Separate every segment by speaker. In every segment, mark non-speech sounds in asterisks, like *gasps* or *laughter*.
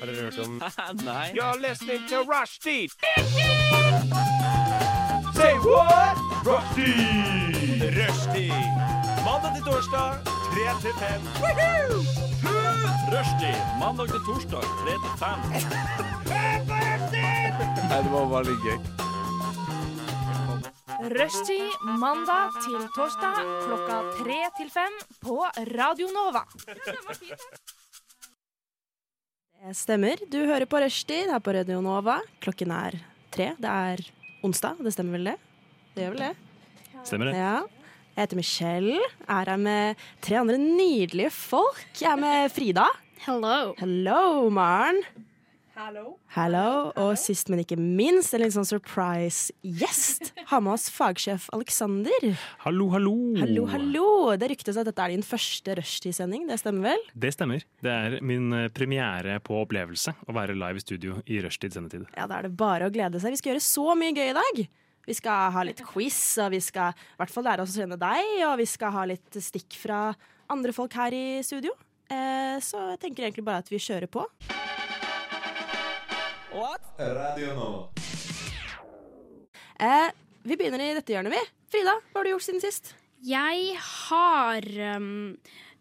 Speaker 1: Har dere hørt om
Speaker 2: Nei.
Speaker 3: You're listening to Rushdie. Say what? Rushdie. Rushdie. Mandag til torsdag, 3 til 5.
Speaker 2: Rushdie mandag til torsdag 3 til 5.
Speaker 4: Rushtid mandag til torsdag klokka tre til fem på Radio Nova.
Speaker 5: Det Eh, stemmer. Du hører på Rushdie her på Radio Nova. Klokken er tre. Det er onsdag, det stemmer vel det? Det gjør vel det?
Speaker 1: Stemmer det?
Speaker 5: Ja. Jeg heter Michelle. Er her med tre andre nydelige folk. Jeg er med Frida.
Speaker 6: Hello.
Speaker 5: Hello, Maren.
Speaker 7: Hallo.
Speaker 5: Hallo. Og sist, men ikke minst, en litt sånn surprise-gjest. Har med oss fagsjef Aleksander.
Speaker 1: Hallo, hallo.
Speaker 5: Hallo, hallo. Det ryktes at dette er din første rushtidssending. Det stemmer vel?
Speaker 1: Det stemmer. Det er min eh, premiere på opplevelse å være live i studio i rushtid sendetid.
Speaker 5: Ja, da er det bare å glede seg. Vi skal gjøre så mye gøy i dag. Vi skal ha litt quiz, og vi skal i hvert fall lære oss å kjenne deg, og vi skal ha litt stikk fra andre folk her i studio. Eh, så jeg tenker egentlig bare at vi kjører på. Eh, vi begynner i dette hjørnet, vi. Frida, hva har du gjort siden sist?
Speaker 6: Jeg har um,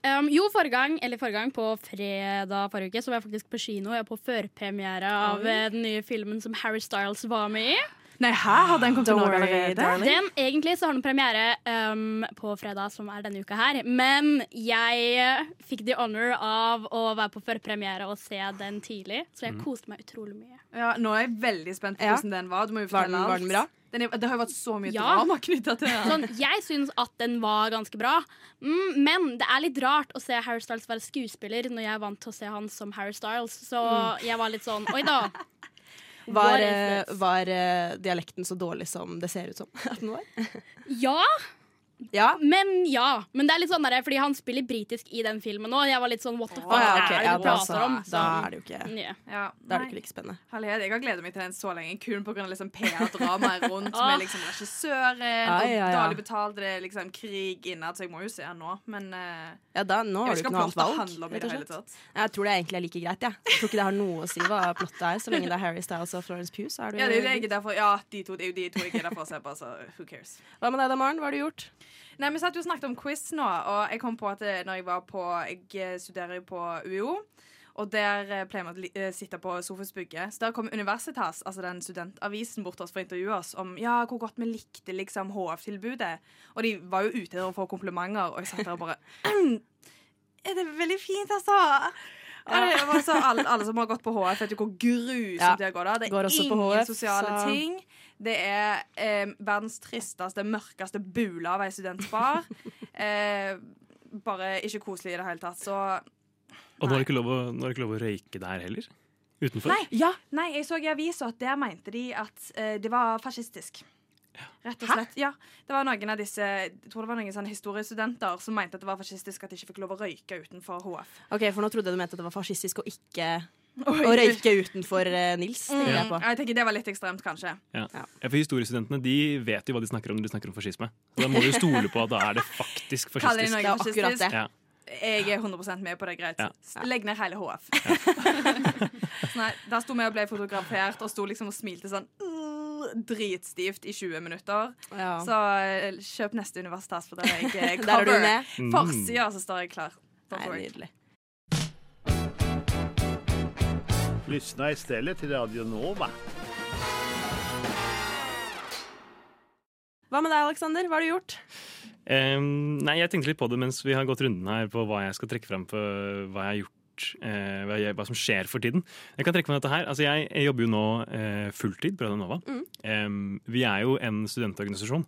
Speaker 6: um, Jo, forrige gang, eller forrige gang, på fredag forrige uke, så var jeg faktisk på kino. Jeg var på førpremiere av eh, den nye filmen som Harry Styles var med i.
Speaker 7: Nei, hæ? Hadde den kommet til Norge allerede?
Speaker 6: Den, egentlig så har den premiere um, på fredag, som er denne uka her. Men jeg eh, fikk the honor av å være på førpremiere og se den tidlig, så jeg koste meg utrolig mye.
Speaker 7: Ja, nå er jeg veldig spent på
Speaker 5: Ja.
Speaker 7: hvordan den var. Du må jo
Speaker 5: Var den-
Speaker 7: fortelle alt.
Speaker 5: var den bra?
Speaker 7: Den er, det har jo vært så mye
Speaker 6: Ja.
Speaker 7: drama knytta til den.
Speaker 6: Sånn, jeg syns at den var ganske bra, mm, men det er litt rart å se Harry Styles være skuespiller når jeg er vant til å se han som Harry Styles. Så jeg var litt sånn Oi da.
Speaker 5: *laughs*
Speaker 6: What
Speaker 5: Mm. Var,
Speaker 6: is
Speaker 5: eh,
Speaker 6: this?
Speaker 5: var eh, dialekten så dårlig som det ser ut som *laughs* at den var?
Speaker 6: Ja,
Speaker 5: Ja.
Speaker 6: men ja. Men det er litt sånn der, fordi han spiller britisk i den filmen òg. Jeg var litt sånn what the fuck
Speaker 5: Å ja, ok.
Speaker 6: er det
Speaker 5: Ja,
Speaker 6: du
Speaker 5: da,
Speaker 6: prater om?
Speaker 5: da er det jo ikke,
Speaker 6: Sånn, ja.
Speaker 7: Ja.
Speaker 5: da er det
Speaker 7: Nei.
Speaker 5: ikke like spennende.
Speaker 7: Herlighet, jeg har gledet meg til den så lenge, kun pga. Liksom PR-dramaet
Speaker 5: *laughs*
Speaker 7: rundt
Speaker 6: Ah.
Speaker 7: med liksom regissøren
Speaker 5: Ja, ja,
Speaker 7: og
Speaker 5: ja.
Speaker 7: dårlig betalt, det er liksom krig innad, så jeg må jo se den nå. Men eh,
Speaker 5: Ja, da, nå
Speaker 7: jeg
Speaker 5: har du
Speaker 7: vet
Speaker 5: ikke
Speaker 7: ikke hva
Speaker 5: noe annet
Speaker 7: plottet
Speaker 5: valg.
Speaker 7: handler om i
Speaker 5: rett og
Speaker 7: det
Speaker 5: slett.
Speaker 7: hele tatt.
Speaker 5: Jeg tror det er egentlig er like greit. Ja. Jeg tror ikke det har noe å si hva plottet er, så lenge det er Harry Styles og Florence Pugh. Så er du
Speaker 7: Ja, det er jo det jeg er der for, ja, de to, det er jo de to jeg er der for å se på, så who cares.
Speaker 5: Hva med deg da, Maren? Hva har du gjort?
Speaker 7: Nei, Vi satt jo og snakket om quiz nå, og jeg kom på at eh, når jeg var på Jeg eh, studerer jo på UiO. Og der eh, pleier vi å li- eh, sitte på Sofus bygge. Så der kom Universitas, altså den studentavisen, bort til oss for å intervjue oss om ja, hvor godt vi likte liksom HF-tilbudet. Og de var jo ute etter å få komplimenter, og jeg satt der og bare *clears throat* Er det veldig fint, altså? Og det var så alle, alle som har gått på HF, vet jo hvor
Speaker 5: Ja.
Speaker 7: grusomt det går da. Det
Speaker 5: Går
Speaker 7: er
Speaker 5: også på
Speaker 7: ingen
Speaker 5: HF,
Speaker 7: sosiale
Speaker 5: så-
Speaker 7: ting. Det er eh, verdens tristeste, mørkeste bule av
Speaker 5: *laughs*
Speaker 7: ei studentbar. eh, bare ikke koselig i det hele tatt. Så
Speaker 1: Og nå er det ikke lov å, nå er det ikke lov å røyke der heller? Utenfor?
Speaker 7: Nei, ja, nei jeg så i avisa at der mente de at eh, det var fascistisk. Rett og slett. Ja, det var noen av disse Jeg tror det var noen sånne historiestudenter som mente at det var fascistisk at de ikke fikk lov å røyke utenfor HF.
Speaker 5: Ok, For nå trodde jeg du mente at det var fascistisk å ikke å røyke utenfor eh, Nils. tenker jeg
Speaker 7: Mm,
Speaker 5: på.
Speaker 7: jeg tenker Det var litt ekstremt, kanskje.
Speaker 1: Ja.
Speaker 5: Ja.
Speaker 1: Ja, for historiestudentene de vet jo hva de snakker om når de snakker om fascisme. Så da må du jo stole på at da er det faktisk
Speaker 7: Kaller
Speaker 1: fascistisk.
Speaker 5: Det
Speaker 7: de noe
Speaker 5: er akkurat
Speaker 7: fascistisk?
Speaker 5: det.
Speaker 1: Ja.
Speaker 7: Jeg er 100 med på det, greit.
Speaker 1: Ja.
Speaker 7: S- Legg ned hele HF. *laughs* Så nei, der sto vi og ble fotografert og sto liksom og smilte sånn uh, dritstivt i 20 minutter.
Speaker 5: Ja.
Speaker 7: Så eh, kjøp neste universitet, for der er jeg eh,
Speaker 5: *laughs* Der er du
Speaker 7: cover.
Speaker 5: med.
Speaker 1: Mm.
Speaker 7: Forsida, så står jeg klar.
Speaker 5: Nei,
Speaker 7: Nei,
Speaker 5: nydelig.
Speaker 8: Lyssna istället till Radio Nova.
Speaker 5: Hva med deg, Aleksander? Hva har du gjort?
Speaker 1: Em, nei, jeg tenkte litt på det mens vi har gått runden her på hva jeg skal trekke fram på hva jeg har gjort, eh, hva, jeg, hva som skjer for tiden. Jeg kan trekke fram dette her. Altså, jeg, jeg jobber jo nå eh, fulltid på Radio Nova. Em, vi er jo en studentorganisasjon,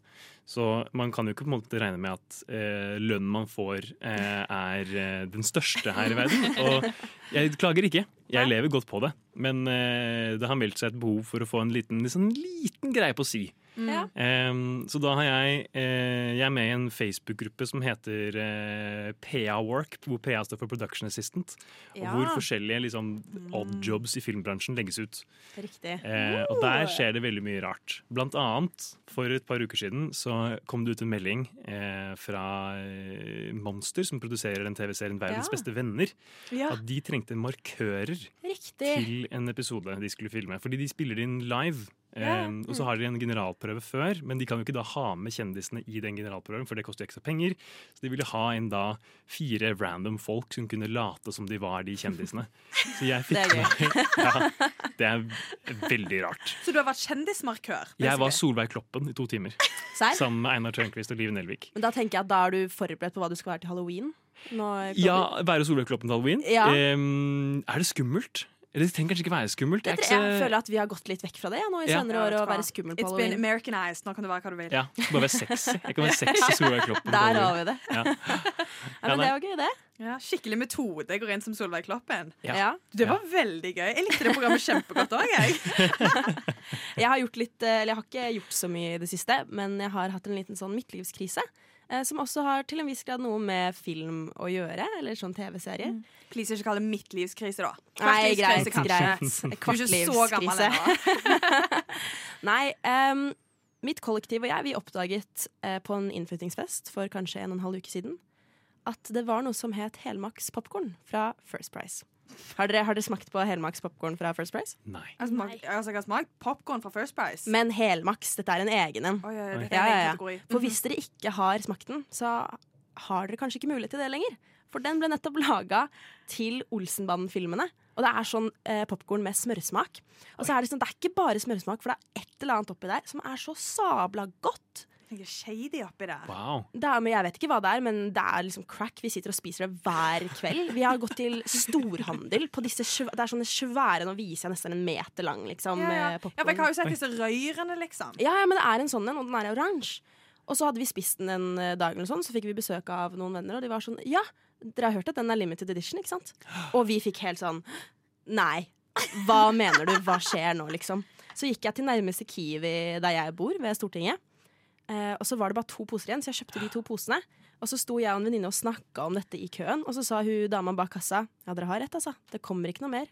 Speaker 1: så man kan jo ikke på en måte regne med at eh, lønnen man får, eh, er eh, den største her i verden. Og jeg klager ikke. Jeg lever godt på det. Men eh, det har meldt seg et behov for å få en sånn liten, liksom, liten greie på si.
Speaker 7: Ja.
Speaker 1: Ehm, så da har jeg eh, Jeg er med i en Facebook-gruppe som heter eh, PA Work, hvor PA står for Production Assistant. Og
Speaker 5: Ja.
Speaker 1: hvor forskjellige liksom, odd jobs i filmbransjen legges ut.
Speaker 5: Riktig.
Speaker 1: Eh, og der skjer det veldig mye rart. Blant annet, for et par uker siden så kom det ut en melding eh, fra eh, Monster, som produserer den TV-serien Verdens
Speaker 5: Ja.
Speaker 1: beste venner,
Speaker 5: Ja,
Speaker 1: at de trengte markører
Speaker 5: riktig.
Speaker 1: til en episode de skulle filme. Fordi de spiller inn live.
Speaker 5: Ja, Mm.
Speaker 1: eh, og så har de en generalprøve før, men de kan jo ikke da ha med kjendisene i den generalprøven, for det koster jo ekstra penger. Så de ville ha inn da fire random folk som kunne late som de var de
Speaker 5: *laughs*
Speaker 1: kjendisene. Så jeg
Speaker 5: Det
Speaker 1: fikk
Speaker 5: er gøy.
Speaker 1: ja, Det er veldig rart.
Speaker 7: Så du har vært kjendismarkør?
Speaker 1: Jeg var
Speaker 7: basically.
Speaker 1: Solveig Kloppen i to timer
Speaker 5: Serr?
Speaker 1: sammen med Einar Tørnquist og Liv Nelvik.
Speaker 5: Men da tenker jeg at da er du forberedt på hva du skal være til halloween. Nå kommer-
Speaker 1: Ja, være Solveig Kloppen til halloween.
Speaker 5: Ja.
Speaker 1: Em, er det skummelt? Eller det trenger kanskje ikke være skummelt.
Speaker 5: Jeg,
Speaker 1: Jeg er
Speaker 5: tror,
Speaker 1: ikke
Speaker 5: jeg
Speaker 1: så-
Speaker 5: føler at vi har gått litt vekk fra det ja, nå i
Speaker 1: Ja.
Speaker 5: senere år, å være skummel på
Speaker 7: It's been
Speaker 5: halloween.
Speaker 7: Americanized. Nå kan det være hva du vil.
Speaker 1: Ja, bare være sexy. Jeg kan være sexy Solveig Kloppen. på
Speaker 5: Der
Speaker 1: halloween.
Speaker 5: har vi det.
Speaker 1: *laughs* Ja.
Speaker 5: *laughs* Nei, men det var gøy, det.
Speaker 7: Ja, skikkelig metode. Jeg går inn som Solveig Kloppen.
Speaker 1: Ja.
Speaker 5: Ja.
Speaker 7: Det
Speaker 1: Ja.
Speaker 7: var veldig gøy. Jeg likte det programmet kjempegodt òg,
Speaker 5: *laughs*
Speaker 7: jeg.
Speaker 5: Jeg har, gjort litt, eh, eller jeg har ikke gjort så mye i det siste, men jeg har hatt en liten sånn midtlivskrise. eh, Som også har til en viss grad noe med film å gjøre, eller sånn TV-serie.
Speaker 1: Mm.
Speaker 7: Please ikke kalle det midtlivskrise, da.
Speaker 5: Nei, greit,
Speaker 7: Kvartlivskrise, kanskje.
Speaker 5: greit.
Speaker 7: Du er ikke så gammel
Speaker 5: Kvartlivskrise.
Speaker 7: ennå.
Speaker 5: Nei, em, mitt kollektiv og jeg vi oppdaget eh, på en innflyttingsfest for kanskje en og en halv uke siden at det var noe som het helmaks popkorn fra First Price. Har dere, har dere smakt på helmaks popkorn fra First Price?
Speaker 1: Nei.
Speaker 7: Jeg har
Speaker 5: *laughs*
Speaker 7: smakt- altså, jeg har smakt popkorn fra First Price.
Speaker 5: Men helmaks, dette er en egen en.
Speaker 7: Oi, oi, oi, dette
Speaker 5: Ja,
Speaker 7: er
Speaker 5: ja,
Speaker 7: en
Speaker 5: ja.
Speaker 7: egen kategori. Mhm.
Speaker 5: For hvis dere ikke har smakt den, så har dere kanskje ikke mulighet til det lenger. For den ble nettopp laga til Olsenbanden-filmene. Og det er sånn eh, popkorn med smørsmak. Og så er det sånn, det er ikke bare smørsmak, for det er et eller annet oppi der som er så sabla godt.
Speaker 7: Jeg er shady oppi der.
Speaker 1: Wow.
Speaker 5: Det er, men jeg vet ikke hva det er, men det er liksom crack. Vi sitter og spiser det hver kveld. Vi har gått til storhandel på disse svæ- Det er sånne svære Nå viser jeg nesten en meter lang, liksom.
Speaker 7: Ja, ja.
Speaker 5: eh,
Speaker 7: ja, for jeg har
Speaker 5: popcorn.
Speaker 7: jo sett disse røyrene, liksom.
Speaker 5: Ja, ja, men det er en sånn en, og den er oransje. Og så hadde vi spist den en eh, dag, eller sånn, så fikk vi besøk av noen venner, og de var sånn Ja, dere har hørt at den er limited edition, ikke sant? Og vi fikk helt sånn Nei. Hva mener du? Hva skjer nå, liksom? Så gikk jeg til nærmeste Kiwi der jeg bor, ved Stortinget. Eh, og så var det bare to poser igjen, så jeg kjøpte de to posene. Og så sto jeg og en venninne og snakka om dette i køen, og så sa hun dama bak kassa Ja, dere har rett, altså. Det kommer ikke noe mer.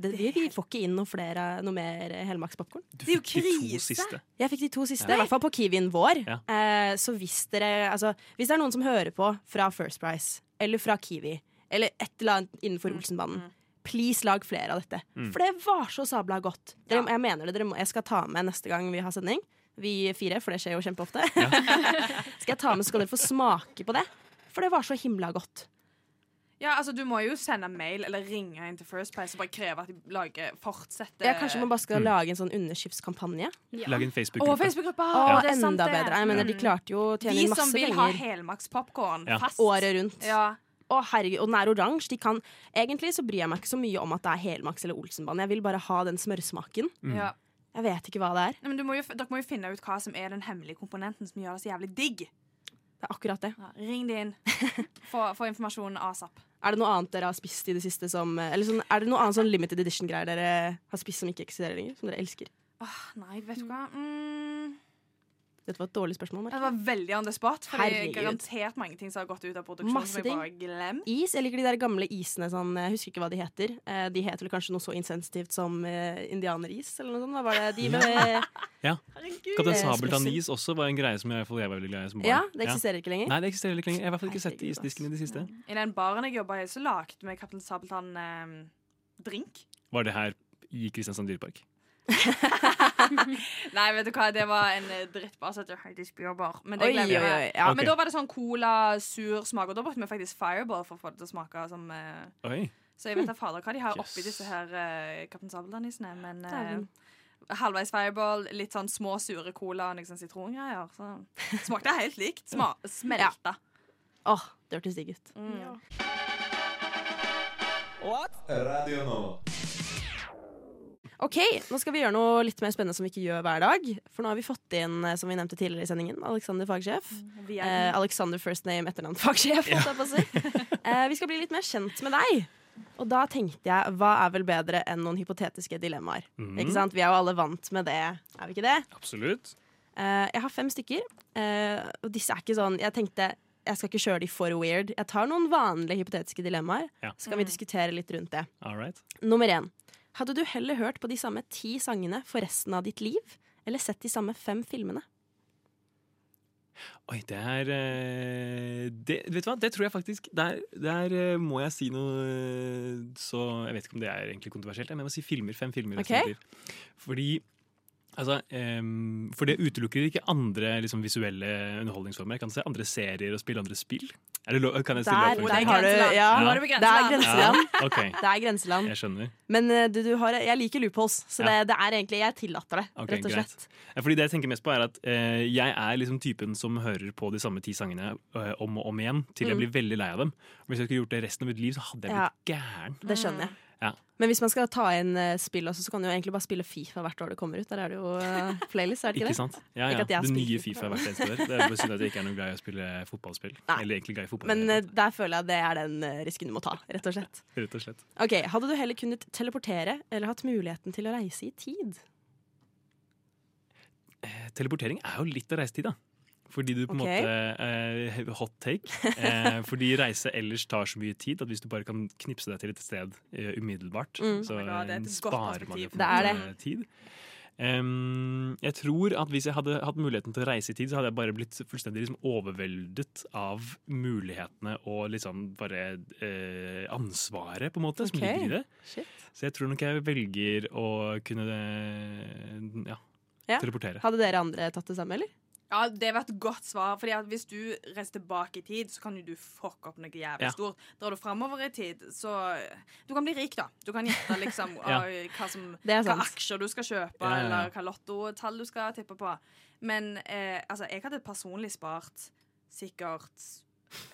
Speaker 5: Det, vi, vi får ikke inn noe, flere, noe mer eh, helmakspopkorn.
Speaker 1: Du
Speaker 7: Det er jo
Speaker 1: fikk de to
Speaker 7: krise.
Speaker 1: siste.
Speaker 5: Jeg fikk de to siste, i hvert fall på Kiwien vår.
Speaker 1: Ja.
Speaker 5: Eh, så hvis dere altså, Hvis det er noen som hører på fra First Price eller fra Kiwi, eller et eller annet innenfor
Speaker 7: Mm.
Speaker 5: Olsenbanden, please lag flere av dette. For det var så sabla godt. Dere, Jeg mener det, dere må, jeg skal ta med neste gang vi har sending. Vi fire, for det skjer jo kjempeofte. *laughs* skal jeg ta med, så skal dere få smake på det. For det var så himla godt.
Speaker 7: Ja, altså, du må jo sende mail eller ringe inn til First Price og bare kreve at de lager fortsetter.
Speaker 5: Ja, kanskje man bare skal lage en sånn underskriftskampanje.
Speaker 1: Lag en
Speaker 7: Å,
Speaker 1: Facebook-gruppe.
Speaker 7: Facebook-gruppa!
Speaker 5: Å,
Speaker 7: det er sant,
Speaker 5: enda
Speaker 7: det.
Speaker 5: bedre. Jeg mener, de klarte jo å tjene
Speaker 7: Vi
Speaker 5: inn
Speaker 7: som
Speaker 5: masse
Speaker 7: vil ha
Speaker 5: penger
Speaker 7: helmaks popkorn
Speaker 1: Ja.
Speaker 7: fast.
Speaker 5: året rundt.
Speaker 7: Ja.
Speaker 5: Å herregud, og den er oransje. De kan, egentlig så bryr jeg meg ikke så mye om at det er Helmax eller Olsenbanen. Jeg vil bare ha den smørsmaken.
Speaker 7: ja.
Speaker 5: Jeg vet ikke hva det er.
Speaker 7: Nei, men du må jo, dere må jo finne ut hva som er den hemmelige komponenten som gjør det så jævlig digg.
Speaker 5: Det er akkurat det.
Speaker 7: Ja, ring de inn. Få, få informasjonen asap.
Speaker 5: Er det noe annet dere har spist i det siste som Eller sånn, er det noe annet sånn limited edition-greier dere har spist som ikke eksisterer lenger? Som dere elsker?
Speaker 7: Åh, nei, vet du hva? Mm,
Speaker 5: Dette var et dårlig spørsmål. Mark.
Speaker 7: det var veldig on the spot. For det er
Speaker 5: Herregud.
Speaker 7: garantert mange ting som har gått ut av produksjon.
Speaker 5: Masse
Speaker 7: som jeg bare har glemt.
Speaker 5: Is. Jeg liker de der gamle isene sånn Jeg husker ikke hva de heter. Eh, De heter vel kanskje noe så insensitivt som eh, indianeris eller noe sånt. Hva var det? *laughs* De med,
Speaker 1: Kaptein
Speaker 5: Eh,
Speaker 1: Sabeltann-is også var en greie som jeg, i hvert fall jeg var veldig glad i som barn.
Speaker 5: ja, det eksisterer ikke lenger.
Speaker 1: Nei, det eksisterer ikke lenger. Jeg har i hvert fall ikke sett det i
Speaker 5: Herregud, ass.
Speaker 1: isdisken i det siste.
Speaker 7: I den baren jeg jobba i, så lagde vi Kaptein Sabeltann eh, drink.
Speaker 1: Var det her i Kristiansand dyrepark?
Speaker 7: Nei, vet du hva, det var en eh, drittbar som heter Heidis Bjørbar. Men det
Speaker 5: Oi,
Speaker 7: glemmer
Speaker 5: oi,
Speaker 7: jeg.
Speaker 5: oi. Ja.
Speaker 1: Ok.
Speaker 7: Men da var det sånn cola, sur smak, og da brukte vi faktisk Fireball for å få det til å smake som eh,
Speaker 1: Oi.
Speaker 7: Så jeg vet da fader hva de har oppi
Speaker 1: Hm. Yes.
Speaker 7: disse her eh, Kaptein Sabeltann-isene, men eh,
Speaker 5: Dæven.
Speaker 7: halvveis Fireball, litt sånn små sure cola og liksom sitrongreier. Så smakte helt likt. Sma Smelta.
Speaker 5: Åh, det hørtes digg ut.
Speaker 3: Radio nå.
Speaker 5: Ok, nå skal vi gjøre noe litt mer spennende som vi ikke gjør hver dag. For nå har vi fått inn, eh, som vi nevnte tidligere i sendingen, Alexander fagsjef.
Speaker 7: Vi
Speaker 5: Eh,
Speaker 7: er
Speaker 5: Alexander first name, etternavn fagsjef. holdt jeg på å si. eh, vi skal bli litt mer kjent med deg. Og da tenkte jeg, hva er vel
Speaker 1: Mm.
Speaker 5: bedre enn noen hypotetiske dilemmaer? Ikke sant? Vi er jo alle vant med det, er vi ikke det?
Speaker 1: Absolutt.
Speaker 5: Eh, jeg har fem stykker, eh, og disse er ikke sånn Jeg tenkte jeg skal ikke kjøre de for weird. Jeg tar noen vanlige hypotetiske dilemmaer,
Speaker 1: Ja.
Speaker 5: så kan vi diskutere litt rundt det.
Speaker 1: All right.
Speaker 5: Nummer én. Hadde du heller hørt på de samme ti sangene for resten av ditt liv, eller sett de samme fem filmene?
Speaker 1: Oi, det er eh, det, Vet du hva, det tror jeg faktisk Der, der eh, må jeg si noe eh, Så jeg vet ikke om det er egentlig kontroversielt, men jeg må si filmer. Fem filmer. resten av
Speaker 5: Ok.
Speaker 1: mitt liv. Fordi Altså, em, for det utelukker ikke andre liksom, visuelle underholdningsformer. Jeg kan se andre serier og spille andre spill. Er det lov? Kan jeg stille
Speaker 5: Der,
Speaker 1: opp for
Speaker 5: der
Speaker 1: det?
Speaker 5: har du Ja,
Speaker 1: Nå er du
Speaker 7: på
Speaker 5: det er
Speaker 7: grenseland.
Speaker 5: grenseland.
Speaker 1: Ja, ok,
Speaker 5: Det er grenseland.
Speaker 1: jeg skjønner.
Speaker 5: Men eh, du, du har, jeg liker loopholes, så
Speaker 1: Ja.
Speaker 5: det, det er egentlig Jeg tillater det,
Speaker 1: Ok,
Speaker 5: rett og
Speaker 1: greit.
Speaker 5: slett.
Speaker 1: Ja, Fordi det jeg tenker mest på er at eh, jeg er liksom typen som hører på de samme ti sangene eh, om og om igjen til jeg
Speaker 5: Mm.
Speaker 1: blir veldig lei av dem. Og hvis jeg skulle gjort det resten av mitt liv, så hadde jeg blitt gæren.
Speaker 5: Det skjønner jeg.
Speaker 1: Ja.
Speaker 5: Men hvis man skal ta inn eh, spill også, så kan du jo egentlig bare spille Fifa hvert år det kommer ut. Der er det jo eh, playlist, er det ikke
Speaker 1: Ikke
Speaker 5: det?
Speaker 1: sant? Ja,
Speaker 5: Ikke
Speaker 1: ja.
Speaker 5: at jeg har
Speaker 1: det
Speaker 5: spilt
Speaker 1: nye
Speaker 5: Fifa.
Speaker 1: Fifa hvert eneste år. Det er bare synd at jeg ikke er noe glad i å spille fotballspill.
Speaker 5: *laughs* Nei.
Speaker 1: Eller egentlig glad i fotball.
Speaker 5: Men eh, der føler jeg det er den eh, risken du må ta, rett og slett.
Speaker 1: rett og slett.
Speaker 5: Ok, Hadde du heller kunnet teleportere eller hatt muligheten til å reise i tid?
Speaker 1: Eh, Teleportering er jo litt av reisetid, da. Fordi du på en
Speaker 5: Ok.
Speaker 1: måte eh, Hot take. Eh, fordi reise ellers tar så mye tid at hvis du bare kan knipse deg til et sted eh, umiddelbart,
Speaker 5: Mm.
Speaker 1: så
Speaker 7: Oh my God, det er et
Speaker 1: eh,
Speaker 7: godt
Speaker 1: sparer man jo
Speaker 7: perspektiv.
Speaker 1: for
Speaker 5: Det er det.
Speaker 1: mye tid. Em, jeg tror at hvis jeg hadde hatt muligheten til å reise i tid, så hadde jeg bare blitt fullstendig liksom, overveldet av mulighetene og liksom bare eh, ansvaret, på en måte, som
Speaker 5: Ok.
Speaker 1: ligger i det.
Speaker 5: Shit.
Speaker 1: Så jeg tror nok jeg velger å kunne eh, ja,
Speaker 5: Ja.
Speaker 1: teleportere.
Speaker 5: Hadde dere andre tatt det samme, eller?
Speaker 7: Ja, Det var et godt svar. Fordi at Hvis du reiser tilbake i tid, så kan jo du fucke opp noe jævlig
Speaker 1: Ja.
Speaker 7: stort. Drar du framover i tid, så Du kan bli rik, da. Du kan gjette
Speaker 1: *laughs*
Speaker 7: liksom,
Speaker 1: Ja.
Speaker 7: av hva, som,
Speaker 5: Det er
Speaker 7: hva
Speaker 5: sant.
Speaker 7: aksjer du skal kjøpe,
Speaker 1: Ja, ja, ja.
Speaker 7: eller hva lottotall du skal tippe på. Men eh, altså, jeg hadde personlig spart sikkert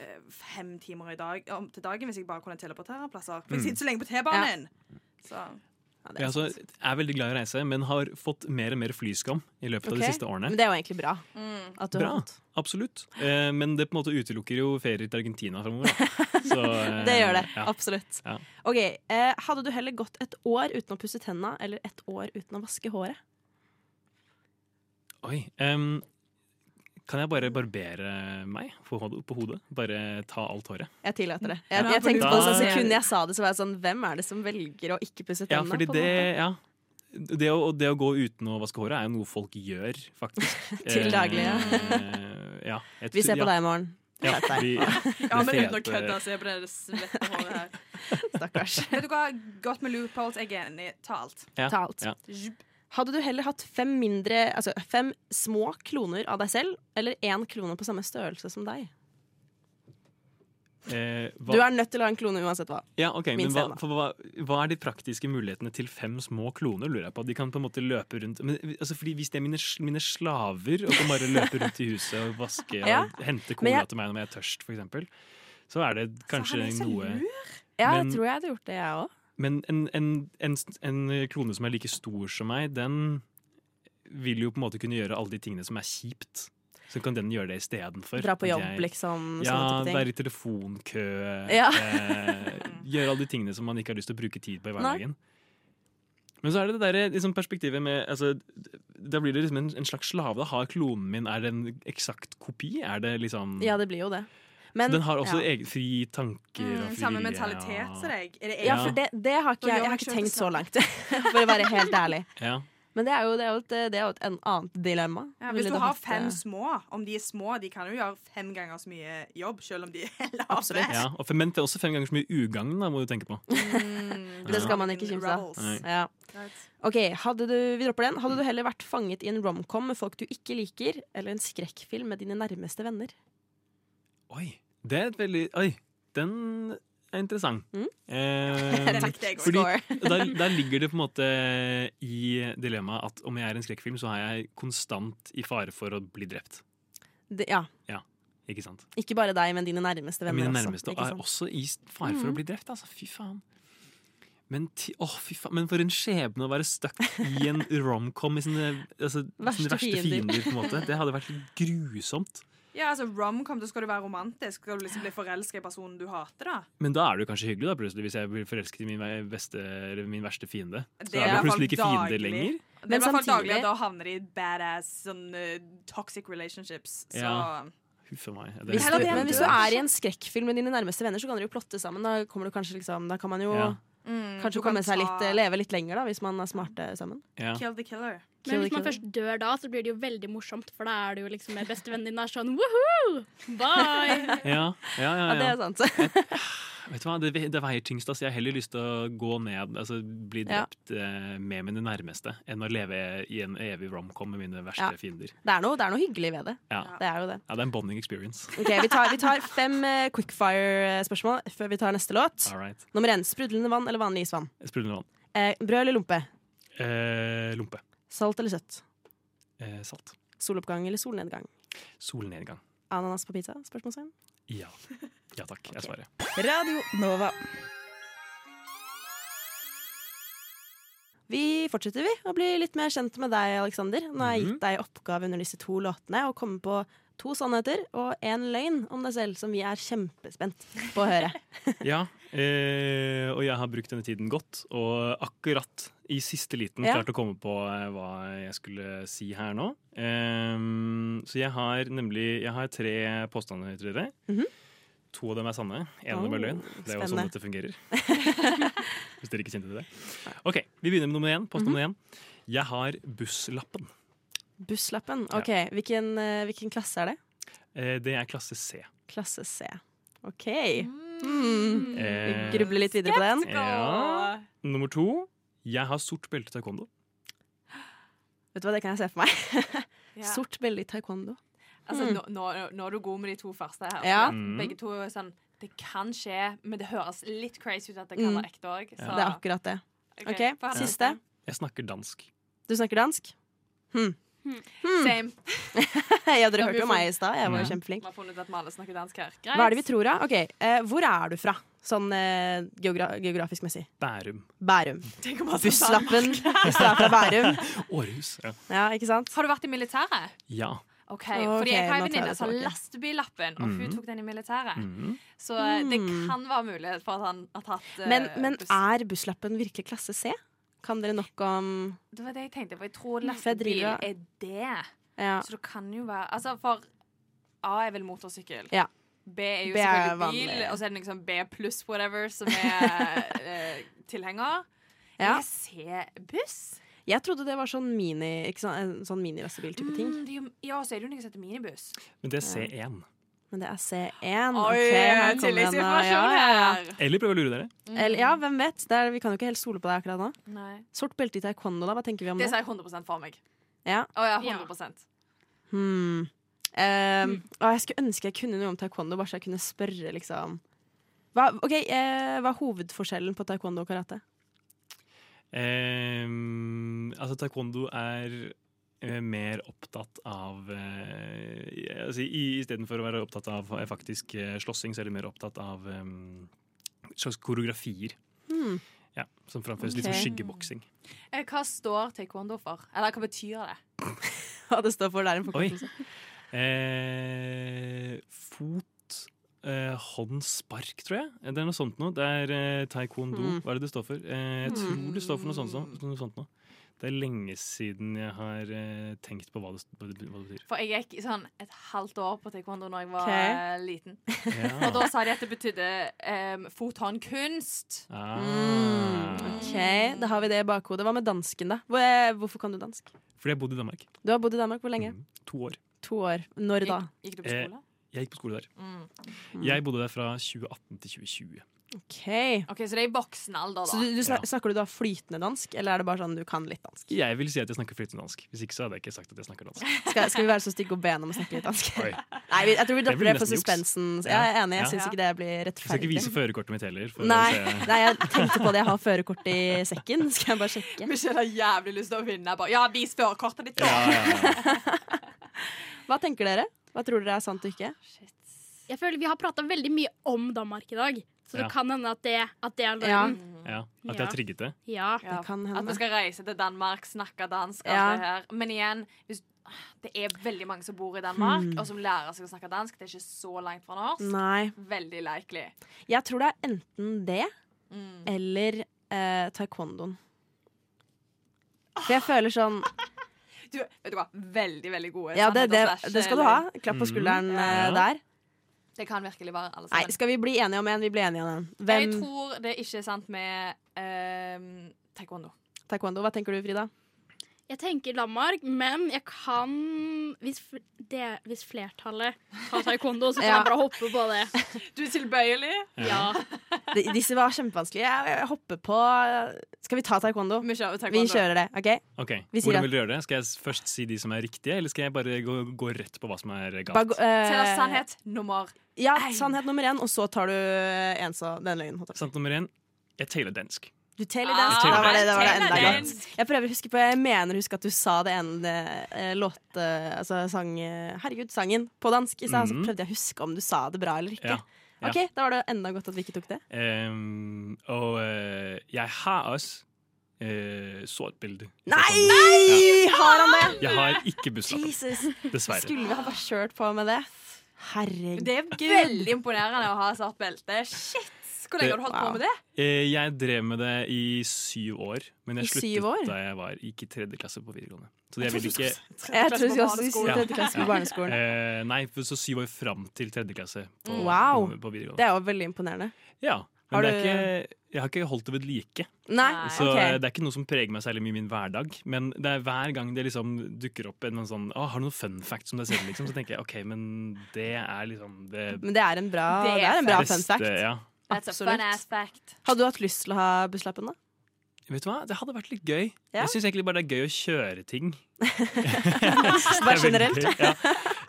Speaker 7: eh, fem timer i dag, om, til dagen hvis jeg bare kunne teleportere plasser. For
Speaker 1: Mm.
Speaker 7: jeg sitter så lenge på T-banen! Så
Speaker 5: Ja, det
Speaker 1: Jeg
Speaker 5: er,
Speaker 1: altså,
Speaker 5: sant.
Speaker 1: er veldig glad i å reise, men har fått mer og mer flyskam i løpet av
Speaker 5: Ok.
Speaker 1: de siste årene.
Speaker 5: Men det er jo egentlig bra.
Speaker 7: mm.
Speaker 5: At du
Speaker 1: Bra.
Speaker 5: har fått.
Speaker 1: Absolutt. Eh, men det på en måte utelukker jo ferier til Argentina framover. eh,
Speaker 5: *laughs* Det gjør det.
Speaker 1: ja.
Speaker 5: Absolutt.
Speaker 1: Ja.
Speaker 5: Ok, eh, Hadde du heller gått et år uten å pusse tenna eller et år uten å vaske håret?
Speaker 1: Oi. em, kan jeg bare barbere meg på hodet? På hodet? Bare ta alt håret?
Speaker 5: Jeg tillater det. Jeg,
Speaker 7: Ja,
Speaker 5: jeg tenkte
Speaker 1: for
Speaker 5: på det sånn
Speaker 1: da-
Speaker 5: sekundet jeg sa det, så var jeg sånn Hvem er det som velger å ikke pusse
Speaker 1: Ja,
Speaker 5: tenna?
Speaker 1: fordi
Speaker 5: på en
Speaker 1: det ja. Det å, og det å gå uten å vaske håret er jo noe folk gjør, faktisk.
Speaker 5: *laughs* Til daglig, ja.
Speaker 1: Eh, ja. Jeg
Speaker 5: måte? Vi ser på
Speaker 1: ja.
Speaker 5: deg i morgen.
Speaker 1: Ja,
Speaker 5: Skjerp deg.
Speaker 1: vi,
Speaker 7: Ja, men uten å
Speaker 1: fete-
Speaker 7: kødde, så er det det svette håret her.
Speaker 5: Stakkars.
Speaker 7: Vet du hva? Godt med loopholes. Jeg er enig. Ta alt.
Speaker 1: *laughs* ja.
Speaker 5: Ta alt.
Speaker 1: Ja.
Speaker 5: Hadde du heller hatt fem, mindre, altså fem små kloner av deg selv, eller én klone på samme størrelse som deg?
Speaker 1: Eh, hva-
Speaker 5: Du er nødt til å ha en klone uansett hva.
Speaker 1: Ja, ok, men
Speaker 5: Minst
Speaker 1: hva,
Speaker 5: en, da.
Speaker 1: for hva, hva er de praktiske mulighetene til fem små kloner, lurer jeg på. De kan på en måte løpe rundt men, altså, fordi Hvis det er mine, sl- mine slaver og kan bare løpe rundt i huset og vaske og
Speaker 5: Ja,
Speaker 1: hente cola
Speaker 5: men jeg-
Speaker 1: til meg når jeg er tørst, f.eks., så er det kanskje
Speaker 7: han er så
Speaker 1: noe
Speaker 5: Ja,
Speaker 1: Men-
Speaker 5: jeg tror jeg hadde gjort det, jeg òg.
Speaker 1: Men en, en, en, en klone som er like stor som meg, den vil jo på en måte kunne gjøre alle de tingene som er kjipt. Så kan den gjøre det istedenfor.
Speaker 5: Dra på
Speaker 1: at
Speaker 5: jobb,
Speaker 1: jeg-
Speaker 5: liksom.
Speaker 1: ja,
Speaker 5: sånne type ting.
Speaker 1: være i telefonkø,
Speaker 5: Ja.
Speaker 1: eh, gjøre alle de tingene som man ikke har lyst til å bruke tid på i hverdagen. Men så er det det der, liksom, perspektivet med altså, Da blir det liksom en, en slags slave. Da. Har klonen min Er det en eksakt kopi? Er det liksom
Speaker 5: Ja, det blir jo det.
Speaker 1: Så
Speaker 5: Men,
Speaker 1: Den har også e-
Speaker 5: ja. Mm,
Speaker 1: egen, fri tanker og fri
Speaker 7: Mm, Samme
Speaker 1: vilje
Speaker 7: mentalitet
Speaker 1: og-
Speaker 7: som deg. Er det
Speaker 5: Ja,
Speaker 1: Ja.
Speaker 5: for det, det har
Speaker 7: Da
Speaker 5: ikke jeg,
Speaker 7: gjør
Speaker 5: jeg
Speaker 7: meg
Speaker 5: har ikke
Speaker 7: selv
Speaker 5: tenkt så
Speaker 7: til
Speaker 5: langt, *laughs* for å være helt ærlig.
Speaker 1: Ja.
Speaker 5: Men det er jo, det er jo, et, det er jo et en annet dilemma.
Speaker 7: Ja, hvis
Speaker 5: Ville
Speaker 7: du har
Speaker 5: hatt,
Speaker 7: fem
Speaker 5: eh,
Speaker 7: små, om de er små, de kan jo gjøre fem ganger så mye jobb, selv om de er *laughs* lave.
Speaker 5: Absolutt.
Speaker 1: ja. Og for menn er også fem ganger så mye ugagn, da, må du tenke på.
Speaker 7: Mm,
Speaker 5: Det skal man ikke kimse av.
Speaker 7: Rebels.
Speaker 1: Nei.
Speaker 5: Ja.
Speaker 7: Right.
Speaker 5: Ok, hadde du, vi dropper den. Hadde du heller vært fanget i en romcom med folk du ikke liker, eller en skrekkfilm med dine nærmeste venner?
Speaker 1: Oi, det er et veldig Oi, den er interessant.
Speaker 5: Mm. *laughs*
Speaker 1: Eh,
Speaker 7: Takk, det går.
Speaker 1: fordi der, der ligger det på en måte i dilemmaet at om jeg er en skrekkfilm, så er jeg konstant i fare for å bli drept.
Speaker 5: Det, ja,
Speaker 1: Ikke sant?
Speaker 5: Ikke bare deg, men dine nærmeste venner
Speaker 1: Mine
Speaker 5: også.
Speaker 1: nærmeste
Speaker 5: ikke
Speaker 1: er
Speaker 5: sant? Mm.
Speaker 1: også i fare for å bli drept. Altså, fy faen. Men, ti, åh, fy faen. Men for en skjebne å være stuck i en romcom med sine, altså,
Speaker 5: Verste
Speaker 1: sine verste
Speaker 5: fiender.
Speaker 1: fiender. på en måte. Det hadde vært grusomt.
Speaker 7: Ja, altså Romcom, da skal du være romantisk. Skal du liksom bli forelska i personen du hater, da?
Speaker 1: Men da er det jo kanskje hyggelig, da, plutselig, hvis jeg blir forelsket i min, ve- beste, eller min verste fiende. Så er det
Speaker 7: Det er i hvert
Speaker 1: plutselig ikke
Speaker 7: fall
Speaker 1: fiender
Speaker 7: daglig.
Speaker 1: lenger.
Speaker 9: Det er i hvert fall
Speaker 5: samtidig-
Speaker 9: daglig, og da havner de i badass, sånn eh,
Speaker 7: uh,
Speaker 9: toxic relationships. Så
Speaker 1: Ja. Huff a meg. Det,
Speaker 5: Hvis
Speaker 9: Heller
Speaker 5: du,
Speaker 9: det enn
Speaker 5: men hvis du
Speaker 9: død.
Speaker 5: er i en skrekkfilm med dine nærmeste venner, så kan dere jo plotte sammen. Da, kommer du kanskje, liksom, da kan man jo
Speaker 1: Ja.
Speaker 9: mm, du
Speaker 5: kanskje
Speaker 9: kan
Speaker 5: komme
Speaker 9: ta-
Speaker 5: seg litt, eh, leve litt lenger, da, hvis man er smarte sammen.
Speaker 1: ja.
Speaker 9: Kill the killer.
Speaker 6: Men hvis
Speaker 5: Kill
Speaker 6: man
Speaker 5: the
Speaker 6: først dør da, så blir det jo veldig morsomt, for da er det jo liksom med bestevennen din er sånn woohoo,
Speaker 5: *laughs*
Speaker 6: bye!
Speaker 1: Ja, ja, ja,
Speaker 5: Ja, det
Speaker 1: ja.
Speaker 5: er sant.
Speaker 1: Vet du hva, det, ve- det veier tyngst. Altså. Jeg har heller lyst til å gå ned, altså bli
Speaker 5: Ja.
Speaker 1: drept eh, med mine nærmeste, enn å leve i en evig romcom med mine verste
Speaker 5: Ja.
Speaker 1: fiender.
Speaker 5: Det er noe, det er noe hyggelig ved det.
Speaker 1: Ja.
Speaker 5: Det er jo det.
Speaker 1: ja, det er en bonding experience.
Speaker 5: Ok, Vi tar, vi tar fem eh, quickfire-spørsmål før vi tar neste låt.
Speaker 1: All right.
Speaker 5: Nummer én sprudlende vann eller vanlig isvann?
Speaker 1: Sprudlende vann.
Speaker 5: Eh, brød eller lompe?
Speaker 1: Eh, lompe.
Speaker 5: Salt eller søtt?
Speaker 1: Eh, salt.
Speaker 5: Soloppgang eller solnedgang?
Speaker 1: Solnedgang.
Speaker 5: Ananas på pizza? Spørsmålstegn.
Speaker 1: Ja. Ja takk, jeg svarer.
Speaker 10: Radio Nova.
Speaker 5: Vi fortsetter vi å bli litt mer kjent med deg, Aleksander. Nå har jeg
Speaker 1: Mhm.
Speaker 5: gitt deg i oppgave under disse to låtene å komme på to sannheter og én løgn om deg selv, som vi er kjempespent på
Speaker 1: *laughs*
Speaker 5: å høre.
Speaker 1: Ja, eh, og jeg har brukt denne tiden godt, og akkurat i siste liten
Speaker 5: Ja.
Speaker 1: klart å komme på eh, hva jeg skulle si her nå. Ehm, så jeg har nemlig jeg har tre påstander til dere.
Speaker 5: Mhm.
Speaker 1: To av dem er sanne, én av dem
Speaker 5: Oh,
Speaker 1: er løgn. Det er jo sånn
Speaker 5: spennende.
Speaker 1: dette fungerer.
Speaker 5: *laughs*
Speaker 1: Hvis dere ikke kjente til det. Ok, Vi begynner med nummer én. Påstand nummer
Speaker 5: Mhm.
Speaker 1: én. Jeg har busslappen.
Speaker 5: Busslappen. Ok, hvilken, eh, hvilken klasse er det?
Speaker 1: Eh, det er klasse C.
Speaker 5: Klasse C. Ok. Mm. Vi
Speaker 1: Eh,
Speaker 5: grubler litt videre på den.
Speaker 1: ja. Nummer to. Jeg har sort belte i taekwondo.
Speaker 5: Vet du hva, det kan jeg se for meg.
Speaker 7: Ja.
Speaker 5: Sort belle i taekwondo.
Speaker 7: Altså,
Speaker 5: Mm.
Speaker 7: nå, nå, nå er du god med de to første her.
Speaker 5: Ja.
Speaker 1: Mm.
Speaker 7: Begge to er sånn Det kan skje, men det høres litt crazy ut at det kan
Speaker 5: Mm.
Speaker 7: være ekte òg.
Speaker 1: Ja.
Speaker 5: Det er akkurat det. Ok, siste.
Speaker 7: sånn,
Speaker 1: Jeg snakker dansk.
Speaker 5: Du snakker dansk? Hm.
Speaker 6: Hmm.
Speaker 7: Same.
Speaker 5: *laughs* Ja, dere
Speaker 7: Ja,
Speaker 5: hørte
Speaker 7: vi
Speaker 5: jo
Speaker 7: får-
Speaker 5: meg i stad. Jeg var jo
Speaker 1: Mm.
Speaker 5: kjempeflink.
Speaker 7: Vi har funnet ut at vi alle snakker dansk her.
Speaker 5: Hva er det vi tror, da? Ok, eh, Hvor er du fra, sånn eh, geogra geografisk messig?
Speaker 1: Bærum.
Speaker 5: Bærum.
Speaker 7: Tenk om han sa
Speaker 5: Busslappen
Speaker 7: *laughs*
Speaker 5: hvis du er fra Bærum.
Speaker 1: Århus. Ja.
Speaker 5: Ja, ikke sant?
Speaker 7: Har du vært i militæret?
Speaker 1: ja.
Speaker 7: OK.
Speaker 5: Ok,
Speaker 7: Fordi jeg har
Speaker 5: nå tar jeg
Speaker 7: en venninne
Speaker 5: det
Speaker 7: som har
Speaker 5: tilbake.
Speaker 7: lastebillappen, og hun
Speaker 1: Mhm.
Speaker 7: tok den i militæret.
Speaker 1: Mhm.
Speaker 7: Så eh, det
Speaker 5: Mm.
Speaker 7: kan være mulighet for at han har tatt eh,
Speaker 5: Men, men
Speaker 7: buss.
Speaker 5: er busslappen virkelig klasse C? Kan dere nok om
Speaker 7: Det var det jeg tenkte, for jeg tror
Speaker 5: For jeg
Speaker 7: lastebil
Speaker 5: driver-
Speaker 7: er det.
Speaker 5: ja.
Speaker 7: Så det kan jo være Altså, for A er vel motorsykkel.
Speaker 5: Ja.
Speaker 7: B er jo
Speaker 5: B er
Speaker 7: selvfølgelig
Speaker 5: vanlig.
Speaker 7: bil, og så er det liksom B pluss whatever som
Speaker 5: *laughs*
Speaker 7: er eh, tilhenger.
Speaker 5: Ja.
Speaker 7: Jeg ser buss.
Speaker 5: Jeg trodde det var sånn mini ikke sant? En sånn mini-lastebil-type ting,
Speaker 7: Mm, det er jo- ja, så er det jo noe som heter minibuss.
Speaker 1: Men det er C1.
Speaker 5: men det er C1.
Speaker 7: Mm. Oi,
Speaker 5: Ok, her kommer den,
Speaker 7: tilleggsinformasjon
Speaker 5: ja, ja, ja.
Speaker 7: her!
Speaker 1: Eller prøve å lure dere.
Speaker 5: Eller, ja, hvem vet? Det er, vi kan jo ikke helt stole på deg akkurat nå.
Speaker 7: Nei.
Speaker 5: Sort belte i taekwondo, da? Hva tenker vi om
Speaker 7: Det
Speaker 5: det?
Speaker 7: sier jeg 100 for meg.
Speaker 5: Ja.
Speaker 7: Å ja,
Speaker 6: Ja.
Speaker 7: 100
Speaker 5: Hmm. Eh,
Speaker 7: Mm.
Speaker 5: og jeg skulle ønske jeg kunne noe om taekwondo, bare så jeg kunne spørre, liksom. Hva, ok, eh, hva er hovedforskjellen på taekwondo og karate?
Speaker 1: Ehm, altså, taekwondo er eh, mer opptatt av eh, jeg- altså, i- Istedenfor å være opptatt av eh, faktisk eh, slåssing, så er de mer opptatt av em, slags koreografier.
Speaker 5: Hmm.
Speaker 1: Ja, som framføres litt som
Speaker 5: Ok.
Speaker 1: skyggeboksing.
Speaker 7: Eh, Hva står taekwondo for? Eller hva betyr det?
Speaker 5: *laughs* Hva det står for, det er en
Speaker 1: Oi.
Speaker 5: forkortelse.
Speaker 1: Eh, fot, eh, hånd, spark, tror jeg. Det er noe sånt noe. Det er eh, taekwondo.
Speaker 5: Mm.
Speaker 1: Hva er det det står for? Eh,
Speaker 7: Mm.
Speaker 1: jeg tror det står for noe sånt, noe, noe sånt noe. Det er lenge siden jeg har eh, tenkt på hva det, hva det, hva
Speaker 7: *laughs*
Speaker 1: det betyr.
Speaker 7: For jeg gikk i sånn et halvt år på taekwondo når jeg var
Speaker 5: Ok.
Speaker 7: eh, liten. Og
Speaker 1: Ja.
Speaker 7: da sa de at det betydde um, fot, hånd, kunst.
Speaker 5: Mm,
Speaker 1: Ah.
Speaker 5: ok, Da har vi det i bakhodet. Hva med dansken, da? Hvor, eh, hvorfor kan du dansk?
Speaker 1: Fordi jeg bodde i Danmark.
Speaker 5: Du har bodd i Danmark hvor lenge?
Speaker 1: Mm. To år.
Speaker 5: To år. Når da?
Speaker 7: Gikk, gikk du på
Speaker 1: Eh,
Speaker 7: skole?
Speaker 1: Jeg gikk på skole der.
Speaker 7: Mm.
Speaker 1: Jeg bodde der fra 2018 til 2020.
Speaker 5: Ok
Speaker 7: OK, så det er i voksen alder,
Speaker 5: Så
Speaker 7: da.
Speaker 5: du, du snak,
Speaker 1: Ja.
Speaker 5: Snakker du da flytende dansk, eller er det bare sånn du kan litt dansk?
Speaker 1: Jeg vil si at jeg snakker flytende dansk. Hvis ikke så hadde jeg ikke sagt at jeg snakker
Speaker 7: *laughs*
Speaker 1: dansk.
Speaker 5: Skal, skal vi være så stygge og be henne om å snakke litt dansk?
Speaker 1: Oi.
Speaker 5: *laughs* Nei, vi- jeg tror vi
Speaker 1: Det
Speaker 5: dropper
Speaker 1: blir
Speaker 5: det for
Speaker 1: nesten juks.
Speaker 5: suspensen. Jeg er enig, jeg
Speaker 1: Ja.
Speaker 5: syns ikke det blir
Speaker 1: Jeg skal ikke
Speaker 5: rettferdig.
Speaker 1: vise førerkortet mitt heller. For
Speaker 5: Nei,
Speaker 1: Å se.
Speaker 5: nei, jeg tenkte på det. Jeg har førerkort i sekken. *laughs* Skal jeg bare sjekke?
Speaker 7: Michelle har jævlig lyst til å vinne. Bare, ja, vis førerkortet
Speaker 1: Ja,
Speaker 7: ditt, da!
Speaker 1: ja, ja.
Speaker 5: Hva tenker dere? Hva tror dere er sant og ikke?
Speaker 6: Jeg føler Vi har prata veldig mye om Danmark i dag, så det
Speaker 1: Ja.
Speaker 6: kan hende at det, at det er
Speaker 5: *laughs* Ja.
Speaker 6: løgn.
Speaker 1: ja. At jeg har trigget det.
Speaker 6: Ja.
Speaker 7: Ja,
Speaker 5: Det kan
Speaker 7: At vi
Speaker 5: hende.
Speaker 7: skal reise til Danmark, snakke dansk. alt
Speaker 5: Ja.
Speaker 7: det her. Men igjen, hvis, det er veldig mange som bor i Danmark,
Speaker 5: Hmm.
Speaker 7: og som lærer seg å snakke dansk. Det er ikke så langt fra norsk.
Speaker 5: Nei.
Speaker 7: Veldig likely.
Speaker 5: Jeg tror det er enten det
Speaker 7: Mm.
Speaker 5: eller eh, taekwondoen. For For jeg føler sånn
Speaker 11: Du, vet du hva, veldig, veldig gode.
Speaker 5: Ja, det, det,
Speaker 11: sannheter slash- eh,
Speaker 5: det skal du ha. Klapp på skulderen
Speaker 11: Mm.
Speaker 5: eh,
Speaker 1: Ja.
Speaker 5: der.
Speaker 11: Sånn. Det kan virkelig være alle
Speaker 5: Nei,
Speaker 11: sammen.
Speaker 5: skal vi bli enige om en? Vi blir enige om en.
Speaker 11: Jeg
Speaker 5: Hvem
Speaker 11: tror det ikke er sant med ehm, taekwondo.
Speaker 5: taekwondo? Hva tenker du, Frida?
Speaker 6: Jeg tenker Danmark, men jeg kan Hvis, fl- det, hvis flertallet tar taekwondo, så kan
Speaker 5: *laughs* Ja.
Speaker 6: jeg bare hoppe på det.
Speaker 11: Du er tilbøyelig.
Speaker 6: Ja.
Speaker 5: De, disse var kjempevanskelige. Jeg, jeg hopper på eh, Skal vi ta taekwondo?
Speaker 11: Vi
Speaker 5: Vi
Speaker 11: kjører taekwondo.
Speaker 5: kjører det, OK?
Speaker 1: Ok,
Speaker 5: Vi sier at-
Speaker 1: Hvordan vil du gjøre det? Skal jeg s- først si de som er riktige, eller skal jeg bare gå, gå rett på hva som er
Speaker 5: Bare
Speaker 1: galt?
Speaker 5: gå- eh,
Speaker 11: Tell oss sannhet nummer
Speaker 5: Ja, sannhet nummer én, og så tar du en så den løgnen. holdt jeg på å si.
Speaker 1: Sant nummer én, jeg teller dansk.
Speaker 5: Du teller
Speaker 11: Ah,
Speaker 5: dansk.
Speaker 1: jeg
Speaker 5: da var det,
Speaker 1: teller
Speaker 5: da var det enda
Speaker 1: dansk.
Speaker 5: greit. Jeg prøver å huske på Jeg mener å huske at du sa det ene eh, låt... eh, Altså sang eh, Herregud, sangen på dansk i stad. Så
Speaker 1: Mhm.
Speaker 5: prøvde jeg å huske om du sa det bra eller ikke.
Speaker 1: Ja, ja.
Speaker 5: OK, da var det enda godt at vi ikke tok det.
Speaker 1: Ehm, og eh, jeg har også uh, sortbilde.
Speaker 5: Nei! Har han det?
Speaker 1: Jeg har ikke busslappen,
Speaker 5: Jesus.
Speaker 1: dessverre.
Speaker 5: Skulle vi ha bare kjørt på med det? Herregud.
Speaker 11: Det er veldig imponerende å ha svart belte. Shit! Hvor lenge har du holdt på
Speaker 5: Wow.
Speaker 11: med det?
Speaker 1: Eh, jeg drev med det i syv år, men jeg
Speaker 5: I syv år?
Speaker 1: sluttet da jeg var, gikk i tredje klasse på videregående. Så jeg vil ikke
Speaker 5: Jeg tror vi også skulle
Speaker 1: barneskolen.
Speaker 5: si tredje klasse på barneskolen.
Speaker 1: eh, Nei, for så syv år fram til tredje klasse på,
Speaker 5: Wow.
Speaker 1: på, på videregående.
Speaker 5: Det er jo veldig imponerende.
Speaker 1: Ja, men
Speaker 5: Har
Speaker 1: det er
Speaker 5: du-
Speaker 1: ikke, jeg har ikke holdt det ved like.
Speaker 5: Nei, eh,
Speaker 11: Nei.
Speaker 1: Så
Speaker 5: ok.
Speaker 1: det er ikke noe som preger meg særlig mye i min hverdag. Men det er hver gang det liksom dukker opp en eller annen sånn Å, har du noen fun facts om deg selv, liksom? Så tenker jeg OK, men det er liksom det
Speaker 5: Men det er en bra,
Speaker 11: Det er
Speaker 5: det er en bra
Speaker 1: beste
Speaker 5: fun fact.
Speaker 1: Ja.
Speaker 11: That's a fun ass
Speaker 5: Absolutt.
Speaker 11: fact.
Speaker 5: Hadde du hatt lyst til å ha busslappen, da?
Speaker 1: Vet du hva, det hadde vært litt gøy.
Speaker 5: Ja.
Speaker 1: Jeg syns egentlig bare det er gøy å kjøre ting.
Speaker 5: Bare
Speaker 1: Det er veldig
Speaker 5: generelt.
Speaker 1: gøy, Ja.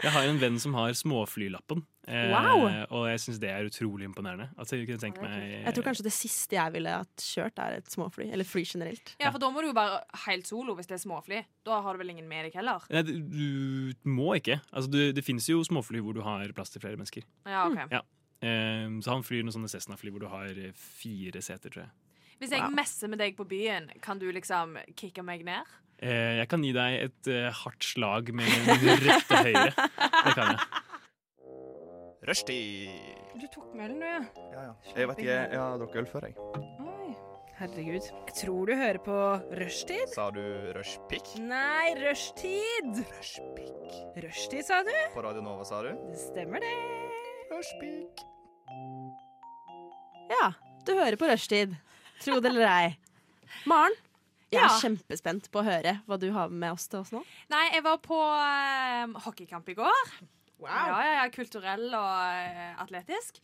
Speaker 1: Jeg har en venn som har småflylappen, eh,
Speaker 5: Wow.
Speaker 1: og jeg syns det er utrolig imponerende. At jeg kunne tenke meg
Speaker 5: Jeg tror kanskje det siste jeg ville hatt kjørt, er et småfly. Eller fly generelt.
Speaker 11: Ja, for da må du jo være helt solo hvis det er småfly. Da har du vel ingen med deg heller.
Speaker 1: Nei, du du må ikke. Altså, du, det finnes jo småfly hvor du har plass til flere mennesker.
Speaker 11: Ja, ok.
Speaker 1: Eh, så han flyr noen sånne Cessna-fly hvor du har eh, fire seter, tror jeg.
Speaker 11: Hvis jeg
Speaker 5: Wow.
Speaker 11: messer med deg på byen, kan du liksom kicke meg ned?
Speaker 1: Eh, jeg kan gi deg et eh, hardt slag med min rette høyre. Det kan jeg.
Speaker 3: Rushtid.
Speaker 7: Du tok møllen, du, ja.
Speaker 12: Ja, ja. Jeg vet ikke, jeg, jeg har drukket øl før, jeg.
Speaker 7: Oi. Herregud. Jeg tror du hører på Rushtid.
Speaker 12: Sa du rushpick?
Speaker 7: Nei, Rushtid!
Speaker 12: Rushpick.
Speaker 7: Rushtid, sa du?
Speaker 12: På Radio Nova, sa du?
Speaker 7: Det stemmer, det.
Speaker 12: Rushpick.
Speaker 5: Ja, du hører på rushtid. Tro det eller ei. Maren, jeg er
Speaker 11: Ja.
Speaker 5: kjempespent på å høre hva du har med oss til oss nå.
Speaker 11: Nei, jeg var på eh, hockeykamp i går. Ja, ja, ja, kulturell og eh, atletisk.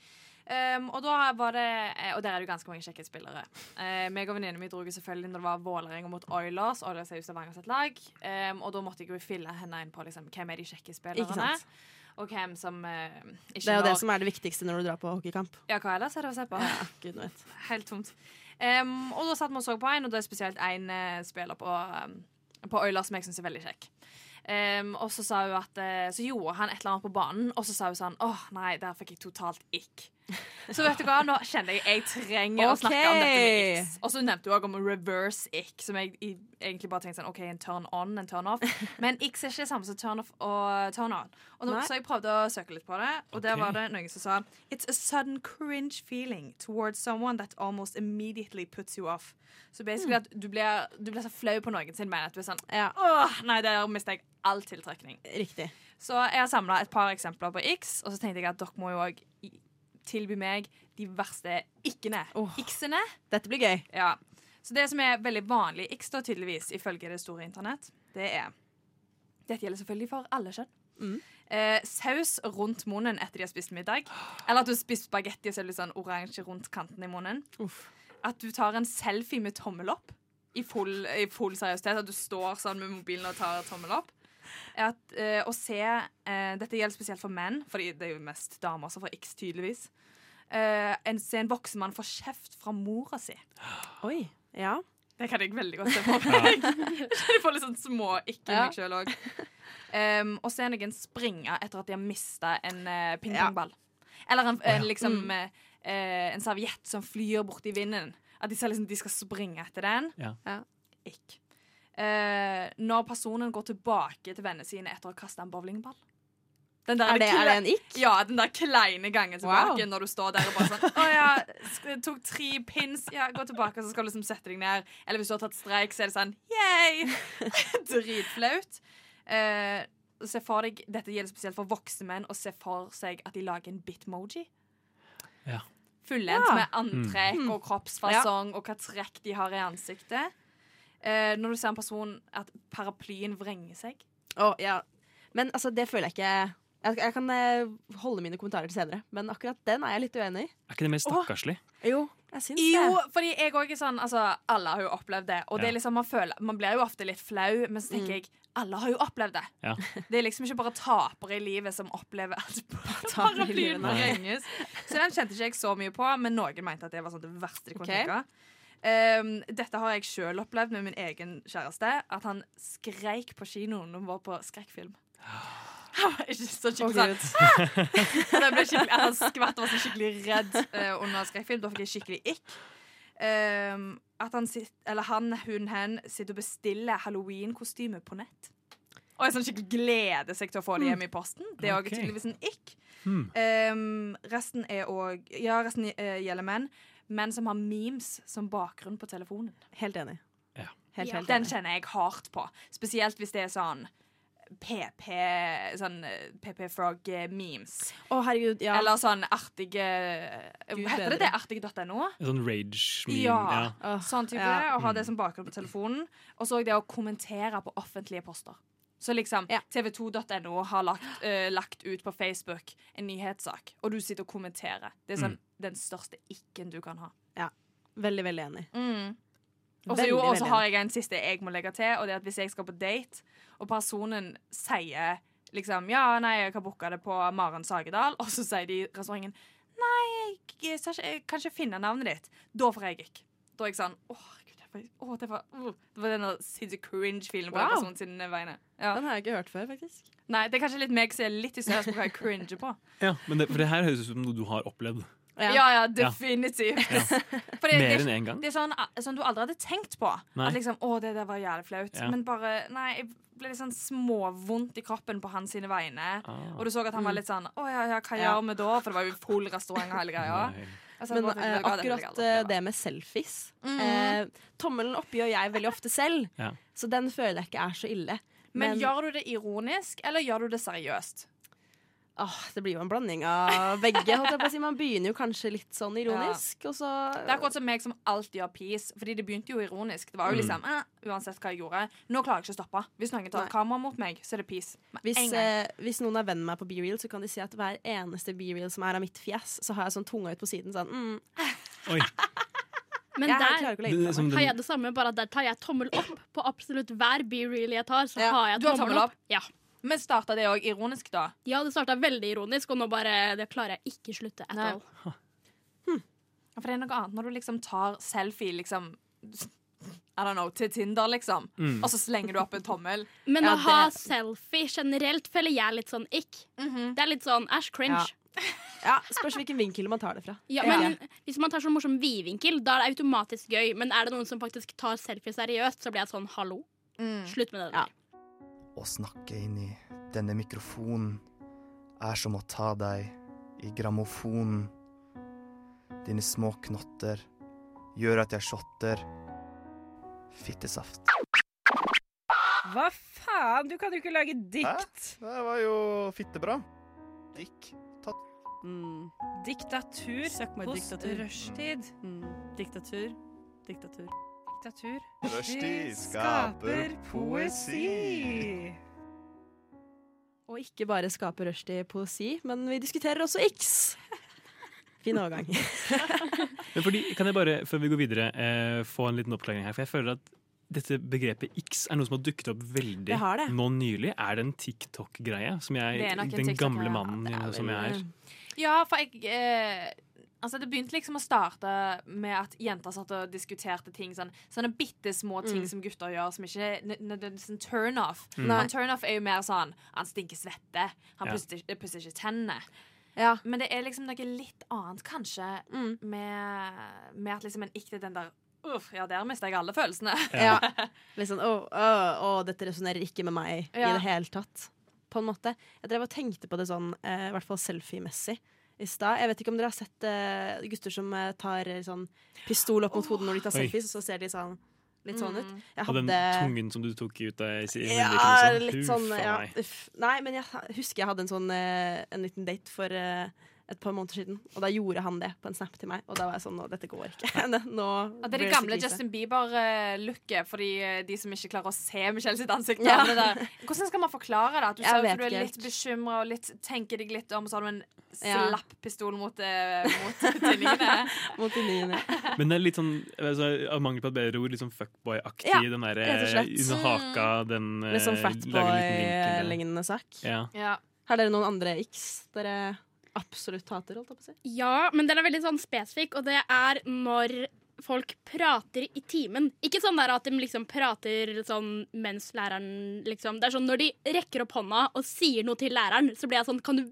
Speaker 11: Um, og da var det eh, Og der er det jo ganske mange kjekke spillere. Uh, meg og venninnen min dro jo selvfølgelig når det var Vålerenga mot Oilers. Oilers er jo Stavanger sitt lag. Um, og da måtte jeg jo fylle henne inn på liksom, hvem er de kjekke
Speaker 5: Ikke
Speaker 11: spillerne.
Speaker 5: sant?
Speaker 11: Og hvem som eh, ikke
Speaker 5: Det er jo det
Speaker 11: når-
Speaker 5: som er det viktigste når du drar på hockeykamp.
Speaker 11: Ja, hva ellers er det å se på?
Speaker 5: Gud vet.
Speaker 11: Helt tomt. Um, og da satt vi og så på en, og det er spesielt én spiller på, um, på Oilers som jeg syns er veldig kjekk. Um, og så sa hun at eh, Så gjorde han et eller annet på banen, og så sa hun sånn Åh, nei, der fikk jeg totalt ikk. Så vet du hva, nå kjenner jeg jeg trenger å
Speaker 5: Ok.
Speaker 11: snakke om dette med ick. Og så nevnte hun også om reverse ick, som jeg i, egentlig bare tenkte sånn OK, en turn on, en turn off. Men ick er ikke det samme som turn off og turn on. Og
Speaker 5: Nei.
Speaker 11: så, så jeg prøvde å søke litt på det, og der
Speaker 1: Ok.
Speaker 11: var det noen som sa It's a sudden cringe feeling towards someone that almost immediately puts you off. Så basically at du blir, du blir så flau på noen sin, men at du er sånn
Speaker 5: Mm. Ja,
Speaker 11: Åh, nei, der mister jeg all tiltrekning.
Speaker 5: riktig.
Speaker 11: Så jeg har samla et par eksempler på X, og så tenkte jeg at dere må jo òg tilby meg de verste ikke-ne.
Speaker 5: Åh.
Speaker 11: X-ene.
Speaker 5: Dette blir gøy.
Speaker 11: Ja. Så det som er veldig vanlig X, da, tydeligvis, ifølge det store internett, det er Dette gjelder selvfølgelig for alle kjønn.
Speaker 5: Mm.
Speaker 11: Eh, saus rundt munnen etter de har spist middag. Eller at du har spist spagetti og så er det litt sånn oransje rundt kanten i munnen.
Speaker 5: Uff.
Speaker 11: At du tar en selfie med tommel opp. I full, i full seriøsitet. At du står sånn med mobilen og tar tommel opp. At, eh, å se eh, Dette gjelder spesielt for menn, Fordi det er jo mest damer som får X, tydeligvis. Eh, en, se en voksen mann få kjeft fra mora si.
Speaker 5: Oi. Ja.
Speaker 11: Det kan jeg veldig godt se for meg. *laughs* Jeg får litt sånn små ikke i
Speaker 5: Ja.
Speaker 11: meg sjøl òg. *laughs* Um, og se noen springe etter at de har mista en eh, pingpongball. Eller en, en, liksom, eh, eh, en serviett som flyr borti vinden. At de ser liksom de skal springe etter Eh, den.
Speaker 1: Ja.
Speaker 5: Ja.
Speaker 11: Ikk. Eh, når personen går tilbake til vennene sine etter å ha kasta en bowlingball. Den der
Speaker 5: Er det- er det en ikk?
Speaker 11: Ja, den der kleine gangen tilbake når du står der og bare sånn *laughs* Å ja, sk- jeg tok tre pins. Ja, gå tilbake, og så skal du liksom sette deg ned. Eller hvis du har tatt streik, så er det sånn Yay! *laughs* Dritflaut. Eh, se for deg, Dette gjelder spesielt for voksne menn, å se for seg at de lager en bitmoji.
Speaker 1: Ja.
Speaker 11: Fullendt
Speaker 13: Ja.
Speaker 11: med antrekk og kroppsfasong og hva trekk de har i ansiktet. Eh, når du ser en person at paraplyen vrenger seg.
Speaker 5: Å, ja. Men altså, det føler jeg ikke jeg, jeg kan eh, holde mine kommentarer til senere, men akkurat den er jeg litt uenig i.
Speaker 1: Er ikke det mer stakkarslig?
Speaker 5: Jo, jeg syns det.
Speaker 11: Jo, fordi jeg også er sånn altså, Alle har jo opplevd det. Og
Speaker 1: Ja.
Speaker 11: det er liksom, man, føler, man blir jo ofte litt flau, men så tenker jeg alle har jo opplevd det.
Speaker 1: Ja.
Speaker 11: Det er liksom ikke bare tapere i livet som opplever at *laughs*
Speaker 5: Tapere i livet,
Speaker 11: paraplyen
Speaker 5: nei.
Speaker 11: vrenges. Så den kjente ikke jeg så mye på, men noen mente at det var sånn det verste de kunne
Speaker 5: Ok.
Speaker 11: tenke. Ehm, dette har jeg sjøl opplevd med min egen kjæreste. At han skreik på kinoen når vi var på skrekkfilm. Han var ikke
Speaker 5: Å,
Speaker 11: så skikkelig sånn
Speaker 5: Gud.
Speaker 11: og det ble skikkelig, han skvatt og var så skikkelig redd eh, under skrekkfilm. Da fikk jeg skikkelig ikk. Ehm, at han, sitt, eller han, hun, hen sitter og bestiller halloween-kostyme på nett. Og jeg sånn skikkelig gleder seg til å få det hjem i posten. Det er også
Speaker 1: Ok.
Speaker 11: tydeligvis en ikk.
Speaker 1: Hmm.
Speaker 11: Ehm, resten er òg Ja, resten eh, gjelder menn. Menn som har memes som bakgrunn på telefonen.
Speaker 5: Helt enig.
Speaker 1: Ja.
Speaker 5: Helt,
Speaker 6: Ja.
Speaker 5: helt
Speaker 11: Den
Speaker 5: enig.
Speaker 11: kjenner jeg hardt på. Spesielt hvis det er sånn PP Sånn eh, PP Frog-memes.
Speaker 5: Å, herregud, ja.
Speaker 11: Eller sånn artige
Speaker 5: Gud
Speaker 11: Heter det det? Artig.no?
Speaker 1: En Sånn rage meme.
Speaker 11: Ja.
Speaker 1: Ja.
Speaker 5: Åh,
Speaker 11: Sånn type,
Speaker 5: ja.
Speaker 11: Og ha det som bakgrunn på telefonen. Og så det å kommentere på offentlige poster. Så liksom
Speaker 5: Ja.
Speaker 11: tv2.no har lagt, eh, lagt ut på Facebook en nyhetssak, og du sitter og kommenterer. Det er sånn den største ikken du kan ha.
Speaker 5: Veldig, veldig enig.
Speaker 11: Og så
Speaker 5: Veldig,
Speaker 11: jo, og så
Speaker 5: veldig
Speaker 11: har jeg en siste jeg må legge til, og det er at hvis jeg skal på date, og personen sier liksom Ja, nei, jeg har booka det på Maren Sagedal, og så sier de i restauranten Nei, jeg, sa ikke- jeg kan ikke finne navnet ditt. Da får jeg ikke. Da er jeg sånn Å, herregud, det var, å, det var, uh, det var den der sinnssykt cringe-filen på den
Speaker 5: Wow.
Speaker 11: personen sine vegne. Ja.
Speaker 5: Den har jeg ikke hørt før, faktisk.
Speaker 11: Nei, det er kanskje litt meg som er litt hysterisk på hva jeg cringer på.
Speaker 1: Ja, men det, for det her høres ut som noe du har opplevd.
Speaker 5: Ja.
Speaker 11: Ja, ja, definitivt. Fordi det er
Speaker 1: Mer
Speaker 11: ikke-
Speaker 1: enn én gang.
Speaker 11: Det er sånn, sånn du aldri hadde tenkt på.
Speaker 1: Nei.
Speaker 11: At liksom, å, det der var jævlig flaut.
Speaker 1: Ja.
Speaker 11: Men bare, nei, jeg ble litt sånn småvondt i kroppen på hans sine vegne.
Speaker 1: Ah.
Speaker 11: Og du så at han var litt sånn, å ja, ja, hva
Speaker 5: Ja.
Speaker 11: gjør vi da? For det var jo full restaurant og hele greia.
Speaker 1: Nei.
Speaker 11: Altså,
Speaker 5: Men
Speaker 11: jeg bare tenkte,
Speaker 5: eh,
Speaker 11: ja, det vil jeg
Speaker 5: akkurat
Speaker 11: aldri
Speaker 5: eh,
Speaker 11: oppleve.
Speaker 5: det med selfies eh, Tommelen oppgjør jeg veldig ofte selv,
Speaker 1: Ja.
Speaker 5: så den føler jeg ikke er så ille.
Speaker 11: Men gjør du det ironisk, eller gjør du det seriøst?
Speaker 5: Åh, det blir jo en blanding av begge. Holdt jeg på å si. Man begynner jo kanskje litt sånn ironisk, og så
Speaker 11: Det er akkurat som meg som alltid gjør peace. Fordi det begynte jo ironisk. Det var
Speaker 1: Mm.
Speaker 11: jo liksom, eh, uansett hva jeg gjorde Nå klarer jeg ikke å stoppe. Hvis noen tar
Speaker 5: Nei.
Speaker 11: et kamera mot meg, så er det peace. Med
Speaker 5: Hvis,
Speaker 11: en gang.
Speaker 5: eh, hvis noen er venn med meg på B-reel, så kan de si at hver eneste B-reel som er av mitt fjes, så har jeg sånn tunga ut på siden sånn mm,
Speaker 1: Oi.
Speaker 6: Men
Speaker 5: jeg
Speaker 6: der
Speaker 1: Det,
Speaker 5: klarer ikke å legge
Speaker 1: er
Speaker 5: fra meg.
Speaker 1: som
Speaker 6: har jeg
Speaker 1: den,
Speaker 6: det samme, bare at der tar jeg tommel opp på absolutt hver be-reel jeg tar. Så
Speaker 5: Ja,
Speaker 6: har jeg
Speaker 11: du har
Speaker 6: tommel
Speaker 11: tommel
Speaker 6: opp. Ja.
Speaker 11: Men starta det òg ironisk, da?
Speaker 6: ja, det starta veldig ironisk, og nå bare Det klarer jeg ikke slutte at
Speaker 11: Nei.
Speaker 6: all.
Speaker 11: Ja, For det er noe annet når du liksom tar selfie liksom, I don't know, til Tinder, liksom.
Speaker 1: Mm.
Speaker 11: Og så slenger du opp en tommel.
Speaker 6: Men
Speaker 5: Ja,
Speaker 6: å ha
Speaker 5: det- Mhm.
Speaker 6: selfie generelt føler jeg litt sånn ikk. Det er litt sånn æsj, cringe.
Speaker 5: Ja, Spørs hvilken vinkel man tar det fra.
Speaker 6: Ja, men Hvis man tar sånn morsom vidvinkel, da er det automatisk gøy. Men er det noen som faktisk tar selfie seriøst, så blir jeg sånn hallo. Slutt med det
Speaker 5: Ja.
Speaker 6: der.
Speaker 12: Å snakke inn i denne mikrofonen er som å ta deg i grammofonen. Dine små knotter gjør at jeg shotter. Fittesaft.
Speaker 14: Hva faen? Du kan jo ikke lage dikt.
Speaker 12: Det var jo fittebra. Dick.
Speaker 14: Diktatur
Speaker 7: Søk meg
Speaker 14: hos
Speaker 7: diktatur.
Speaker 14: rushtid.
Speaker 7: Mm. Diktatur. Diktatur.
Speaker 14: Diktatur.
Speaker 12: Rushtid
Speaker 14: Det
Speaker 12: skaper poesi.
Speaker 5: Og ikke bare skape rushtid poesi, men vi diskuterer også X. Fin overgang.
Speaker 1: men fordi, kan jeg bare, før vi går videre, eh, få en liten oppklaring her? For jeg føler at dette begrepet X er noe som har dukket opp veldig
Speaker 5: Det har det.
Speaker 1: nå nylig. Er det en TikTok-greie? Som jeg,
Speaker 11: Det er nok en
Speaker 1: den
Speaker 11: TikTok-greie.
Speaker 1: gamle mannen som jeg er.
Speaker 11: Ja, for jeg eh, Altså, det begynte liksom å starte med at jenter satt og diskuterte ting. Sånn, sånne bitte små ting som gutter gjør, som ikke er nø- nødvendigvis en sånn turn-off.
Speaker 5: Nei.
Speaker 11: En turn-off er jo mer sånn Han stinker svette.
Speaker 1: Mm.
Speaker 11: Han
Speaker 1: Ja.
Speaker 11: pusser, ikke- pusser ikke tennene.
Speaker 5: Ja. Mm.
Speaker 11: Men det er liksom noe litt annet, kanskje, med, med at liksom en ikke er den der Uff, ja, der mister jeg alle følelsene.
Speaker 5: Ja. Litt sånn å, å, å, dette resonnerer ikke med meg
Speaker 11: Ja.
Speaker 5: i det hele tatt. på en måte. Jeg drev og tenkte på det sånn, eh, i hvert fall selfiemessig. I stad. Jeg vet ikke om dere har sett eh, gutter som eh, tar eh, sånn pistol opp mot hodet når de tar
Speaker 1: Oi.
Speaker 5: selfies, og så ser de sånn, litt sånn
Speaker 11: Mm.
Speaker 5: ut. Jeg
Speaker 1: Og den
Speaker 5: hadde-
Speaker 1: tungen som du tok ut av i- i
Speaker 5: ja,
Speaker 1: munnviken og
Speaker 5: litt sånn
Speaker 1: sånn. Huff a
Speaker 5: ja,
Speaker 1: meg.
Speaker 5: uff. Nei, men jeg ha- husker jeg hadde en sånn eh, En liten date for eh, et par måneder siden, og da gjorde han det på en snap til meg. Og da var jeg sånn Nå, dette går ikke. *laughs* Nå
Speaker 11: Ja, det
Speaker 5: blir
Speaker 11: er det
Speaker 5: så
Speaker 11: gamle
Speaker 5: krise.
Speaker 11: Justin Bieber-looket for de, de som ikke klarer å se Michelle sitt ansikt.
Speaker 5: Ja.
Speaker 11: og det der. Hvordan skal man forklare det? At du
Speaker 5: Jeg
Speaker 11: ser ut
Speaker 5: vet
Speaker 11: som du er
Speaker 5: ikke
Speaker 11: litt bekymra og litt, tenker deg litt om, og så har du en
Speaker 5: Ja.
Speaker 11: slapp pistol mot, eh, mot *laughs* tinningene.
Speaker 5: mot tinningene.
Speaker 1: Men det er litt sånn, altså, av mangel på et bedre ord, litt sånn fuckboy-aktig.
Speaker 5: Ja,
Speaker 1: den der,
Speaker 5: rett og slett.
Speaker 1: Under haka, den eh,
Speaker 5: Litt sånn
Speaker 1: lager en liten vinkel der.
Speaker 5: Fatboy-lignende sak.
Speaker 1: Ja.
Speaker 5: Har dere noen andre x dere absolutt hater? Holdt jeg på å si?
Speaker 6: Ja, men den er veldig sånn spesifikk, og det er når folk prater i timen. Ikke sånn der at de liksom prater sånn mens læreren liksom Det er sånn når de rekker opp hånda og sier noe til læreren, så blir jeg sånn Kan du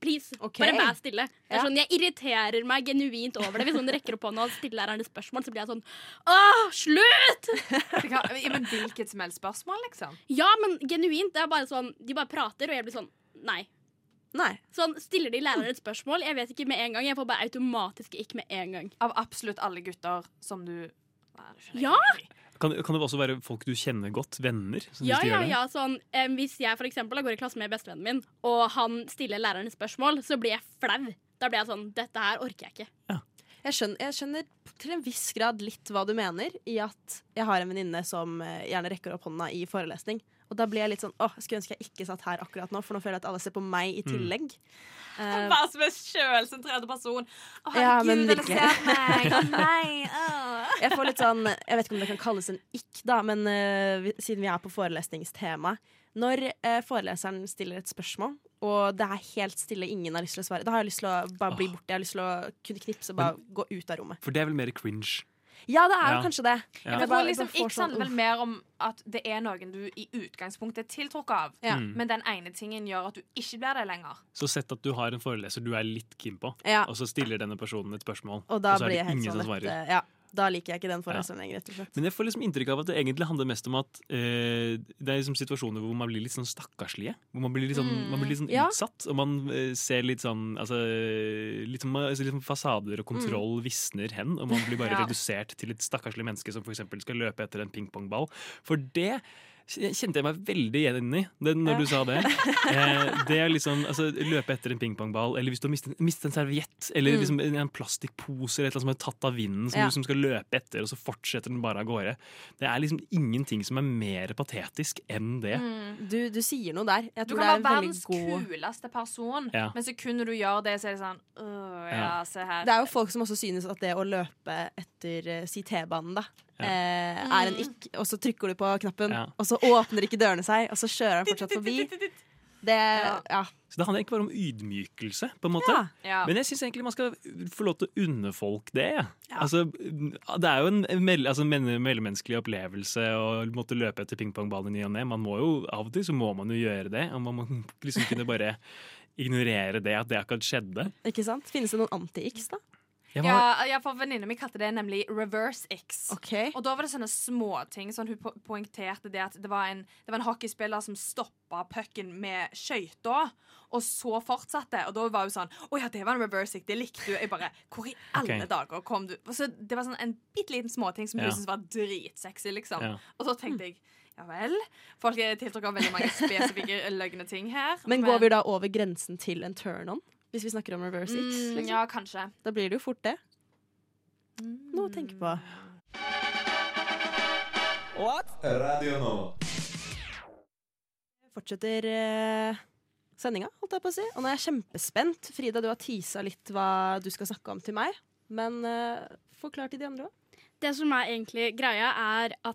Speaker 6: please bare være stille? Det er
Speaker 15: Ja.
Speaker 6: sånn, Jeg irriterer meg genuint over det. Hvis noen rekker opp hånda og stiller læreren et spørsmål, så blir jeg sånn Åh, slutt!
Speaker 11: ja, men hvilket som helst spørsmål, liksom.
Speaker 6: Ja, men genuint. Det er bare sånn De bare prater, og jeg blir sånn Nei. Sånn, Stiller de læreren et spørsmål? Jeg vet ikke med en gang. Jeg får bare automatisk ikke med en gang.
Speaker 11: Av absolutt alle gutter som du
Speaker 6: Ja!
Speaker 1: Kan, kan det også være folk du kjenner godt? Venner? Som
Speaker 6: Ja,
Speaker 1: hvis de
Speaker 6: ja,
Speaker 1: gjør det?
Speaker 6: ja, sånn, em, hvis jeg for eksempel, da går i klasse med bestevennen min, og han stiller læreren et spørsmål, så blir jeg flau. Da blir jeg sånn Dette her orker jeg ikke.
Speaker 5: Jeg skjønner, jeg skjønner til en viss grad litt hva du mener, i at jeg har en venninne som eh, gjerne rekker opp hånda i forelesning. Og da blir jeg litt sånn åh, jeg skulle ønske jeg ikke satt her akkurat nå, for nå føler jeg at alle ser på meg i
Speaker 1: Mm.
Speaker 5: tillegg. Eh,
Speaker 11: *laughs* Bare som en sjølsentrert person. Å,
Speaker 5: Ja, men
Speaker 11: herregud, dere
Speaker 5: virkelig.
Speaker 11: ser
Speaker 5: *laughs*
Speaker 11: meg! Å, nei! åh.
Speaker 5: jeg får litt sånn Jeg vet ikke om det kan kalles en ikk, da, men eh, vi- siden vi er på forelesningstema Når eh, foreleseren stiller et spørsmål, og det er helt stille, ingen har lyst til å svare, da har jeg lyst til å bare bli borte. Jeg har lyst til å kunne knipse og bare gå ut av rommet.
Speaker 1: For det er vel mer cringe.
Speaker 5: Ja, det er jo
Speaker 1: Ja.
Speaker 5: kanskje det.
Speaker 1: Ja.
Speaker 11: Jeg
Speaker 5: Jeg
Speaker 11: tror
Speaker 5: bare-
Speaker 11: liksom
Speaker 5: bare får
Speaker 11: Ikke
Speaker 5: sånn,
Speaker 11: handler vel
Speaker 5: uff.
Speaker 11: mer om at det er noen du i utgangspunktet er tiltrukket av,
Speaker 1: Ja. Mm.
Speaker 11: men den ene tingen gjør at du ikke blir det lenger.
Speaker 1: Så sett at du har en foreleser du er litt keen på,
Speaker 5: Ja.
Speaker 1: og så stiller denne personen et spørsmål,
Speaker 5: Og da
Speaker 1: så er
Speaker 5: blir
Speaker 1: det
Speaker 5: jeg helt
Speaker 1: ingen
Speaker 5: sånn
Speaker 1: som svarer.
Speaker 5: dette- Ja, da liker jeg ikke den foreleseren lenger, rett og slett.
Speaker 1: Men jeg får liksom inntrykk av at det egentlig handler mest om at eh, det er liksom situasjoner hvor man blir litt sånn stakkarslige. Hvor man blir litt sånn, man blir litt sånn
Speaker 5: Mm, Ja.
Speaker 1: utsatt, og man eh, ser litt sånn altså, litt, sånn- altså, litt sånn fasader og kontroll visner hen, og man blir bare
Speaker 5: Mm. Ja.
Speaker 1: redusert til et stakkarslig menneske som f.eks. skal løpe etter en pingpongball. For det kjente jeg meg veldig igjen i det, når du sa det.
Speaker 5: *laughs*
Speaker 1: Eh, det er liksom, altså, Løpe etter en pingpongball, eller hvis du har mistet, mistet en serviett, eller
Speaker 5: Mm.
Speaker 1: liksom en, en plastikkpose eller et eller annet som er tatt av vinden, som
Speaker 5: Ja.
Speaker 1: du som skal løpe etter, og så fortsetter den bare av gårde. Det er liksom ingenting som er mer patetisk enn det.
Speaker 5: Du, du sier noe der. Jeg
Speaker 11: Mm. Du
Speaker 5: tror
Speaker 11: kan
Speaker 5: det er
Speaker 11: være
Speaker 5: en
Speaker 11: verdens
Speaker 5: veldig god
Speaker 11: kuleste person,
Speaker 1: Ja.
Speaker 11: men så kunne du gjøre det, så er det sånn «Åh, ja,
Speaker 5: Ja.
Speaker 11: se her.
Speaker 5: Det er jo folk som også synes at det å løpe etter eh, si T-banen, da, eh, er en ikk, og så trykker du på knappen,
Speaker 1: Ja.
Speaker 5: og så åpner ikke dørene seg, og så kjører han fortsatt forbi. Det Ja.
Speaker 1: Så det handler egentlig bare om ydmykelse, på en måte.
Speaker 5: Ja.
Speaker 1: Men jeg syns egentlig man skal få lov til å unne folk det. jeg. Altså, det er jo en mell altså, en mell- mellommenneskelig opplevelse å måtte løpe etter pingpongballen i ny og ne. Man må jo av og til så må man jo gjøre det, og man må *laughs* liksom kunne bare ignorere det, at det akkurat skjedde.
Speaker 5: Ikke sant? Finnes det noen anti-x, da?
Speaker 1: Jeg var,
Speaker 11: Ja, ja, for venninna mi kalte det nemlig reverse X. Og da var det sånne småting. Sånn hun po- poengterte det at det var en, det var en hockeyspiller som stoppa pucken med skøyta, og så fortsatte. Og da var hun sånn Å ja, det var en reverse X. Det likte du. Jeg bare Hvor i alle
Speaker 15: Ok.
Speaker 11: dager kom du Og Så det var sånn en bitte liten småting som
Speaker 15: Ja.
Speaker 11: hun syntes var dritsexy, liksom.
Speaker 15: Ja.
Speaker 11: Og så tenkte jeg ja vel. Folk er tiltrukket av veldig mange spesifikke løgne ting her.
Speaker 5: Men går vi da over grensen til en turn-on? Hvis vi snakker om reverse x?
Speaker 11: Mm,
Speaker 5: Liksom?
Speaker 11: ja, Mm. kanskje.
Speaker 5: Da blir det jo fort det. Noe å tenke på.
Speaker 3: Radio nå.
Speaker 5: fortsetter eh, sendinga, holdt jeg på å si. Og nå er jeg kjempespent. Frida, du har tisa litt hva du skal snakke om til meg. Men eh, forklar til de andre òg.
Speaker 6: Det som er egentlig greia, er at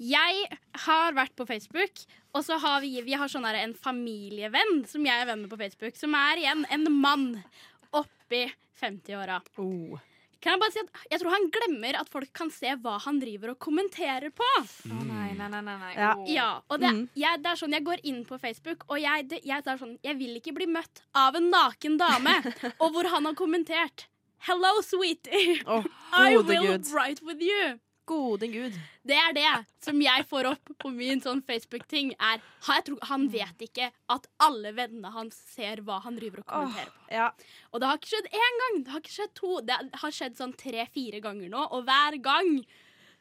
Speaker 6: jeg har vært på Facebook, og så har vi, vi har sånn her en familievenn som jeg er venn med på Facebook, som er igjen en mann oppi 50-åra. Oh. Kan jeg bare si at jeg tror han glemmer at folk kan se hva han driver og kommenterer på.
Speaker 1: Mm.
Speaker 11: Å nei, nei, nei, nei, nei. Oh.
Speaker 6: Ja.
Speaker 11: Åh.
Speaker 6: og det,
Speaker 5: Mm.
Speaker 6: jeg, det er sånn jeg går inn på Facebook, og jeg, det, jeg, det er sånn, jeg vil ikke bli møtt av en naken dame.
Speaker 5: *laughs*
Speaker 6: og hvor han har kommentert Hello, sweetie.
Speaker 5: Å,
Speaker 6: I
Speaker 5: gode
Speaker 6: will
Speaker 5: Gud.
Speaker 6: write with you.
Speaker 5: Gode gud.
Speaker 6: Det er det som jeg får opp på min sånn Facebook-ting. er ha- jeg tror, Han vet ikke at alle vennene hans ser hva han driver og kommenterer på. Og det har ikke skjedd én gang, det har ikke skjedd to, det har skjedd sånn tre-fire ganger nå. Og hver gang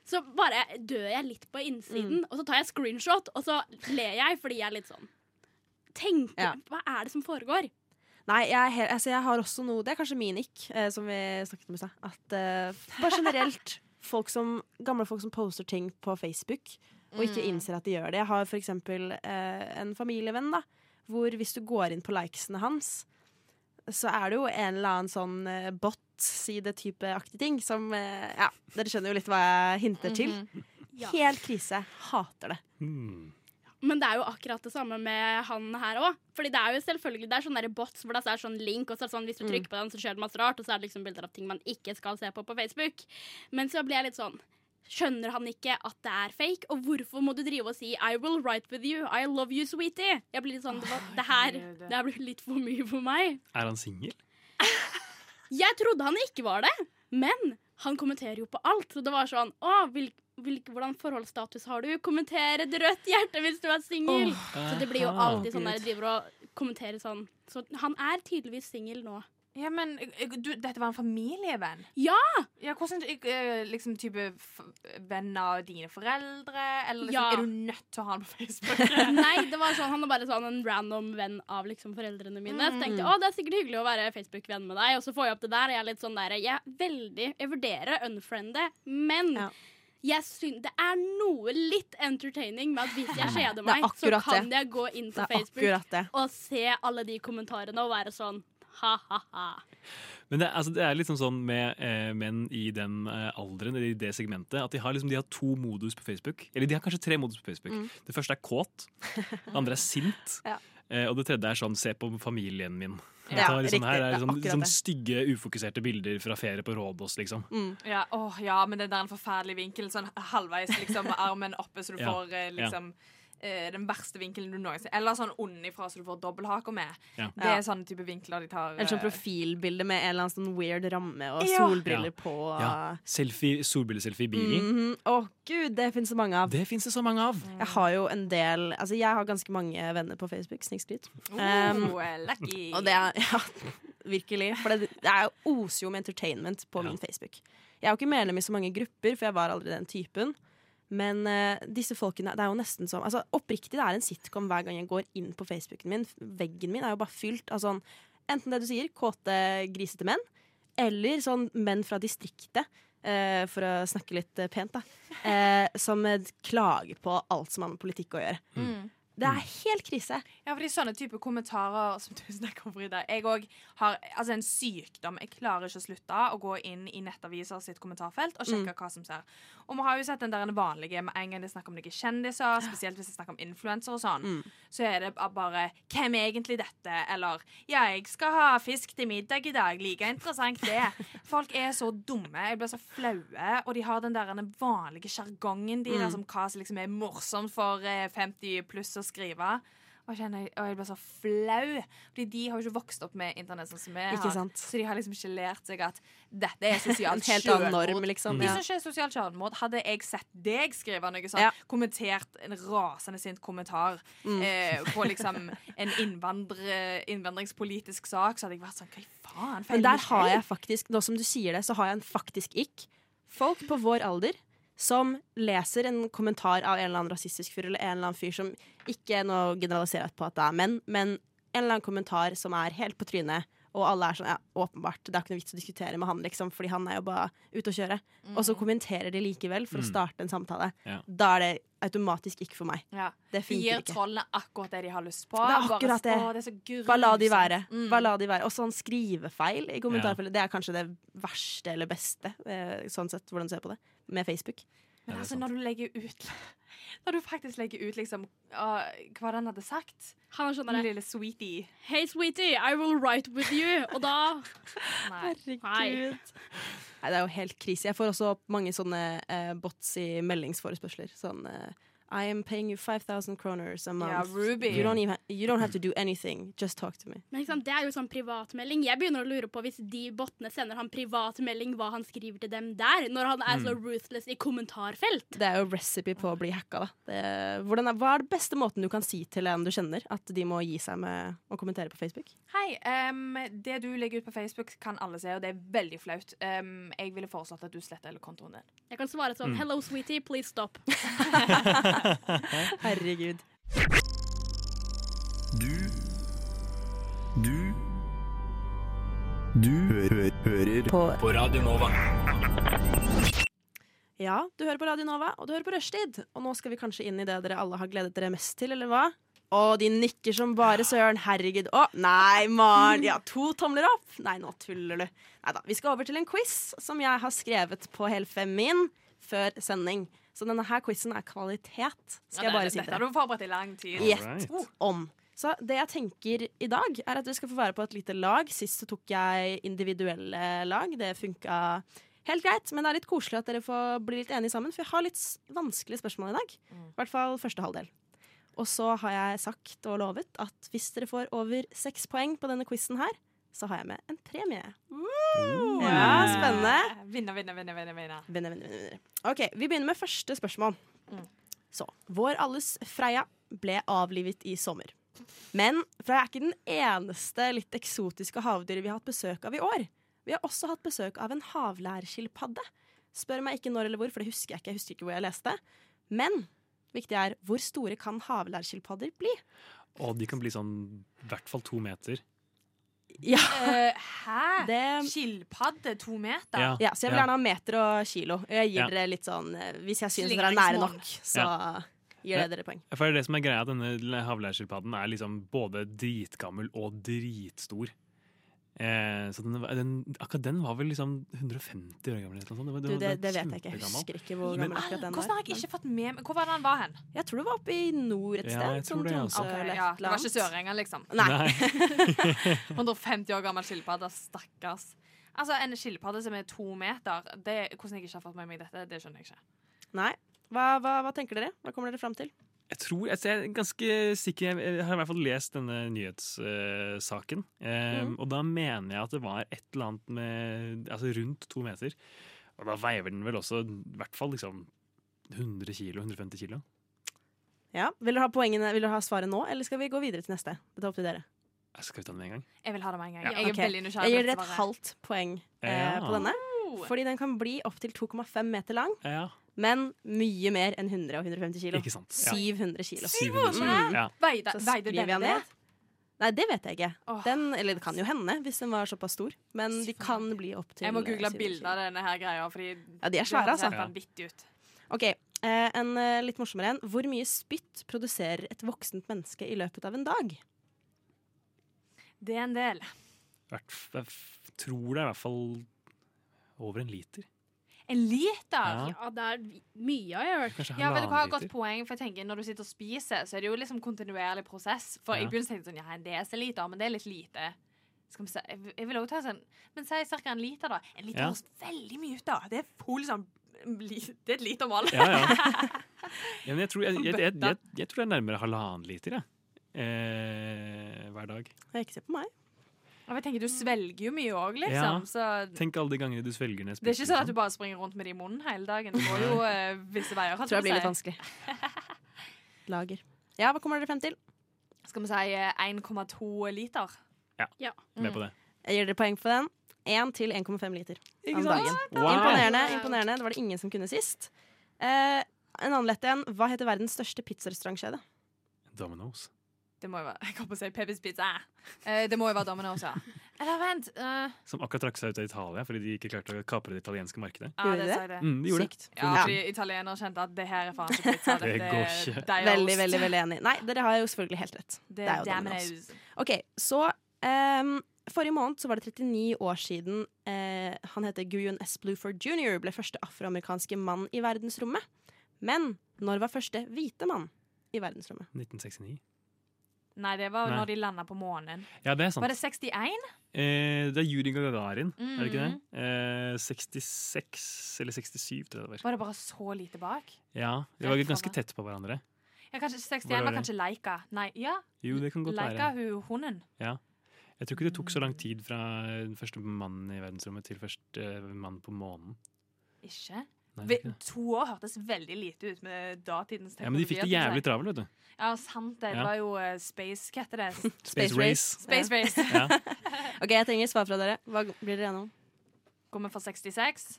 Speaker 6: så bare dør jeg litt på innsiden, og så tar jeg screenshot, og så ler jeg fordi jeg er litt sånn Tenk, hva er det som foregår?
Speaker 5: Nei, jeg, er helt- altså jeg har også noe Det er kanskje min ikk, eh, som vi snakket om i stad. At eh, bare
Speaker 6: *laughs*
Speaker 5: generelt folk som, gamle folk som poster ting på Facebook og ikke
Speaker 15: Mm.
Speaker 5: innser at de gjør det. Jeg har for eksempel eh, en familievenn da, hvor hvis du går inn på likesene hans, så er det jo en eller annen sånn eh, bot-side-type-aktig ting som eh, Ja, dere skjønner jo litt hva jeg hinter til.
Speaker 6: Mhm. Ja.
Speaker 5: Helt krise. Hater det.
Speaker 1: Hmm.
Speaker 6: Men det er jo akkurat det samme med han her òg. Fordi det er jo selvfølgelig Det er sånne der bots hvor det er sånn link, og så er det sånn hvis du
Speaker 15: Mm.
Speaker 6: trykker på den, så skjer det masse rart, og så er det liksom bilder av ting man ikke skal se på på Facebook. Men så blir jeg litt sånn Skjønner han ikke at det er fake? Og hvorfor må du drive og si 'I will write with you', 'I love you, sweetie'? Jeg blir litt sånn Det, var, det her det her blir litt for mye for meg.
Speaker 1: Er han singel?
Speaker 6: Jeg trodde han ikke var det, men han kommenterer jo på alt. Så det var sånn Å, hvil, hvil, hvordan forholdsstatus har du? Kommenter et rødt hjerte hvis du er singel.
Speaker 11: Åh.
Speaker 6: så det blir jo
Speaker 1: Ah.
Speaker 11: Aha.
Speaker 6: alltid sånn der jeg driver og kommenterer sånn. Så han er tydeligvis singel nå.
Speaker 11: Ja, men eh, du, dette var en familievenn?
Speaker 6: Ja!
Speaker 11: Ja, hvordan eh, liksom, type f venn av dine foreldre? Eller liksom,
Speaker 6: Ja.
Speaker 11: er du nødt til å ha han på Facebook?
Speaker 6: Nei, det var sånn, han var bare sånn en random venn av liksom foreldrene mine. Så tenkte
Speaker 5: Mm.
Speaker 6: jeg å, det er sikkert hyggelig å være Facebook-venn med deg. Og så får jeg opp det der, og jeg er litt sånn der Jeg er veldig Jeg vurderer å unfriende, men jeg syn- det er noe litt entertaining med at hvis jeg
Speaker 5: Det er
Speaker 6: kjeder meg, så
Speaker 5: akkurat
Speaker 6: kan
Speaker 5: det.
Speaker 6: jeg gå inn på
Speaker 5: Det er akkurat
Speaker 6: Facebook
Speaker 5: det.
Speaker 6: og se alle de kommentarene og være sånn ha-ha-ha.
Speaker 1: Men det, er- altså, det er liksom sånn med eh, menn i den eh, alderen, eller i det segmentet, at de har, liksom, de har to modus på Facebook. Eller de har kanskje tre modus på Facebook.
Speaker 5: Mm.
Speaker 1: Det første er kåt, det andre er
Speaker 11: *laughs*
Speaker 1: sint,
Speaker 5: Ja.
Speaker 1: eh, og det tredje er sånn se på familien min.
Speaker 11: Ja,
Speaker 1: Ja, liksom,
Speaker 11: riktig.
Speaker 1: her er
Speaker 11: Det er
Speaker 1: liksom,
Speaker 11: akkurat
Speaker 1: sånn
Speaker 11: det.
Speaker 1: stygge, ufokuserte bilder fra ferie på Rådås, liksom.
Speaker 11: Ja, åh, ja, men den der en forferdelig vinkel, sånn halvveis liksom, med armen oppe, så du
Speaker 1: *laughs* Ja,
Speaker 11: får eh,
Speaker 1: ja.
Speaker 11: liksom eh, den verste vinkelen du noensinne Eller sånn ovenifra, så du får dobbelthaker med.
Speaker 1: Ja.
Speaker 11: Det
Speaker 5: Ja.
Speaker 11: er sånne type vinkler de tar.
Speaker 5: Eller sånn
Speaker 11: eh,
Speaker 5: profilbilde med en eller annen sånn weird ramme og
Speaker 11: Ja.
Speaker 5: solbriller
Speaker 1: Ja.
Speaker 5: på. og-
Speaker 1: Ja. Selfie, solbildeselfie i bilen.
Speaker 5: Mhm. Å gud, det finnes det
Speaker 11: Mm.
Speaker 5: mange av.
Speaker 1: Det finnes det så mange av.
Speaker 5: Jeg har jo en del Altså, jeg har ganske mange venner på Facebook. Snikskryt.
Speaker 11: Oh,
Speaker 15: Ehm,
Speaker 11: lucky.
Speaker 5: Og det er *laughs* Ja, virkelig. For det, det er jo oser jo med entertainment på min Facebook. Jeg er jo ikke medlem i så mange grupper, for jeg var aldri den typen. Men eh, disse folkene Det er jo nesten som altså, Oppriktig, det er en sitcom hver gang jeg går inn på Facebooken min. Veggen min er jo bare fylt av sånn Enten det du sier, kåte, grisete menn, eller sånn menn fra distriktet, eh, for å snakke litt eh, pent, da, eh, som eh, klager på alt som har med politikk å gjøre.
Speaker 11: Mm.
Speaker 5: Det er helt krise.
Speaker 11: Ja, fordi sånne type kommentarer som du *laughs* snakker om, Frida Jeg òg har altså, en sykdom. Jeg klarer ikke å slutte å gå inn i nettaviser sitt kommentarfelt og sjekke
Speaker 15: Mm.
Speaker 11: hva som ser. Og vi har jo sett den der en vanlige med en gang de snakker om noen kjendiser, spesielt hvis de snakker om influensere og sånn,
Speaker 15: Mm.
Speaker 11: så er det bare 'Hvem er egentlig dette?' eller 'Ja, jeg skal ha fisk til middag i dag'. Like interessant det. Folk er så dumme. Jeg blir så flaue. Og de har den der en vanlige sjargongen de,
Speaker 15: Mm.
Speaker 11: der, som hva som liksom er morsomt for eh, 50 pluss å skrive. Og jeg, kjenner, og jeg ble så flau. Fordi de har jo ikke vokst opp med internett sånn som vi
Speaker 5: Ikke
Speaker 11: har.
Speaker 5: sant.
Speaker 11: Så de har liksom ikke lært seg at dette er sosialt
Speaker 5: En *laughs* helt annen
Speaker 11: selvmord.
Speaker 5: norm, liksom,
Speaker 11: De
Speaker 5: ja.
Speaker 11: som ikke er sosialt selvmord, hadde jeg sett deg skrive noe sånt,
Speaker 5: Ja.
Speaker 11: kommentert en rasende sint kommentar
Speaker 5: Mm.
Speaker 11: eh, på liksom en innvandre, innvandringspolitisk sak, så hadde jeg vært sånn Hva i faen?
Speaker 5: Men
Speaker 11: feiler
Speaker 5: der
Speaker 11: ikke
Speaker 5: har jeg faktisk, nå som du sier det, så har jeg en faktisk ikk. Folk på vår alder som leser en kommentar av en eller annen rasistisk fyr eller en eller annen fyr som ikke nå generaliserer jeg på at det er menn, men en eller annen kommentar som er helt på trynet, og alle er sånn ja, åpenbart, det er ikke noe vits å diskutere med han, liksom, fordi han er jo bare ute å kjøre. Og så kommenterer de likevel for å
Speaker 11: Mm.
Speaker 5: starte en samtale.
Speaker 1: Ja.
Speaker 5: Da er det automatisk ikke for meg.
Speaker 11: Ja.
Speaker 5: Det
Speaker 11: De
Speaker 5: funker
Speaker 11: gir
Speaker 5: ikke.
Speaker 11: trollene akkurat det de har lyst på.
Speaker 5: Det er
Speaker 11: Bare- sånn,
Speaker 5: akkurat det.
Speaker 11: Å, det er så grusomt.
Speaker 5: Bare la de være. Bare la de være. Og sånn skrivefeil i kommentarfeltet, det er kanskje det verste eller beste, eh, sånn sett, hvordan du ser på det, med Facebook.
Speaker 11: Men altså, når du legger ut *laughs* Når du faktisk legger ut liksom ah, hva han hadde sagt
Speaker 6: Han er sånn der-
Speaker 11: Lille sweetie.
Speaker 6: Hey, sweetie, I will write with you. Og da Nei.
Speaker 5: Herregud. Nei, det er jo helt krise. Jeg får også opp mange sånne eh, bots i meldingsforespørsler. Sånn eh, I am paying you 5000 kroners a month.
Speaker 6: Ja, Ruby.
Speaker 5: You don't, even, you don't have to do anything. Just talk to me.
Speaker 6: Men ikke sant, Det er jo sånn privatmelding. Jeg begynner å lure på hvis de bottene sender han privatmelding, hva han skriver til dem der, når han er så
Speaker 5: Mm.
Speaker 6: ruthless i kommentarfelt.
Speaker 5: Det er jo recipe på å bli hacka, da. Det, hvordan er, hva er den beste måten du kan si til en du kjenner at de må gi seg med å kommentere på Facebook?
Speaker 11: Hei, ehm, det du legger ut på Facebook kan alle se, og det er veldig flaut. Ehm, jeg ville foreslått at du sletter hele kontoen din.
Speaker 6: Jeg kan svare sånn
Speaker 11: Mm.
Speaker 6: Hello, sweetie, please stop.
Speaker 5: Herregud.
Speaker 15: Du Du Du hø hø hører
Speaker 5: på,
Speaker 15: på Radio Nova.
Speaker 5: Ja, du hører på Radio Nova, og du hører på Rushtid. Og nå skal vi kanskje inn i det dere alle har gledet dere mest til, eller hva? Å, de nikker som bare søren. Herregud. Å, nei, Maren. Ja, to tomler opp. Nei, nå tuller du. Nei da. Vi skal over til en quiz som jeg har skrevet på Helfemin før sending. Så denne her quizen er kvalitet, skal
Speaker 11: Ja,
Speaker 5: jeg bare
Speaker 11: det-
Speaker 5: si
Speaker 11: Dette har du forberedt i lang tid.
Speaker 5: Gjett om. Så det jeg tenker i dag, er at dere skal få være på et lite lag. Sist så tok jeg individuelle lag. Det funka helt greit, men det er litt koselig at dere får bli litt enige sammen, for jeg har litt s- vanskelige spørsmål i dag. I hvert fall første halvdel. Og så har jeg sagt og lovet at hvis dere får over seks poeng på denne quizen her, så har jeg med en premie. Ja, spennende.
Speaker 11: Vinner, vinner, vinner. vinner, vinner.
Speaker 5: Vinner, vinner, vinner, vinner. OK, vi begynner med første spørsmål. Så vår alles Freya ble avlivet i sommer. Men Freya er ikke den eneste litt eksotiske havdyret vi har hatt besøk av i år. Vi har også hatt besøk av en havlærskilpadde. Spør meg ikke når eller hvor, for det husker jeg ikke. Jeg husker ikke hvor jeg leste. Men viktig er hvor store kan havlærskilpadder bli?
Speaker 1: Og de kan bli sånn i hvert fall to meter.
Speaker 5: Ja.
Speaker 11: Eh, hæ? Skilpadde to meter?
Speaker 1: Ja.
Speaker 5: Ja, så jeg vil
Speaker 1: Ja.
Speaker 5: gjerne ha meter og kilo. Jeg gir
Speaker 1: Ja.
Speaker 5: dere litt sånn eh, Hvis jeg syns
Speaker 11: Slinger
Speaker 5: dere er
Speaker 11: deg ikke
Speaker 5: nære
Speaker 11: smål.
Speaker 5: nok, så gir det dere poeng.
Speaker 1: Ja, For det er det som er greia, denne havleirskilpadden er liksom både dritgammel og dritstor. Eh, så den, den, akkurat den var vel liksom 150 år gammel? Eller noe sånt. var-
Speaker 5: Du,
Speaker 1: var-
Speaker 5: det,
Speaker 1: var
Speaker 5: det vet jeg ikke. Jeg
Speaker 1: kjempegammel.
Speaker 5: husker ikke hvor
Speaker 1: Men-
Speaker 5: gammel akkurat den
Speaker 11: Hvordan har
Speaker 5: er.
Speaker 11: jeg ikke fått med meg Hvor var det han var hen?
Speaker 5: Jeg tror det var oppe i nord et
Speaker 1: Ja,
Speaker 5: sted.
Speaker 1: jeg tror
Speaker 5: sånn
Speaker 1: det,
Speaker 5: Tromsø
Speaker 1: altså.
Speaker 11: Ok,
Speaker 5: eller et
Speaker 11: ja, det
Speaker 5: eller
Speaker 11: var ikke
Speaker 5: annet.
Speaker 11: sørengen, liksom?
Speaker 5: Nei.
Speaker 11: 150 år gammel skilpadde. Stakkars. Altså, En skilpadde som er to meter det, Hvordan jeg ikke har fått med meg dette, det skjønner jeg ikke.
Speaker 5: Nei. Hva, hva, hva tenker dere? Hva kommer dere fram til?
Speaker 1: Jeg tror, altså jeg er ganske sikker Jeg jeg har i hvert fall lest denne nyhetssaken. Eh,
Speaker 5: Mhm.
Speaker 1: Og da mener jeg at det var et eller annet med Altså rundt to meter. Og da veiver den vel også i hvert fall liksom 100 kilo, 150 kilo.
Speaker 5: Ja, vil dere ha poengene, vil dere ha svaret nå, eller skal vi gå videre til neste? Det er opp til dere.
Speaker 1: Jeg skal vi ta den med en gang?
Speaker 11: Jeg vil ha det med en gang.
Speaker 1: Ja.
Speaker 11: Jeg er
Speaker 5: Ok.
Speaker 11: veldig nysgjerrig.
Speaker 5: Jeg gir
Speaker 11: på
Speaker 5: dere et
Speaker 11: svaret.
Speaker 5: halvt poeng eh,
Speaker 1: Ja.
Speaker 5: på denne. Fordi den kan bli opptil 2,5 meter lang, men mye mer enn 100 og 150 kilo.
Speaker 1: Ikke sant. Ja.
Speaker 5: 700 kilo.
Speaker 1: 700 kilo, ja.
Speaker 11: Veide-
Speaker 5: Så skriver
Speaker 11: veide den
Speaker 5: jeg
Speaker 11: det?
Speaker 5: ned. Nei, det vet jeg ikke. Den, eller det kan jo hende, hvis den var såpass stor. Men de kan bli opptil
Speaker 11: Jeg må google
Speaker 5: 700 kilo.
Speaker 11: bilder av denne her greia, fordi
Speaker 5: Ja, de er svære,
Speaker 11: det ser
Speaker 5: altså.
Speaker 11: vanvittig ut.
Speaker 5: Ok, eh, en eh, litt morsommere en. Hvor mye spytt produserer et voksent menneske i løpet av en dag?
Speaker 11: Det er en del.
Speaker 1: Hvert, jeg f- tror det er i hvert fall over en liter.
Speaker 11: En liter?
Speaker 1: Ja.
Speaker 11: det er mye, har jeg hørt.
Speaker 1: Kanskje
Speaker 11: Ja, vet du hva,
Speaker 1: halvannen
Speaker 11: Godt
Speaker 1: liter.
Speaker 11: poeng. for jeg tenker Når du sitter og spiser, så er det jo liksom kontinuerlig prosess. For
Speaker 1: Ja.
Speaker 11: i begynnelsen tenkte jeg sånn, ja, en desiliter, men det er litt lite. Skal vi se, jeg- Jeg vil også ta sånn Men si ca. en liter, da. En liter
Speaker 1: Ja.
Speaker 11: høres veldig mye ut, da. Det er full sånn li- Det er et litermål.
Speaker 1: Ja,
Speaker 11: *laughs*
Speaker 1: ja. Ja, men jeg, tror, jeg,
Speaker 11: Som
Speaker 1: jeg, jeg,
Speaker 11: bøtta.
Speaker 1: jeg, jeg tror det er nærmere halvannen liter jeg. Eh, hver dag.
Speaker 5: Ikke se på meg.
Speaker 11: Ja, men jeg tenker Du svelger jo mye òg, liksom.
Speaker 1: Ja.
Speaker 11: Så
Speaker 1: Tenk alle de gangene du svelger ned
Speaker 11: det er ikke
Speaker 1: spytten,
Speaker 11: sånn at du bare springer rundt med det i munnen hele dagen. Du går jo eh, visse veier. holdt
Speaker 5: Tror jeg blir
Speaker 11: jeg
Speaker 5: litt
Speaker 11: på å si.
Speaker 5: vanskelig. Lager. Ja, hva kommer dere frem til?
Speaker 11: Skal vi si eh, 1,2 liter?
Speaker 1: Ja. Med på det.
Speaker 5: Jeg gir dere poeng på den. 1 til 1,5 liter
Speaker 11: Ikke
Speaker 5: om
Speaker 11: sant?
Speaker 5: dagen.
Speaker 1: Wow.
Speaker 5: Imponerende. imponerende. Det var det ingen som kunne sist. Eh, en annen lett en. Hva heter verdens største pizzarestaurantkjede?
Speaker 1: Dominoes.
Speaker 11: Det må jo være, *laughs* jeg kom på å si Peppers Pizza. Eh, det må jo være Domino's, ja. Eller vent. eh,
Speaker 1: Som akkurat trakk seg ut av Italia fordi de ikke klarte å kapre det italienske markedet.
Speaker 11: ja, det sa jeg det.
Speaker 1: Mm, de gjorde det.
Speaker 11: Ja,
Speaker 1: Ja.
Speaker 11: fordi italienere kjente at det her er faen
Speaker 7: *laughs*
Speaker 11: ikke pizza.
Speaker 1: Det
Speaker 11: dette eh,
Speaker 1: går
Speaker 11: er
Speaker 1: ikke.
Speaker 11: deig og
Speaker 5: Veldig,
Speaker 11: ost.
Speaker 5: veldig veldig enig. Nei, dere har jo selvfølgelig helt rett.
Speaker 11: Det er Domino's.
Speaker 5: OK, så ehm, Forrige måned så var det 39 år siden eh, han heter Guyon S. Bluford jr. ble første afroamerikanske mann i verdensrommet. Men når var første hvite mann i verdensrommet?
Speaker 1: 1969.
Speaker 11: Nei, det var jo
Speaker 1: Nei.
Speaker 11: når de landa på månen.
Speaker 1: Ja, det er sant.
Speaker 11: Var det 61?
Speaker 1: Eh, det er Yuri Gagarin, er det ikke det?
Speaker 11: Mhm.
Speaker 1: Eh, 66 eller 67, tror jeg det var.
Speaker 11: Var det bare så lite bak?
Speaker 1: Ja, De var ganske tett på hverandre.
Speaker 11: Ja, kanskje
Speaker 1: Hvor
Speaker 11: 61
Speaker 1: var
Speaker 11: var
Speaker 1: det?
Speaker 11: kanskje Leika. Nei, ja.
Speaker 1: Jo, det kan godt
Speaker 11: Leika,
Speaker 1: være.
Speaker 11: hun hunden.
Speaker 1: Ja. Jeg tror ikke det tok så lang tid fra den første mannen i verdensrommet til første eh, mann på månen.
Speaker 11: Ikke?
Speaker 1: Nei,
Speaker 11: Ve-
Speaker 1: det er ikke
Speaker 11: to år hørtes veldig lite ut med datidens teknologi.
Speaker 1: Ja, Men de fikk det
Speaker 11: jeg
Speaker 1: jævlig
Speaker 11: synes jeg.
Speaker 1: travelt, vet du.
Speaker 11: Ja, sant det.
Speaker 1: Ja.
Speaker 11: Det var jo eh, space Hva heter det?
Speaker 1: Space race.
Speaker 11: Space Race.
Speaker 1: Ja.
Speaker 5: OK, jeg trenger svar fra dere. Hva blir dere enige om?
Speaker 11: Kommer fra 66.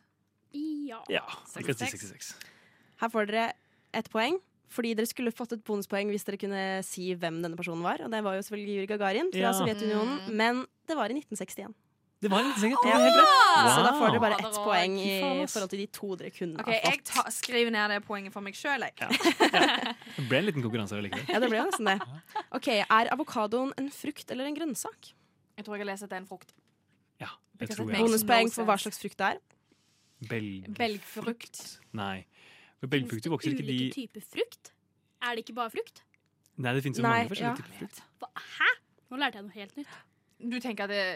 Speaker 6: Ja.
Speaker 1: Ja, vi kan si 66.
Speaker 5: Her får dere ett poeng. Fordi dere skulle fått et bonuspoeng hvis dere kunne si hvem denne personen var. Og det var jo selvfølgelig Juri Gagarin fra
Speaker 1: Ja.
Speaker 5: Sovjetunionen.
Speaker 11: Mm.
Speaker 5: Men det var i 1961.
Speaker 1: Det var en liten
Speaker 5: Det er helt rett. Så da får dere bare ett poeng i
Speaker 11: Fy faen, ass.
Speaker 5: forhold til de to dere kunne
Speaker 11: OK,
Speaker 5: ha
Speaker 11: jeg
Speaker 5: fått.
Speaker 11: ta, skriver ned det poenget for meg sjøl, jeg.
Speaker 1: Det ble en liten konkurranse allikevel.
Speaker 5: Ja, det ble jo nesten det. OK, er avokadoen en frukt eller en grønnsak?
Speaker 11: Jeg tror jeg har lest at det er en frukt.
Speaker 1: Ja, jeg
Speaker 5: Because
Speaker 1: tror jeg.
Speaker 5: it makes Bonuspoeng for hva slags frukt det er.
Speaker 1: Belg...
Speaker 11: Belgfrukt.
Speaker 1: Nei. For belgfrukter vokser ikke
Speaker 6: Ulike
Speaker 1: de
Speaker 6: typer frukt? Er det ikke bare frukt?
Speaker 1: Nei, det finnes jo
Speaker 6: Nei,
Speaker 1: mange
Speaker 6: ja.
Speaker 1: forskjellige typer frukt.
Speaker 6: Hæ? Nå lærte jeg noe helt nytt.
Speaker 11: Du tenker at det,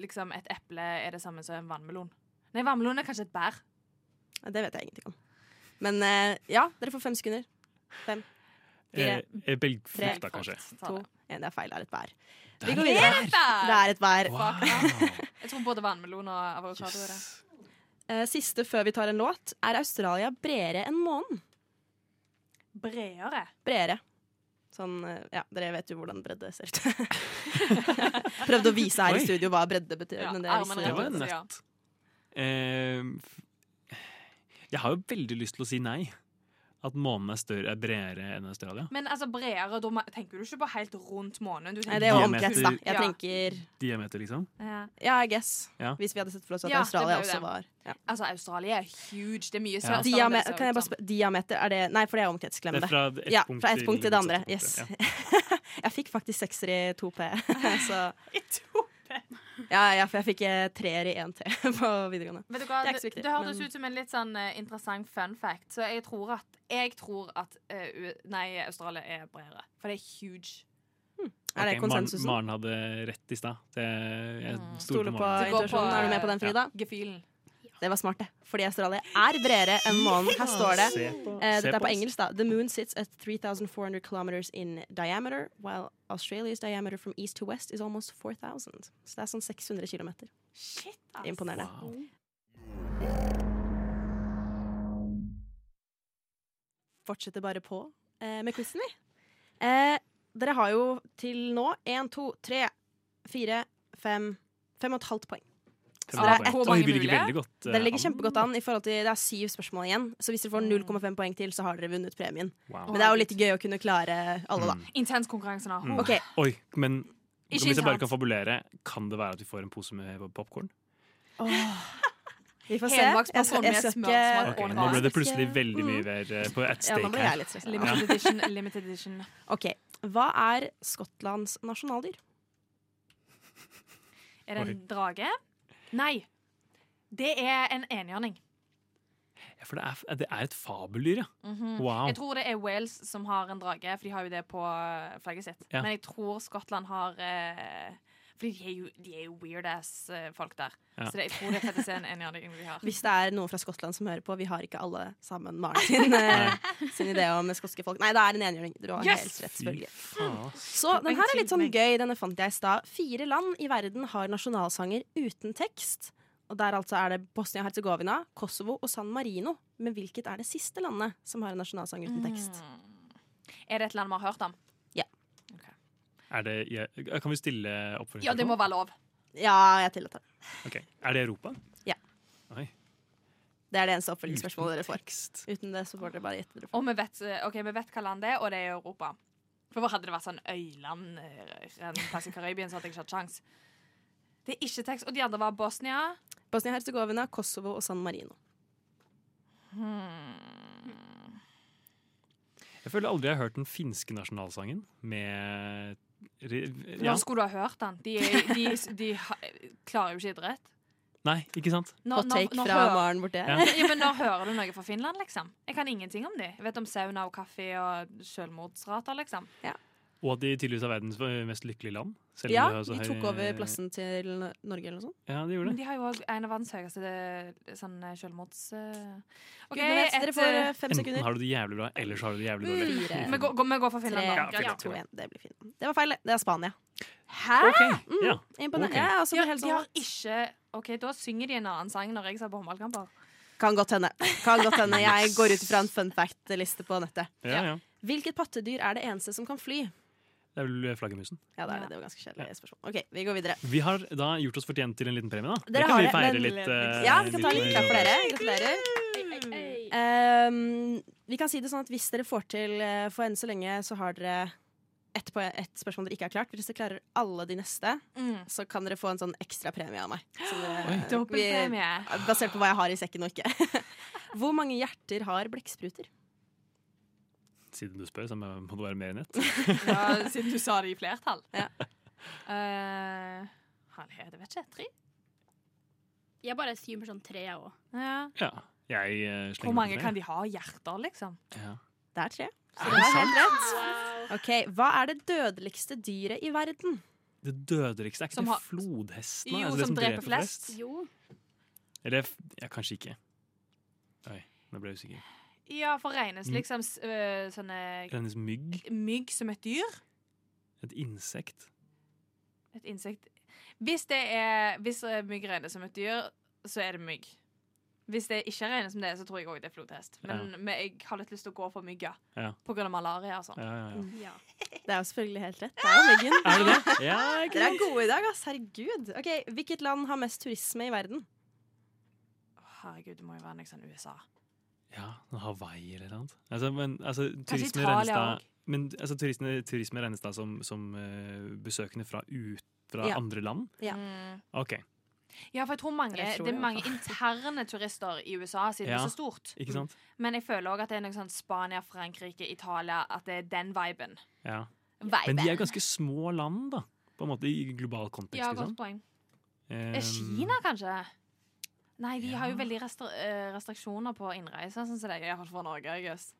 Speaker 11: liksom, et eple er det samme som en vannmelon? Nei, vannmelon er kanskje et bær.
Speaker 5: Ja, Det vet jeg ingenting om. Men eh, ja, dere får fem sekunder. Fem,
Speaker 1: Eh,
Speaker 5: fire,
Speaker 1: eh, belgfrukt,
Speaker 5: Tre.
Speaker 1: da, kanskje.
Speaker 5: to, én. Det er feil. Det er et bær.
Speaker 1: Det
Speaker 5: Vi
Speaker 1: er
Speaker 5: går
Speaker 1: et
Speaker 5: videre.
Speaker 11: bær!
Speaker 5: Det er et bær.
Speaker 11: Jeg tror både vannmelon og avokado er det.
Speaker 5: Eh, Siste før vi tar en låt. Er Australia bredere enn månen?
Speaker 11: Bredere.
Speaker 5: Bredere. Sånn, eh, ja, Dere vet jo hvordan bredde ser ut. *laughs* Prøvde å vise her
Speaker 1: Oi.
Speaker 5: i studio hva bredde betyr.
Speaker 11: Ja,
Speaker 5: men det,
Speaker 11: armen
Speaker 5: visste
Speaker 11: rett
Speaker 5: dere.
Speaker 1: Det var en nøtt. Eh, f- jeg har jo veldig lyst til å si nei. At månen er større, er bredere enn Australia.
Speaker 11: Men altså bredere, da ma- tenker du ikke på helt rundt månen? Du tenker-
Speaker 5: Nei, det er jo
Speaker 1: Diameter-
Speaker 5: omkrets, da. Jeg
Speaker 11: Ja.
Speaker 5: tenker
Speaker 1: Diameter, liksom.
Speaker 11: Ja.
Speaker 5: Ja, I guess.
Speaker 1: Ja.
Speaker 5: Hvis vi hadde sett for oss at
Speaker 11: Ja, det
Speaker 5: Australia
Speaker 11: var jo
Speaker 5: også
Speaker 11: det.
Speaker 5: var ja.
Speaker 11: Altså, Australia er huge. Det er mye
Speaker 5: Ja.
Speaker 11: større. enn
Speaker 5: Diame
Speaker 11: det ser ut
Speaker 5: kan jeg bare
Speaker 11: som.
Speaker 5: spørre, diameter, er det Nei, for det er omkrets, glem
Speaker 1: Det
Speaker 5: det.
Speaker 1: er fra et
Speaker 5: ja,
Speaker 1: punkt
Speaker 5: fra ett
Speaker 1: til
Speaker 5: punkt til det andre.
Speaker 1: motsatt
Speaker 5: Yes.
Speaker 1: punkt,
Speaker 5: *laughs* jeg fikk faktisk sekser i 2P, *laughs* så I 2P? Ja, ja, for jeg fikk eh, treer i 1T *laughs* på videregående.
Speaker 11: Vet du hva,
Speaker 5: det er
Speaker 11: det,
Speaker 5: ikke så viktig.
Speaker 11: det hørtes
Speaker 5: men-
Speaker 11: ut som en litt sånn eh, interessant fun fact, så jeg tror at, jeg tror at eh, U- nei, Australia er bredere. For det er huge.
Speaker 5: Er det
Speaker 1: Ok,
Speaker 5: konsensusen?
Speaker 1: Maren, Maren hadde rett i stad. Det- Jeg stoler
Speaker 5: Mm. Stoler
Speaker 1: på
Speaker 5: på
Speaker 1: Maren.
Speaker 5: intuisjonen. Er du med på den, Frida? Det var smart, det. Fordi Australia er bredere enn månen. Her står det.
Speaker 1: Se på-
Speaker 5: Eh,
Speaker 1: se
Speaker 5: dette er
Speaker 1: på
Speaker 5: på
Speaker 1: oss.
Speaker 5: engelsk, da. The moon sits at 3400 kilometers in diameter, while Australia's diameter from east to west is almost 4000. Så det er sånn 600 kilometer.
Speaker 11: Shit,
Speaker 5: Det er Imponerende. Fortsetter bare på eh, med quizen, vi. Eh, dere har jo til nå én, to, tre, fire, fem Fem og et halvt poeng. Så
Speaker 1: Fem og
Speaker 5: dere,
Speaker 1: et halvt
Speaker 5: er
Speaker 1: poeng.
Speaker 5: ett
Speaker 1: Oi, vi
Speaker 5: poeng
Speaker 1: ligger
Speaker 5: mulige.
Speaker 1: veldig godt, eh,
Speaker 5: dere ligger
Speaker 1: an.
Speaker 5: kjempegodt an. I forhold til, det er syv spørsmål igjen, så hvis dere får 0,5 poeng til, så har dere vunnet premien.
Speaker 1: Wow.
Speaker 5: Men det er jo litt gøy å kunne klare alle, da.
Speaker 11: Intens konkurranse nå.
Speaker 1: Mm.
Speaker 5: Ok.
Speaker 1: Oi, men
Speaker 11: Ikke
Speaker 1: hvis jeg bare
Speaker 11: sant.
Speaker 1: kan fabulere, kan det være at vi får en pose med popkorn?
Speaker 5: *laughs* Vi får se.
Speaker 11: Helbakst
Speaker 5: Jeg skal,
Speaker 11: popcorn med
Speaker 5: jeg skal
Speaker 11: smør, smør
Speaker 5: ikke
Speaker 1: Ok, nå ble det plutselig veldig mye
Speaker 5: Mm.
Speaker 1: mer eh, på ett
Speaker 5: Ja,
Speaker 1: stake
Speaker 5: nå ble jeg litt stresset.
Speaker 11: Limited
Speaker 1: Ja.
Speaker 11: edition. Limited edition.
Speaker 5: OK. Hva er Skottlands nasjonaldyr?
Speaker 11: Er det en
Speaker 1: Oi.
Speaker 11: drage? Nei. Det er en enhjørning.
Speaker 1: Ja, for det er, det er et fabeldyr, ja.
Speaker 11: Mhm.
Speaker 1: Wow.
Speaker 11: Jeg tror det er Wales som har en drage, for de har jo det på eh, flagget sitt.
Speaker 1: Ja.
Speaker 11: Men jeg tror Skottland har eh, Fordi de er jo, de er jo weird ass eh, folk der.
Speaker 5: Ja.
Speaker 11: Så det, jeg tror det faktisk er en enhjørning vi har.
Speaker 5: *laughs* Hvis det er noen fra Skottland som hører på, vi har ikke alle sammen Maren sin,
Speaker 11: *laughs*
Speaker 5: *laughs* eh, sin idé om skotske folk. Nei, det er en enhjørning. Du har
Speaker 11: Yes!
Speaker 5: helt rett,
Speaker 11: Fy
Speaker 5: selvfølgelig.
Speaker 1: faen.
Speaker 5: Så den her er litt sånn gøy. Denne fant jeg i stad. Fire land i verden har nasjonalsanger uten tekst. Og der altså er det Bosnia-Hercegovina, Kosovo og San Marino. Men hvilket er det siste landet som har en nasjonalsang uten
Speaker 11: Mm.
Speaker 5: tekst?
Speaker 11: Hmm. Er det et land vi har hørt om?
Speaker 1: Er det, ja, kan vi stille oppfølgingsspørsmål?
Speaker 11: Ja, det må være lov.
Speaker 5: Ja, jeg tillater det.
Speaker 1: Ok, Er det Europa?
Speaker 5: Ja.
Speaker 1: Oi.
Speaker 5: Det er det eneste oppfølgingsspørsmålet dere får. Uten det så får dere bare gjette dere.
Speaker 11: Og vi vet, eh, ok, vi vet hva land det er, og det er i Europa. For hvor hadde det vært sånn øyland eh, en plass i Karibia, så hadde jeg ikke hatt sjans. Det er ikke tekst. Og de andre var Bosnia.
Speaker 5: Bosnia-Hercegovina, Kosovo og San Marino.
Speaker 1: Jeg føler aldri jeg har hørt den finske nasjonalsangen med re- ja.
Speaker 11: Når skulle du ha hørt den? De, er- de, de, ha- klarer jo ikke idrett.
Speaker 1: Nei, ikke sant?
Speaker 11: Når- når- når hører- Ja. men Nå hører du noe fra Finland, liksom. Jeg kan ingenting om de. Jeg vet om sauna og kaffe og selvmordsrater, liksom.
Speaker 1: Og at de tydeligvis er verdens eh, mest lykkelige land. selv om
Speaker 5: Ja,
Speaker 1: det er så
Speaker 5: de
Speaker 1: høy-
Speaker 5: tok over plassen til N- Norge eller noe sånt.
Speaker 1: Ja, de gjorde det.
Speaker 11: Men de har jo også en av verdens høyeste eh, sånn eh, selvmords... eh. Ok,
Speaker 5: Gud, Nordnes, dere
Speaker 11: et,
Speaker 5: får,
Speaker 11: eh,
Speaker 5: eh, fem Mm.
Speaker 1: Enten har du det jævlig bra, eller så har du det jævlig dårlig.
Speaker 11: Vi går, går- vi går for Finland,
Speaker 5: Tre,
Speaker 11: da.
Speaker 5: ja, to, en. Det blir Finland. Det var feil. Det er Spania.
Speaker 11: Hæ?!
Speaker 5: Mm, imponerende. Jeg er også
Speaker 11: Ja,
Speaker 5: helt
Speaker 11: de har
Speaker 5: sånn
Speaker 11: ikke OK, da synger de en annen sang når jeg ser på håndballkamper.
Speaker 5: Kan godt hende. Kan godt
Speaker 1: *laughs*
Speaker 5: hende. Jeg går ut fra en fun fact-liste på nettet.
Speaker 1: Ja, ja.
Speaker 5: Hvilket pattedyr er det eneste som kan fly?
Speaker 1: Det er vel flaggermusen.
Speaker 5: Ja, det er det. Det var ganske kjedelig spørsmål. OK, vi går videre.
Speaker 1: Vi har da gjort oss fortjent til en liten premie, da.
Speaker 5: Dere
Speaker 1: det kan
Speaker 5: har
Speaker 1: vi feire
Speaker 5: men-
Speaker 1: litt. eh,
Speaker 5: Ja, vi kan ta litt
Speaker 1: litt-
Speaker 5: klapp for dere. Gratulerer.
Speaker 6: Eh,
Speaker 5: Ehm, vi kan si det sånn at hvis dere får til eh, For enn så lenge så har dere ett på ett spørsmål dere ikke har klart. Hvis dere klarer alle de neste,
Speaker 11: Mm.
Speaker 5: så kan dere få en sånn ekstra premie av meg. Så
Speaker 11: *gasps* Oi.
Speaker 5: det-
Speaker 11: Dobbeltpremie.
Speaker 5: vi- Basert på hva jeg har i sekken og ikke. *laughs* Hvor mange hjerter har blekkspruter?
Speaker 1: eh, Siden du spør, så må må det være mer enn ett.
Speaker 11: Ja, siden du sa det i flertall. Eh, herlighet, jeg vet ikke. Tre?
Speaker 6: Jeg bare assumer sånn tre, jeg òg.
Speaker 5: Mm.
Speaker 1: Ja. Jeg eh, slenger
Speaker 11: Hvor mange kan de
Speaker 1: meg på
Speaker 11: ha hjerter, liksom?
Speaker 1: det. Ja.
Speaker 5: Det er tre. Så
Speaker 1: Er
Speaker 5: det
Speaker 1: det
Speaker 5: er helt
Speaker 6: rett.
Speaker 5: Ok, Hva er det dødeligste dyret i verden?
Speaker 1: Det dødeligste er ikke
Speaker 5: Som
Speaker 1: det
Speaker 5: har-
Speaker 1: flodhesten? da?
Speaker 5: Jo,
Speaker 1: Altså det
Speaker 5: som dreper
Speaker 6: Jo.
Speaker 1: Eller f- ja, kanskje ikke. Oi, nå ble jeg usikker.
Speaker 11: Ja, for regnes
Speaker 1: Mm.
Speaker 11: liksom s- øh, sånne
Speaker 1: Regnes mygg?
Speaker 11: mygg som et dyr?
Speaker 1: Et insekt?
Speaker 11: Et insekt? Hvis, det er, hvis øh, mygg regnes som et dyr, så er det mygg. Hvis det ikke regnes som det, så tror jeg òg det er flodhest. Men,
Speaker 1: Ja.
Speaker 11: men jeg har litt lyst til å gå for mygga.
Speaker 1: Ja.
Speaker 11: På grunn av malaria og sånn.
Speaker 1: Ja, ja, ja.
Speaker 5: Det er jo selvfølgelig helt rett. Det er jo myggen.
Speaker 1: *laughs* Er det det? Ja, ikke
Speaker 5: Dere er
Speaker 1: sant?
Speaker 5: gode i dag, ass. Herregud. Ok, Hvilket land har mest turisme i verden?
Speaker 11: Herregud, det må jo være noe sånn USA.
Speaker 1: Ja, noe Hawaii eller noe annet. Altså, men, altså,
Speaker 11: Kanskje
Speaker 1: turisme
Speaker 11: Italia
Speaker 1: regnes da,
Speaker 11: også.
Speaker 1: men altså, turisme, turisme regnes da som, som eh, besøkende fra, ut, fra
Speaker 11: Ja.
Speaker 1: andre land?
Speaker 5: Ja.
Speaker 1: OK.
Speaker 11: Ja, for jeg tror mange,
Speaker 14: Jeg tror
Speaker 11: det er
Speaker 14: det,
Speaker 11: mange interne turister i USA siden det
Speaker 1: Ja,
Speaker 11: er så stort.
Speaker 1: ikke sant?
Speaker 11: Men jeg føler òg at det er noe sånn Spania, Frankrike, Italia At det er den viben.
Speaker 1: Ja.
Speaker 11: Viben.
Speaker 1: Men de er jo ganske små land, da. På en måte i global kontekst.
Speaker 11: Ja,
Speaker 1: ikke
Speaker 11: godt
Speaker 1: sant?
Speaker 11: poeng.
Speaker 1: Eh,
Speaker 11: Er Kina, kanskje? Nei, de har jo veldig restri eh, restriksjoner på innreise, sånn som det er i hvert fall for Norge. I guess.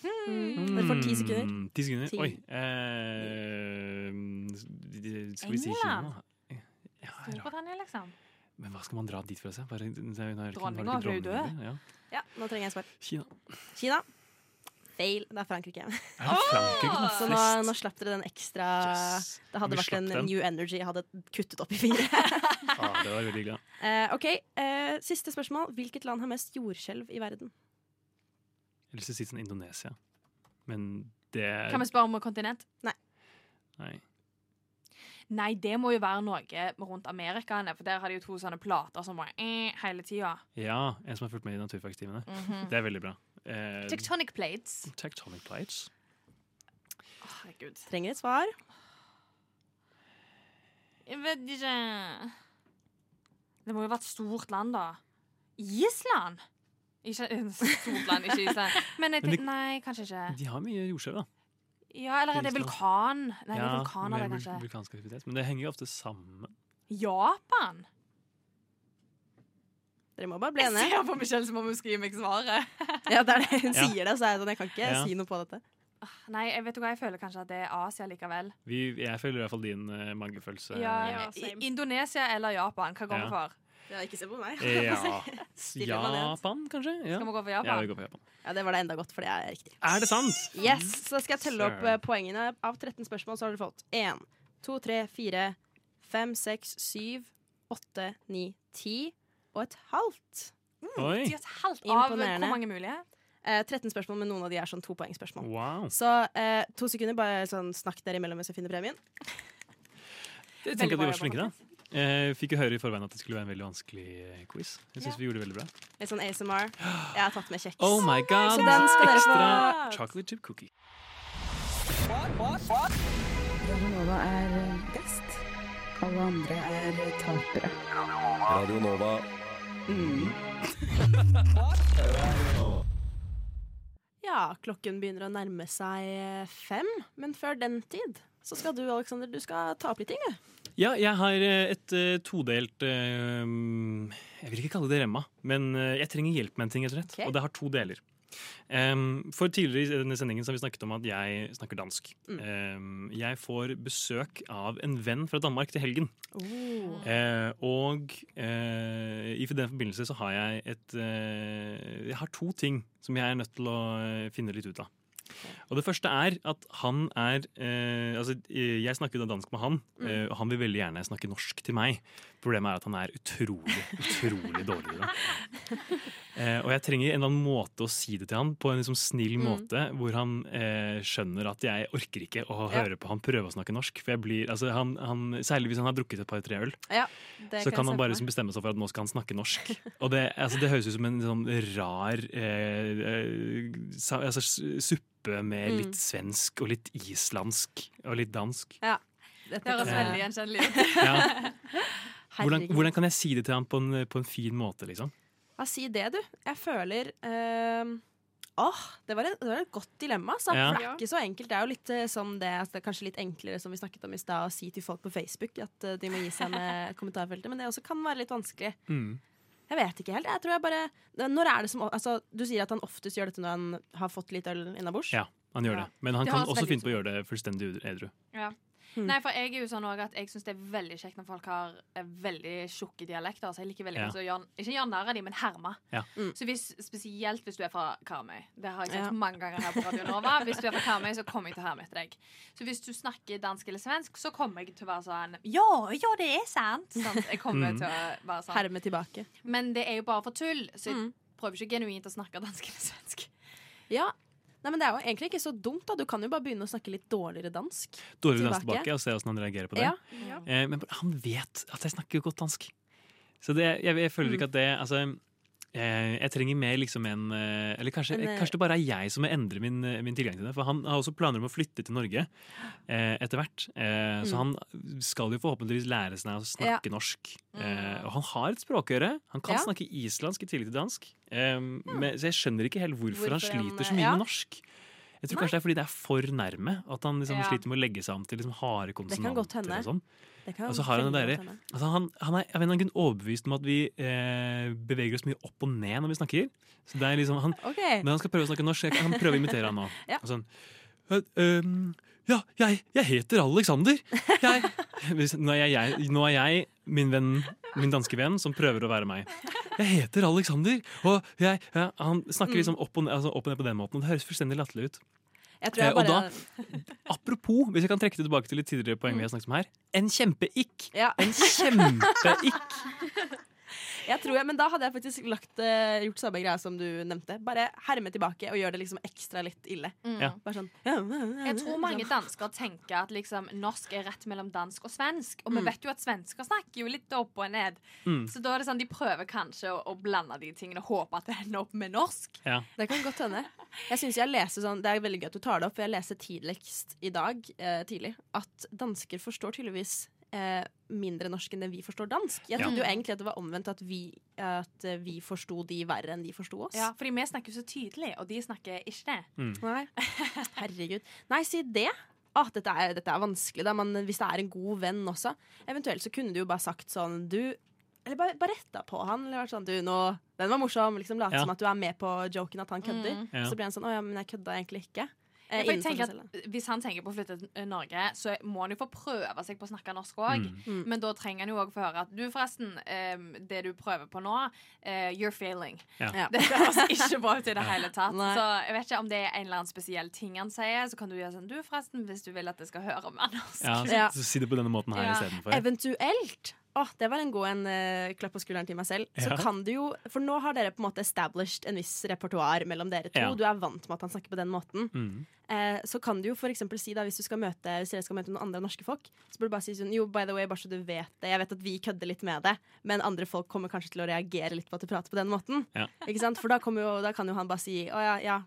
Speaker 5: Dere får ti sekunder.
Speaker 1: Mm, Ti sekunder?
Speaker 5: Ti.
Speaker 1: Oi. Eh, skal vi si
Speaker 11: England?
Speaker 1: Kina?
Speaker 11: Storbritannia, liksom.
Speaker 1: Men hva skal man dra dit for å se? liksom Bare,
Speaker 5: Dronninga
Speaker 1: Dronninga
Speaker 5: ble jo død.
Speaker 1: Ja.
Speaker 5: Ja, nå trenger jeg svar.
Speaker 1: Kina.
Speaker 5: Kina. Feil. Det er Frankrike.
Speaker 1: Er det Frankrike som har
Speaker 5: Så nå,
Speaker 1: flest?
Speaker 5: nå slapp dere den ekstra
Speaker 11: *laughs*
Speaker 5: Det
Speaker 1: Vi
Speaker 5: hadde vært en
Speaker 1: slapp den.
Speaker 5: new energy jeg hadde kuttet opp i fire.
Speaker 1: Ah, det var veldig hyggelig. da.
Speaker 5: *laughs* Eh, ok, eh, Siste spørsmål. Hvilket land har mest jordskjelv i verden?
Speaker 1: Jeg har lyst til å si sånn Indonesia, men det er
Speaker 11: Kan vi spørre om kontinent?
Speaker 5: Nei.
Speaker 1: Nei.
Speaker 11: Nei, det må jo være noe rundt Amerikaene, for der har de jo to sånne plater som bare eh, hele tida.
Speaker 1: Ja, en som har fulgt med i naturfagstimene.
Speaker 11: Mhm.
Speaker 1: Det er veldig bra. Eh,
Speaker 11: Tectonic plates.
Speaker 1: tectonic plates.
Speaker 11: Herregud.
Speaker 5: Trenger et svar.
Speaker 11: Jeg vet ikke Det må jo være et stort land, da. Island? Ikke *laughs* et stort land, ikke *laughs* Island. Men
Speaker 1: Men
Speaker 11: jeg
Speaker 1: de-
Speaker 11: tenk- nei, kanskje ikke.
Speaker 1: De har mye jordskjelv, da.
Speaker 11: Ja, eller er det
Speaker 1: Island.
Speaker 11: vulkan? Nei, det er
Speaker 1: Ja,
Speaker 11: vulkaner,
Speaker 1: mer
Speaker 11: det,
Speaker 1: vul-
Speaker 11: kanskje.
Speaker 1: vulkansk aktivitet. Men det henger jo ofte sammen.
Speaker 11: Japan?
Speaker 5: Dere må bare bli
Speaker 11: Jeg ser
Speaker 5: enige.
Speaker 11: på Michelle som om hun skal gi meg svaret.
Speaker 5: Ja, det er det hun
Speaker 1: Ja.
Speaker 5: sier det, så er jeg sånn, jeg kan ikke
Speaker 1: Ja.
Speaker 5: si noe på dette.
Speaker 11: Nei, jeg vet du hva, jeg føler kanskje at det er Asia likevel.
Speaker 1: Vi, jeg føler i hvert fall din uh, magefølelse.
Speaker 11: Ja, *laughs* I- Indonesia eller Japan? Hva går vi
Speaker 1: Ja.
Speaker 11: for?
Speaker 5: Ja, ikke se på meg.
Speaker 1: Eh. Ja.
Speaker 5: Stille planet.
Speaker 1: Japan, kanskje? Ja.
Speaker 11: Skal vi gå for Japan?
Speaker 1: Ja, vi går for Japan.
Speaker 5: Ja, Det var det enda godt, for det er riktig.
Speaker 1: Er det sant?
Speaker 5: Yes, Så skal jeg telle opp
Speaker 1: Mm. Søren.
Speaker 5: eh, poengene. Av 13 spørsmål så har dere fått 1, 2, 3, 4, 5, 6, 7, 8, 9, 10 og et halvt.
Speaker 1: Mm. Oi.
Speaker 11: De har et halvt av hvor mange mulige?
Speaker 5: Eh, 13 spørsmål, men noen av de er sånn topoengspørsmål.
Speaker 1: Wow.
Speaker 5: Så eh, to sekunder, bare sånn snakk dere imellom mens jeg finner premien.
Speaker 1: Jeg tenker at vi var så flinke, da. Eh, fikk jo høre i forveien at det skulle være en veldig vanskelig eh, quiz. Jeg syns vi gjorde det veldig bra.
Speaker 5: Litt sånn ASMR. Jeg har tatt med kjeks.
Speaker 1: Oh my god!
Speaker 5: Så den skal dere
Speaker 1: Ekstra
Speaker 5: få.
Speaker 1: chocolate chip cookie.
Speaker 16: Radio Nova er best. Alle andre er tapere.
Speaker 15: Radio Nova.
Speaker 5: Ja, klokken begynner å nærme seg eh, fem, men før den tid så skal du, Alexander, du skal ta opp litt ting, du.
Speaker 1: Ja, jeg har eh, et eh, todelt eh, Jeg vil ikke kalle det remma, men eh, jeg trenger hjelp med en ting, rett og slett.
Speaker 5: Ok.
Speaker 1: Og det har to deler. Em, for tidligere i denne sendingen så har vi snakket om at jeg snakker dansk.
Speaker 17: Mm.
Speaker 1: Em, jeg får besøk av en venn fra Danmark til helgen.
Speaker 17: Oh.
Speaker 1: Eh, og eh, i den forbindelse så har jeg et eh, Jeg har to ting som jeg er nødt til å eh, finne litt ut av. Og det første er at han er eh, Altså, eh, jeg snakker jo da dansk med han,
Speaker 7: Mm.
Speaker 1: eh, og han vil veldig gjerne snakke norsk til meg. Problemet er at han er utrolig, utrolig dårlig i det.
Speaker 7: *laughs*
Speaker 1: Eh, og jeg trenger en eller annen måte å si det til han på en liksom snill
Speaker 18: Mm.
Speaker 1: måte, hvor han eh, skjønner at jeg orker ikke å
Speaker 7: Ja.
Speaker 1: høre på han prøve å snakke norsk. For jeg blir, altså, han, han, særlig hvis han har drukket et par-tre øl,
Speaker 7: Ja, det
Speaker 1: så kan han
Speaker 7: jeg se
Speaker 1: bare
Speaker 7: for meg.
Speaker 1: liksom bestemme seg for at nå skal han snakke norsk. Og det, altså, det høres ut som en sånn rar eh, eh, sa, altså, s- suppe med
Speaker 11: Mm.
Speaker 1: litt svensk og litt islandsk og litt dansk.
Speaker 11: Ja. Det høres
Speaker 1: kan-
Speaker 11: veldig gjenkjennelig ut.
Speaker 1: *laughs* Ja. Hvordan,
Speaker 5: Herregud.
Speaker 1: hvordan kan jeg si det til han på en, på en fin måte, liksom?
Speaker 5: Ja, si det, du. Jeg føler ehm, Åh, det var, et, det var et godt dilemma. Altså.
Speaker 1: Ja.
Speaker 5: For det er ikke så enkelt. Det er jo litt eh, sånn det, altså, det er kanskje litt enklere som vi snakket om i stad, å si til folk på Facebook at eh, de må gi seg *laughs* med kommentarfeltet, men det også kan være litt vanskelig.
Speaker 1: Mm,
Speaker 5: Jeg vet ikke helt. Jeg tror jeg bare Når er det som altså, Du sier at han oftest gjør dette når han har fått litt øl innabords.
Speaker 1: Ja, han gjør
Speaker 11: Ja.
Speaker 1: det. Men han
Speaker 11: Det
Speaker 1: kan
Speaker 11: høres
Speaker 1: også
Speaker 11: veldig
Speaker 1: finne på å gjøre det fullstendig edru.
Speaker 11: Ja. Nei, for jeg er jo sånn også at jeg syns det er veldig kjekt når folk har eh, veldig tjukke dialekter. Så jeg liker veldig
Speaker 1: Ja.
Speaker 11: godt å gjøre, ikke gjøre narr av dem, men herme.
Speaker 1: Ja.
Speaker 11: Så hvis, Spesielt hvis du er fra Karmøy. Det har jeg sagt
Speaker 1: Ja.
Speaker 11: mange ganger her på Radio Nova. Hvis du er fra Karmøy, så kommer jeg til å herme etter deg. Så hvis du snakker dansk eller svensk, så kommer jeg til å være sånn Ja, ja, det er sant! sant? Jeg kommer
Speaker 5: Mm.
Speaker 11: til å være sånn.
Speaker 5: Herme tilbake.
Speaker 11: Men det er jo bare for tull, så jeg prøver ikke genuint å snakke dansk eller svensk.
Speaker 5: Ja. Nei, men det er jo egentlig ikke så dumt. da Du kan jo bare begynne å snakke litt dårligere dansk.
Speaker 1: Dårlig dans tilbake og se hvordan han reagerer på det.
Speaker 5: Ja. Ja.
Speaker 1: Eh, men han vet at jeg snakker jo godt dansk. Så det, jeg, jeg føler
Speaker 5: Mm.
Speaker 1: ikke at det Altså, eh, jeg trenger mer liksom en eh, Eller kanskje,
Speaker 5: En, eh,
Speaker 1: kanskje det bare er jeg som må endre min, eh, min tilgang til det. For han har også planer om å flytte til Norge eh, etter hvert. Eh,
Speaker 5: Mm.
Speaker 1: Så han skal jo forhåpentligvis lære seg å snakke
Speaker 5: Ja. Mm.
Speaker 1: norsk. Eh, og han har et språkøre. Han kan
Speaker 5: Ja.
Speaker 1: snakke islandsk i tillegg til dansk. Eh, men, så jeg skjønner ikke helt hvorfor, han
Speaker 5: Hvorfor han,
Speaker 1: sliter
Speaker 5: eh,
Speaker 1: så mye
Speaker 5: ja.
Speaker 1: med norsk. Jeg tror kanskje det er fordi det er for nærme. At han liksom
Speaker 5: Ja.
Speaker 1: sliter med å legge seg om til liksom harde
Speaker 5: Det kan godt
Speaker 1: konsonanter
Speaker 5: hende.
Speaker 1: og sånn.
Speaker 5: Det kan
Speaker 1: Og så har han det
Speaker 5: veldig
Speaker 1: derre
Speaker 5: godt hende.
Speaker 1: altså han, han er av en eller annen grunn overbevist om at vi eh, beveger oss mye opp og ned når vi snakker. Så det er liksom han,
Speaker 5: Ok.
Speaker 1: Men han skal prøve å snakke norsk. Jeg kan prøve å imitere han nå.
Speaker 5: *laughs* Ja.
Speaker 1: Og Sånn, «Eh, ehm, ja, jeg, jeg heter Alexander. Jeg, Hvis- nå, er jeg, jeg, nå er jeg min venn, min danske venn, som prøver å være meg. Jeg heter Alexander, og jeg, ja, han snakker
Speaker 5: Mm.
Speaker 1: liksom opp og, ned, altså opp og ned på den måten. Og det høres fullstendig latterlig ut.
Speaker 5: Jeg tror jeg
Speaker 1: Eh, og
Speaker 5: bare-
Speaker 1: da, apropos, hvis jeg kan trekke det tilbake til litt tidligere poeng
Speaker 5: Mm.
Speaker 1: vi har snakket om her, en kjempeikk!
Speaker 5: Ja.
Speaker 1: En kjempeikk!
Speaker 5: Jeg tror jeg, men da hadde jeg faktisk lagt, eh, gjort samme greia som du nevnte. Bare herme tilbake og gjøre det liksom ekstra litt ille.
Speaker 11: Mm. Ja.
Speaker 5: Bare sånn
Speaker 11: Jeg tror mange dansker tenker at liksom, norsk er rett mellom dansk og svensk. Og vi
Speaker 5: Mm.
Speaker 11: vet jo at svensker snakker jo litt opp og ned.
Speaker 5: Mm.
Speaker 11: Så da er det sånn, de prøver kanskje å, å blande de tingene og håpe at det ender opp med norsk.
Speaker 1: Ja.
Speaker 5: Det kan godt hende. Jeg synes jeg leser sånn, Det er veldig gøy at du tar det opp, for jeg leser tidligst i dag eh, tidlig at dansker forstår tydeligvis eh, mindre norsk enn det vi forstår dansk. Jeg
Speaker 11: Ja.
Speaker 5: trodde jo egentlig at det var omvendt, at vi, at eh, vi forsto de verre enn de forsto oss.
Speaker 11: Ja, fordi vi snakker jo så tydelig, og de snakker ikke det.
Speaker 5: Nei. Herregud. Nei, si det. Ah, dette, er, dette er vanskelig, da. Men hvis det er en god venn også. Eventuelt så kunne du jo bare sagt sånn du Eller bare, bare retta på han. Eller vært sånn du, nå Den var morsom. Liksom late
Speaker 11: Ja.
Speaker 5: som at du er med på joken, at han kødder.
Speaker 11: Mm. Ja.
Speaker 5: Så blir han sånn å *laughs* ja, men jeg kødda egentlig ikke. Eh,
Speaker 11: Ja, for jeg
Speaker 5: innenfor seg
Speaker 11: tenker
Speaker 5: selv, da.
Speaker 11: at Hvis han tenker på å flytte til eh, Norge, så må han jo få prøve seg på å snakke norsk òg.
Speaker 5: Mm.
Speaker 11: Men da trenger han jo òg få høre at du, forresten, em, det du prøver på nå, eh, you're failing.
Speaker 5: Ja. Ja.
Speaker 11: *laughs* Det høres ikke bra ut i det
Speaker 5: Ja.
Speaker 11: hele tatt.
Speaker 5: Nei.
Speaker 11: Så jeg vet ikke om det er en eller annen spesiell ting han sier. Så kan du gjøre sånn, du, forresten, hvis du vil at jeg skal høre mer norsk.
Speaker 1: Ja, så, så si det på denne måten her
Speaker 5: Ja.
Speaker 1: istedenfor.
Speaker 5: Eventuelt. Å, det var en god en eh, klapp på skulderen til meg selv. Så
Speaker 1: Ja.
Speaker 5: kan du jo, For nå har dere på en måte established en viss repertoar mellom dere to.
Speaker 1: Ja.
Speaker 5: Du er vant med at han snakker på den måten.
Speaker 1: Mm.
Speaker 5: Eh, så kan du jo for eksempel si da Hvis du skal møte Hvis dere skal møte noen andre norske folk, så burde du bare si sånn Jo, by the way, bare så du vet det. Jeg vet at vi kødder litt med det, men andre folk kommer kanskje til å reagere litt på at du prater på den måten.
Speaker 1: Ja.
Speaker 5: Ikke sant? For da, kommer jo, da kan jo han bare si Å ja, ja.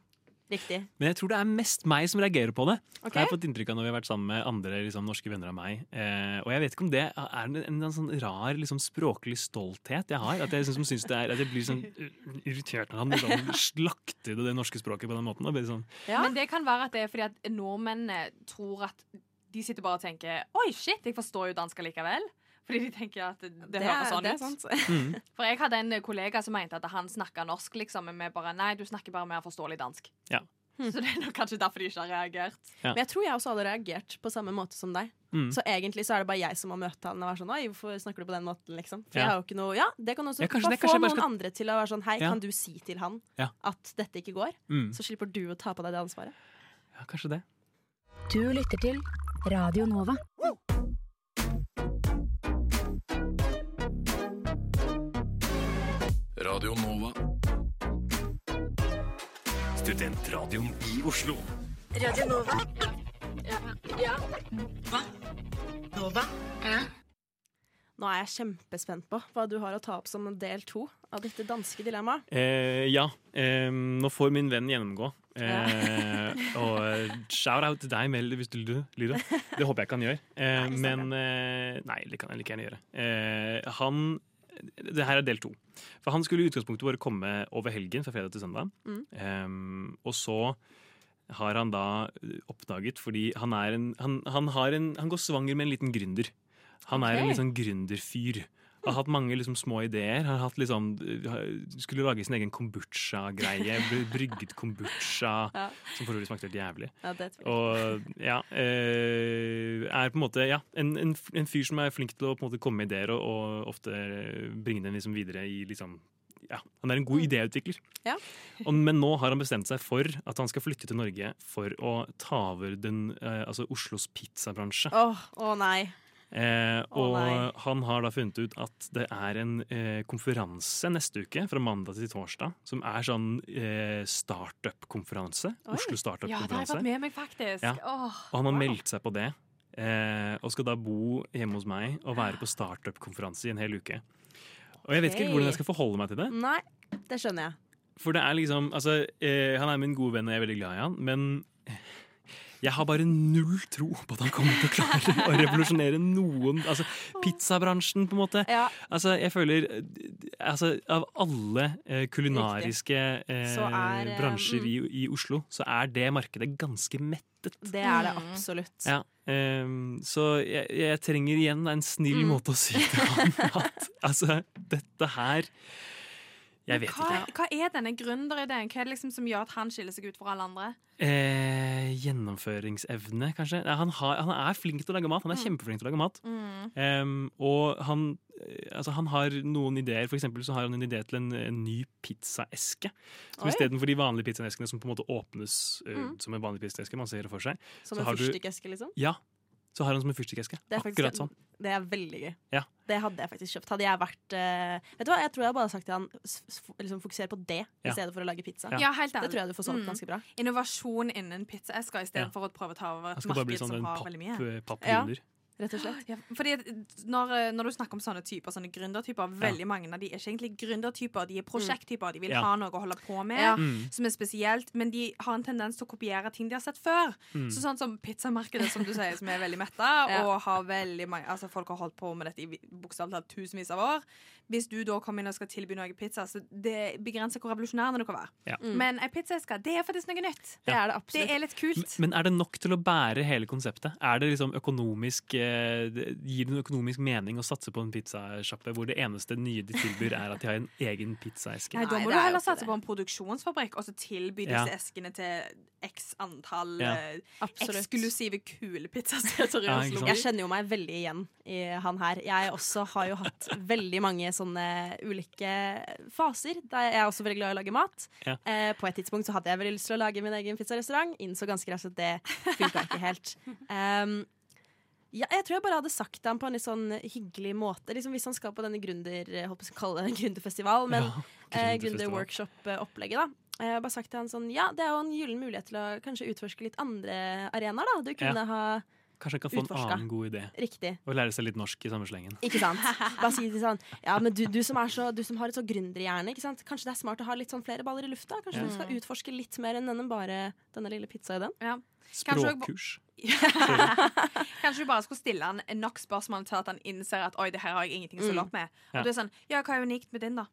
Speaker 5: Riktig.
Speaker 1: Men jeg tror det er mest meg som reagerer på det.
Speaker 5: Ok.
Speaker 1: Det har jeg fått inntrykk av når vi har vært sammen med andre liksom, norske venner av meg. Eh, og jeg vet ikke om det er en, en, eller annen sånn rar liksom, språklig stolthet jeg har. At jeg, liksom, synes det er, at jeg blir sånn uh, irritert når han liksom, slakter det, det norske språket på den måten. Og blir sånn,
Speaker 11: Men det kan være at det er fordi at nordmennene tror at de sitter bare og tenker Oi, shit, jeg forstår jo dansk allikevel. Fordi de tenker at det, det,
Speaker 7: Det er-
Speaker 11: høres sånn
Speaker 7: det er
Speaker 11: ut.
Speaker 7: sant. Mm.
Speaker 11: For jeg hadde en kollega som mente at han snakka norsk, liksom, men vi bare Nei, du snakker bare mer forståelig dansk.
Speaker 1: Ja.
Speaker 11: *laughs* Så det er nok kanskje derfor de ikke har reagert.
Speaker 1: Ja.
Speaker 5: Men jeg tror jeg også hadde reagert på samme måte som deg.
Speaker 1: Mm.
Speaker 5: Så egentlig så er det bare jeg som må møte han og være sånn Oi, hvorfor snakker du på den måten, liksom? For
Speaker 1: Ja.
Speaker 5: jeg har jo ikke noe Ja, det kan også
Speaker 1: Ja, kanskje
Speaker 5: bare
Speaker 1: det- kanskje
Speaker 5: få
Speaker 1: jeg bare
Speaker 5: noen
Speaker 1: skal-
Speaker 5: andre til å være sånn Hei,
Speaker 1: Ja.
Speaker 5: kan du si til han
Speaker 1: Ja.
Speaker 5: at dette ikke går?
Speaker 1: Mm.
Speaker 5: Så slipper du å ta på deg det ansvaret.
Speaker 1: Ja, kanskje det.
Speaker 16: Du lytter til Radio Nova.
Speaker 15: Radio Nova. Studentradioen i Oslo.
Speaker 16: Radio Nova. Ja. Nova.
Speaker 5: Nå er jeg kjempespent på hva du har å ta opp som del to av dette danske dilemmaet.
Speaker 1: Eh, ja. Eh, nå får min venn gjennomgå. Eh, *laughs* og shout-out til deg, Mel, hvis du lyder. Det håper jeg ikke han gjør. Eh, men eh, Nei, det kan jeg like gjerne gjøre. Eh, han Det her er del to. For han skulle i utgangspunktet bare komme over helgen fra fredag til søndag.
Speaker 15: Mm.
Speaker 1: Eh, og så har han da eh, oppdaget, fordi han er en Han, han, har en, han går svanger med en liten gründer. Han er en
Speaker 15: Ok.
Speaker 1: litt sånn gründerfyr. Har hatt mange liksom, små ideer. Har hatt liksom, eh, skulle lage sin egen kombucha-greie. bry- Brygget kombucha,
Speaker 5: Ja.
Speaker 1: som for øvrig smakte helt jævlig.
Speaker 5: Ja, det tror jeg.
Speaker 1: Og ja, eh, er på en måte ja, en, en, f- en fyr som er flink til å på en måte komme med ideer, og, og ofte eh, bringe dem liksom videre i liksom ja, Han er en god idéutvikler.
Speaker 5: Mm. Ja.
Speaker 1: Og, men nå har han bestemt seg for at han skal flytte til Norge for å ta over den, eh, altså Oslos pizzabransje.
Speaker 5: Åh, å nei.
Speaker 1: Eh, og
Speaker 5: nei.
Speaker 1: han har da funnet ut at det er en eh, konferanse neste uke, fra mandag til torsdag, som er sånn eh, startup-konferanse.
Speaker 11: Oi.
Speaker 1: Oslo
Speaker 11: Ja, det har jeg
Speaker 1: startup-konferanse.
Speaker 11: fått med meg, faktisk.
Speaker 1: Ja.
Speaker 11: Åh,
Speaker 1: Og han har meldt seg på det, eh, og skal da bo hjemme hos meg og være på startup-konferanse i en hel uke. Og jeg vet ikke
Speaker 5: Ok.
Speaker 1: helt hvordan jeg skal forholde meg til det.
Speaker 5: Nei, det skjønner jeg.
Speaker 1: For det er liksom altså, eh, Han er min gode venn, og jeg er veldig glad i han, men jeg har bare null tro på at han kommer til å klare å revolusjonere noen Altså pizzabransjen, på en måte. Altså, jeg føler eh, altså, Av alle eh, kulinariske eh,
Speaker 5: Så er, eh,
Speaker 1: bransjer i, i Oslo, så er det markedet ganske mettet.
Speaker 5: Det er det absolutt.
Speaker 1: Mm. Ja, ehm, så jeg, jeg trenger igjen en snill
Speaker 5: Mm.
Speaker 1: måte å si til han at altså, dette her Jeg vet
Speaker 11: hva,
Speaker 1: ikke.
Speaker 11: hva er denne gründerideen? Hva er det liksom som gjør at han skiller seg ut fra alle andre?
Speaker 1: Eh, gjennomføringsevne, kanskje. Nei, han, har, han er flink til å lage mat. Han er kjempeflink til å lage mat. Ehm, og han, eh, altså, han har noen ideer. For eksempel så har han en idé til en, en ny pizzaeske.
Speaker 5: Oi.
Speaker 1: Så istedenfor de vanlige pizzaeskene som på en måte åpnes eh,
Speaker 5: Mm.
Speaker 1: som en vanlig pizzaeske man ser det for seg
Speaker 5: Som
Speaker 1: så
Speaker 5: en
Speaker 1: har du-
Speaker 5: fyrstikkeske, liksom?
Speaker 1: Ja. Så har han som en fyrstikkeske.
Speaker 5: Det er faktisk-
Speaker 1: Akkurat sånn.
Speaker 5: Det er veldig gøy.
Speaker 1: Ja.
Speaker 5: Det hadde jeg faktisk kjøpt. Hadde jeg vært eh, Vet du hva, jeg tror jeg bare hadde sagt til han s- s- liksom fokuser på det i
Speaker 1: Ja.
Speaker 5: stedet for å lage pizza.
Speaker 11: Ja. Ja, helt
Speaker 5: det
Speaker 11: ærlig.
Speaker 5: tror jeg du får solgt
Speaker 11: Mm.
Speaker 5: ganske bra.
Speaker 11: Innovasjon innen pizzaesker
Speaker 1: Ja.
Speaker 11: istedenfor for å prøve å ta over
Speaker 1: Han
Speaker 11: et
Speaker 1: skal bare bli
Speaker 11: marked
Speaker 1: sånn en
Speaker 11: som har
Speaker 1: papp-
Speaker 11: veldig mye.
Speaker 1: eh, pappgründer.
Speaker 5: Ja, rett og slett.
Speaker 11: Ja, fordi at når, eh, når du snakker om sånne typer, sånne gründertyper, veldig mange av de er ikke egentlig gründertyper, de er prosjekttyper. De
Speaker 1: Mm.
Speaker 11: vil
Speaker 1: Ja.
Speaker 11: ha noe å holde på med
Speaker 1: Ja. Mm.
Speaker 11: som er spesielt, men de har en tendens til å kopiere ting de har sett før.
Speaker 1: Mm.
Speaker 11: Så sånn som pizzamarkedet, som du sier, som er veldig
Speaker 1: *laughs*
Speaker 11: metta,
Speaker 7: Ja.
Speaker 11: og har veldig mange Altså, folk har holdt på med dette i vi- bokstavelig talt tusenvis av år. Hvis du da kommer inn og skal tilby noe pizza, så det begrenser hvor revolusjonerende det kan være.
Speaker 1: Ja. Mm.
Speaker 11: Men ei pizzaeske, det er faktisk noe nytt.
Speaker 1: Det Ja. er det
Speaker 11: Det er litt kult.
Speaker 1: Men er det nok til å bære hele konseptet? Er det liksom økonomisk eh, det- Gir det en økonomisk mening å satse på en pizzasjappe hvor det eneste nye de tilbyr, er at de har en egen pizzaeske?
Speaker 11: Nei, da må
Speaker 7: det
Speaker 11: du
Speaker 7: er jo
Speaker 11: heller
Speaker 7: ikke
Speaker 11: satse på en produksjonsfabrikk og så tilby
Speaker 1: Ja.
Speaker 11: disse eskene til x antall
Speaker 1: Ja.
Speaker 11: eh,
Speaker 5: Absolutt.
Speaker 11: eksklusive kule pizzasteder i
Speaker 1: Ja, ikke sant?
Speaker 11: Oslo.
Speaker 5: Jeg kjenner jo meg veldig igjen i han her. Jeg også har jo hatt veldig mange sånne ulike faser. Da Jeg er også veldig glad i å lage mat.
Speaker 1: Ja.
Speaker 5: Eh, på et tidspunkt så hadde jeg veldig lyst til å lage min egen pizzarestaurant. Innså ganske raskt at det funka ikke helt. Um, ja, jeg tror jeg bare hadde sagt det han på en litt sånn hyggelig måte. Liksom Hvis han skal på denne gründer, jeg holdt på å kalle det en gründerfestival, men eh,
Speaker 16: gründerfestival.
Speaker 5: gründerworkshop-opplegget, da. Eh, Jeg har bare sagt til han sånn Ja, det er jo en gyllen mulighet til å kanskje utforske litt andre arenaer, da. Du kunne
Speaker 1: Ja.
Speaker 5: ha
Speaker 1: Kanskje han kan få
Speaker 5: Utforska.
Speaker 1: en annen god idé?
Speaker 5: Riktig.
Speaker 1: Og lære seg litt norsk i samme slengen.
Speaker 5: Ikke *laughs* sant? Bare si til sånn Ja, men du, du, som, er så, du som har et så gründerhjerne, ikke sant? kanskje det er smart å ha litt sånn flere baller i lufta?
Speaker 1: Ja.
Speaker 5: Kanskje du skal utforske litt mer enn denne bare denne lille pizzaideen?
Speaker 11: Ja.
Speaker 5: *laughs*
Speaker 1: Språkkurs.
Speaker 11: Kanskje du bare skulle stille han nok spørsmål til at han innser sånn at oi, det her har jeg ingenting å stille opp med. Og
Speaker 5: Ja.
Speaker 11: du er sånn, ja, hva er unikt med din, da?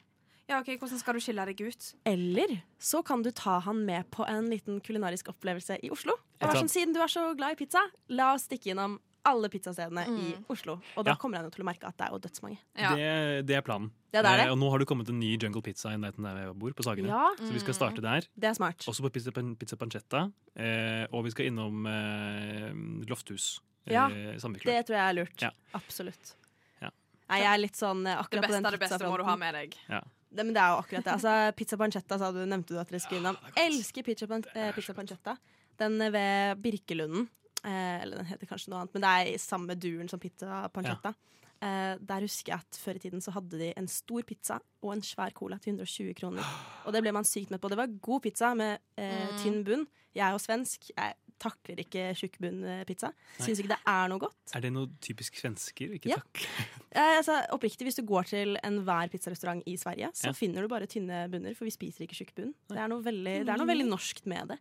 Speaker 11: Ja, ok, Hvordan skal du skille deg ut?
Speaker 5: Eller så kan du ta han med på en liten kulinarisk opplevelse i Oslo. Og
Speaker 11: Jeg
Speaker 5: vær
Speaker 11: tror-
Speaker 5: sånn, Siden du er så glad i pizza, la oss stikke innom alle pizzastedene i
Speaker 1: Mm.
Speaker 5: Oslo. Og da
Speaker 1: Ja.
Speaker 5: kommer han jo til å merke at det er jo dødsmange.
Speaker 1: Det, det er planen.
Speaker 5: Ja, det er det.
Speaker 1: Eh, Og nå har det kommet en ny Jungle Pizza i nærheten der jeg bor, på Sagene.
Speaker 5: Ja. Mm.
Speaker 1: Så vi skal starte der.
Speaker 5: Det er smart.
Speaker 1: Også på Pizza, Pan- pizza Pancetta. Eh, og vi skal innom eh, Lofthus. eh,
Speaker 5: Ja,
Speaker 1: Sandviklag.
Speaker 5: det tror jeg er lurt.
Speaker 1: Ja.
Speaker 5: Absolutt.
Speaker 1: Ja.
Speaker 5: Nei, jeg er litt sånn eh, akkurat
Speaker 11: beste
Speaker 5: på den
Speaker 11: av det beste må du
Speaker 5: pizzafronten.
Speaker 11: ha med deg.
Speaker 1: Ja.
Speaker 5: Det, men det er jo akkurat det. Altså, pizza pancetta sa du, nevnte du at dere skulle innom. Elsker pizza, pan eh, pizza pancetta. Den eh, ved Birkelunden. Eh, eller den heter kanskje noe annet, men det er i samme duren som pizza pancetta. Eh, der husker jeg at Før i tiden så hadde de en stor pizza og en svær cola til 120 kroner. Og det ble man sykt mett på. Det var god pizza med eh,
Speaker 11: Mm.
Speaker 5: tynn bunn. Jeg er jo svensk. Jeg takler ikke tjukkbunnpizza.
Speaker 1: Nei.
Speaker 5: Syns ikke det er noe godt.
Speaker 1: Er det noe typisk svensker? Ikke
Speaker 5: Ja.
Speaker 1: takk.
Speaker 5: Eh, altså, oppriktig, Hvis du går til enhver pizzarestaurant i Sverige, så
Speaker 1: Ja.
Speaker 5: finner du bare tynne bunner, for vi spiser ikke tjukk bunn. Det er noe veldig, det er noe veldig norskt med det.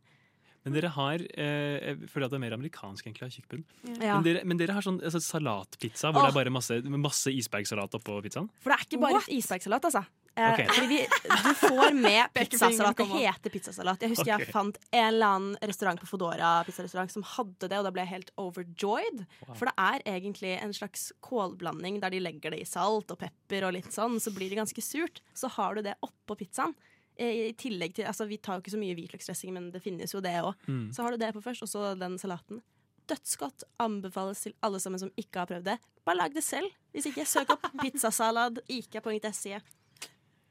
Speaker 1: Men dere har eh, Jeg føler at det er mer amerikansk egentlig av tjukkbunn.
Speaker 5: Ja.
Speaker 1: Men, dere- men dere har sånn altså, salatpizza hvor det
Speaker 5: Åh.
Speaker 1: er bare masse, masse isbergsalat oppå pizzaen?
Speaker 5: For det er ikke bare isbergsalat, altså. Eh,
Speaker 1: Ok.
Speaker 5: fordi vi, du får med pizzasalat. Det
Speaker 11: kommer.
Speaker 5: heter pizzasalat. Jeg husker
Speaker 11: Ok.
Speaker 5: jeg fant en eller annen restaurant på Fodora pizzarestaurant som hadde det, og da ble jeg helt overjoyed.
Speaker 11: Wow.
Speaker 5: For det er egentlig en slags kålblanding der de legger det i salt og pepper og litt sånn, så blir det ganske surt. Så har du det oppå pizzaen. Eh, I tillegg til, altså Vi tar jo ikke så mye hvitløksdressing, men det finnes jo det òg.
Speaker 11: Mm.
Speaker 5: Så har du det på først, og så den salaten. Dødsgodt anbefales til alle sammen som ikke har prøvd det. Bare lag det selv. Hvis ikke, søk opp pizzasalad, ikea.se.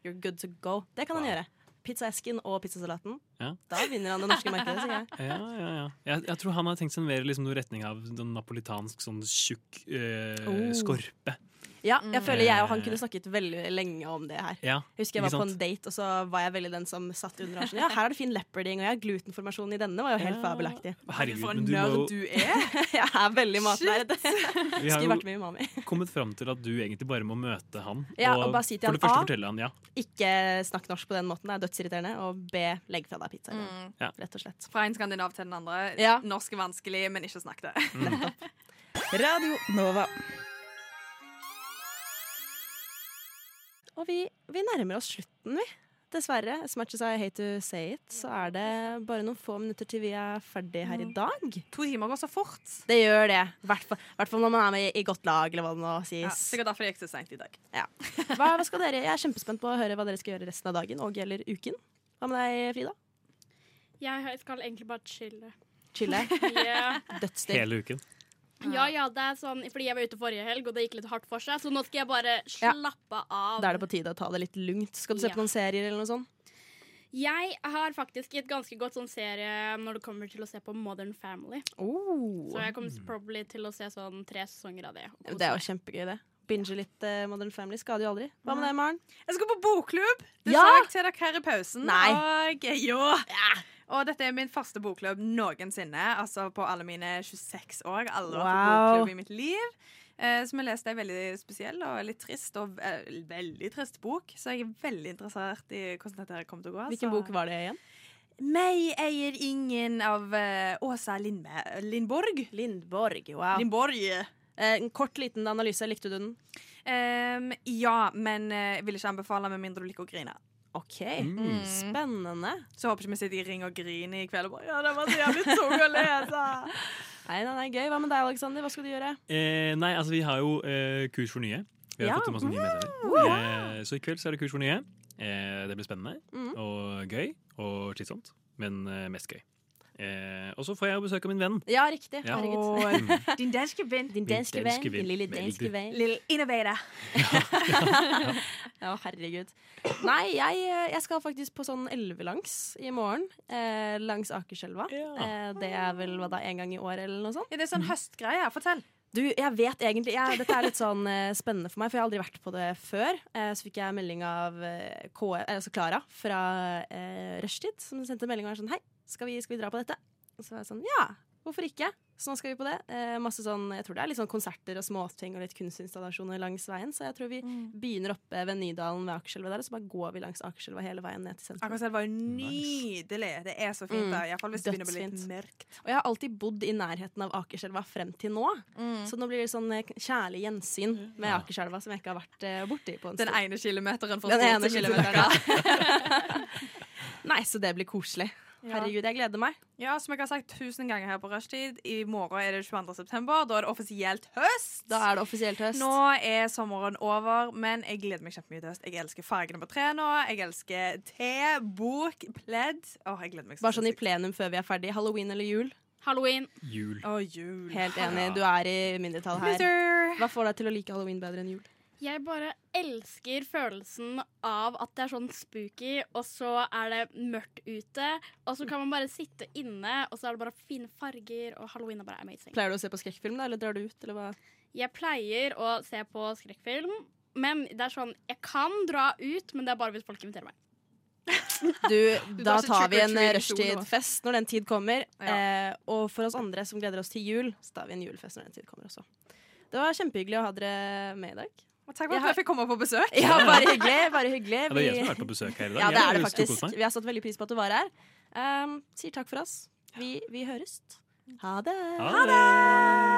Speaker 5: You're good to go. Det kan han gjøre. Pizzaesken og pizzasalaten.
Speaker 1: Ja.
Speaker 5: Da vinner han det norske markedet. sier jeg.
Speaker 1: Ja, ja, ja. Jeg, jeg tror han har tenkt seg mer liksom, noe retning av noen napolitansk sånn tjukk eh,
Speaker 5: Oh.
Speaker 1: skorpe.
Speaker 5: Ja, jeg føler jeg og han kunne snakket veldig lenge om det her.
Speaker 1: Ja,
Speaker 5: Jeg husker jeg
Speaker 1: ikke
Speaker 5: var på
Speaker 1: sant?
Speaker 5: en date, og så var jeg veldig den som satt under og sånn, Ja, her er det fin leoparding, og ja, glutenformasjonen i denne var jo helt
Speaker 1: Ja.
Speaker 5: fabelaktig. *laughs*
Speaker 1: Herregud, For en men du må jo- nerd
Speaker 5: du er! jeg er veldig matnerd.
Speaker 1: Vi har
Speaker 5: Skulle
Speaker 1: jo-
Speaker 5: vært med umami.
Speaker 1: Kommet fram til at du egentlig bare må møte han.
Speaker 5: Ja, og bare si til
Speaker 1: for det
Speaker 5: han, «Ah,
Speaker 1: første
Speaker 5: A.
Speaker 1: fortelle han ja.
Speaker 5: Ikke snakk norsk på den måten, det er dødsirriterende. Og B, legg fra deg pizza.
Speaker 11: Mm.
Speaker 1: ja.
Speaker 5: Rett og slett.
Speaker 11: Fra en skandinav til den andre. Norsk er vanskelig, men ikke snakk det.
Speaker 16: Radio Nova.
Speaker 5: Og vi, vi nærmer oss slutten, vi. Dessverre. As much as I hate to say it, så er det bare noen få minutter til vi er ferdig her i dag.
Speaker 11: Mm. To timer går så fort.
Speaker 5: Det gjør det. I hvert fall- hvert fall når man er med i godt lag, eller hva det nå
Speaker 11: Ja,
Speaker 5: sies.
Speaker 11: sikkert derfor det gikk så seint i dag.
Speaker 5: Ja. Hva, hva skal dere? Jeg er kjempespent på å høre hva dere skal gjøre resten av dagen og eller uken. Hva med deg, Frida?
Speaker 6: Jeg skal egentlig bare chille.
Speaker 5: Chille?
Speaker 6: *laughs* Ja.
Speaker 5: Dødsdigg.
Speaker 1: Hele uken.
Speaker 6: Ja, ja, det er sånn Fordi jeg var ute forrige helg, og det gikk litt hardt for seg, så nå skal jeg bare slappe av.
Speaker 5: Da er det på tide å ta det litt lugnt. Skal du se
Speaker 6: Ja.
Speaker 5: på noen serier eller noe sånt?
Speaker 6: Jeg har faktisk et ganske godt sånn serie når det kommer til å se på Modern Family.
Speaker 5: Oh.
Speaker 6: Så jeg kommer probably til å se sånn tre sesonger av det. og kose
Speaker 5: Det er
Speaker 6: meg.
Speaker 5: jo kjempegøy, det. Binge litt eh, Modern Family skader jo aldri. Hva med deg, Maren?
Speaker 11: Jeg skal på bokklubb. Det
Speaker 5: Ja!
Speaker 11: sa jeg til dere her i pausen.
Speaker 5: Nei.
Speaker 11: Og, jo. og dette er min første bokklubb noensinne. Altså på alle mine 26 år. Jeg har Aldri vært på
Speaker 5: Wow.
Speaker 11: bokklubb i mitt liv. Eh, som jeg leste en veldig spesiell og litt trist og eh, veldig trist bok. Så jeg er veldig interessert i hvordan dette her kommer til å gå.
Speaker 5: Hvilken
Speaker 11: så-
Speaker 5: bok var det igjen?
Speaker 11: Meg eier ingen av eh, Åsa Lindme Lindborg.
Speaker 5: Lindborg, wow.
Speaker 11: Lindborg.
Speaker 5: Eh, en kort, liten analyse. Likte du den?
Speaker 11: ja, men eh, jeg vil ikke anbefale med mindre du liker å grine.
Speaker 5: OK.
Speaker 1: Mm.
Speaker 5: Spennende.
Speaker 11: Så håper ikke vi sitter i ring og griner i kveld og bare Ja, det var så jævlig tung å lese!
Speaker 5: Nei, nei, nei, gøy. Hva med deg, Aleksander? Hva skal du gjøre?
Speaker 1: Eh, nei, altså vi har jo eh, kurs for nye. Vi har
Speaker 5: Ja.
Speaker 1: fått masse nye medlemmer. Eh, så i kveld så er det kurs for nye. Eh, det blir spennende
Speaker 5: Mm.
Speaker 1: og gøy og slitsomt, men eh, mest gøy. Eh, og så får jeg jo besøk av min venn.
Speaker 5: Ja, riktig.
Speaker 1: Ja.
Speaker 5: Herregud.
Speaker 11: *laughs* Din danske venn.
Speaker 5: Din danske venn.
Speaker 1: danske venn.
Speaker 5: Din lille
Speaker 1: Veldig.
Speaker 5: danske
Speaker 1: *laughs*
Speaker 5: venn.
Speaker 11: Lille innovator.
Speaker 5: Ja, herregud. Nei, jeg, eh, jeg skal faktisk på sånn elvelangs i morgen. Eh, langs Akerselva. Eh, det er vel hva da, en gang i år eller noe sånt?
Speaker 11: det er sånn høstgreie. Fortell.
Speaker 5: Du, jeg vet egentlig jeg, Dette er litt sånn eh, spennende for meg, for jeg har aldri vært på det før. Eh, så fikk jeg melding av eh, KF, eh, altså Klara fra eh, Rushtid, som sendte melding og var sånn Hei, skal vi, skal vi dra på dette? Og så var jeg sånn Ja, hvorfor ikke? Så nå skal vi på det. Eh, masse sånn, jeg tror det er litt sånn konserter og småting og litt kunstinstallasjoner langs veien. Så jeg tror vi begynner oppe ved Nydalen ved Akerselva der, og så bare går vi langs Akerselva hele veien ned til sentrum.
Speaker 11: Akerselva er nydelig. Det er så fint
Speaker 5: Mm.
Speaker 11: der. Iallfall hvis det begynner å bli litt
Speaker 5: Dødsfint.
Speaker 11: mørkt.
Speaker 5: Og jeg har alltid bodd i nærheten av Akerselva frem til nå.
Speaker 11: Mm.
Speaker 5: Så nå blir det sånn eh, kjærlig gjensyn med Akerselva som jeg ikke har vært eh, borti på en
Speaker 11: Den
Speaker 5: stund.
Speaker 11: ene kilometeren fra
Speaker 5: Den
Speaker 11: Stord
Speaker 5: ene
Speaker 11: til
Speaker 5: *laughs* kilometeren. Nei, så det blir koselig. Herregud, jeg gleder meg.
Speaker 7: Ja, som jeg har sagt tusen ganger her på rushtid, i morgen er det 22. september. Da er det offisielt høst.
Speaker 5: Da er det offisielt høst.
Speaker 7: Nå er sommeren over, men jeg gleder meg kjempemye til høst. Jeg elsker fargene på treet nå. Jeg elsker te, bok, pledd. Åh, jeg gleder meg
Speaker 5: Bare sånn i plenum før vi er ferdig. Halloween eller jul?
Speaker 6: Halloween.
Speaker 5: Eh,
Speaker 1: Jul.
Speaker 7: Å, jul.
Speaker 5: Helt enig. Du er i mindretall her. Hva får deg til å like halloween bedre enn jul?
Speaker 6: Jeg bare elsker følelsen av at det er sånn spooky, og så er det mørkt ute. Og så kan man bare sitte inne, og så er det bare fine farger, og halloween er bare amazing.
Speaker 5: Pleier du å se på skrekkfilm, da, eller drar du ut? Eller hva?
Speaker 6: Jeg pleier å se på skrekkfilm, men det er sånn Jeg kan dra ut, men det er bare hvis folk inviterer meg.
Speaker 5: Du, sånn da
Speaker 6: tar ikke
Speaker 5: tar vi en eh,
Speaker 6: trick or treat i skolen, da.
Speaker 5: rushtidfest når den tid kommer. Eh, og for oss andre som gleder oss til jul, så tar vi en julefest når den tid kommer også. Det var kjempehyggelig å ha dere med i dag.
Speaker 7: Takk for at jeg fikk komme på besøk.
Speaker 5: *laughs* Ja, bare hyggelig. Bare hyggelig.
Speaker 1: Ja, det er jeg som har vært på besøk her i dag.
Speaker 5: Ja, det
Speaker 1: Jeg har
Speaker 5: er det
Speaker 1: lyst til å
Speaker 5: faktisk.
Speaker 1: kose meg.
Speaker 5: Vi har satt veldig pris på at du var her. Ehm, Um, sier takk for oss. Vi, vi høres. Ha det.
Speaker 1: Ha det!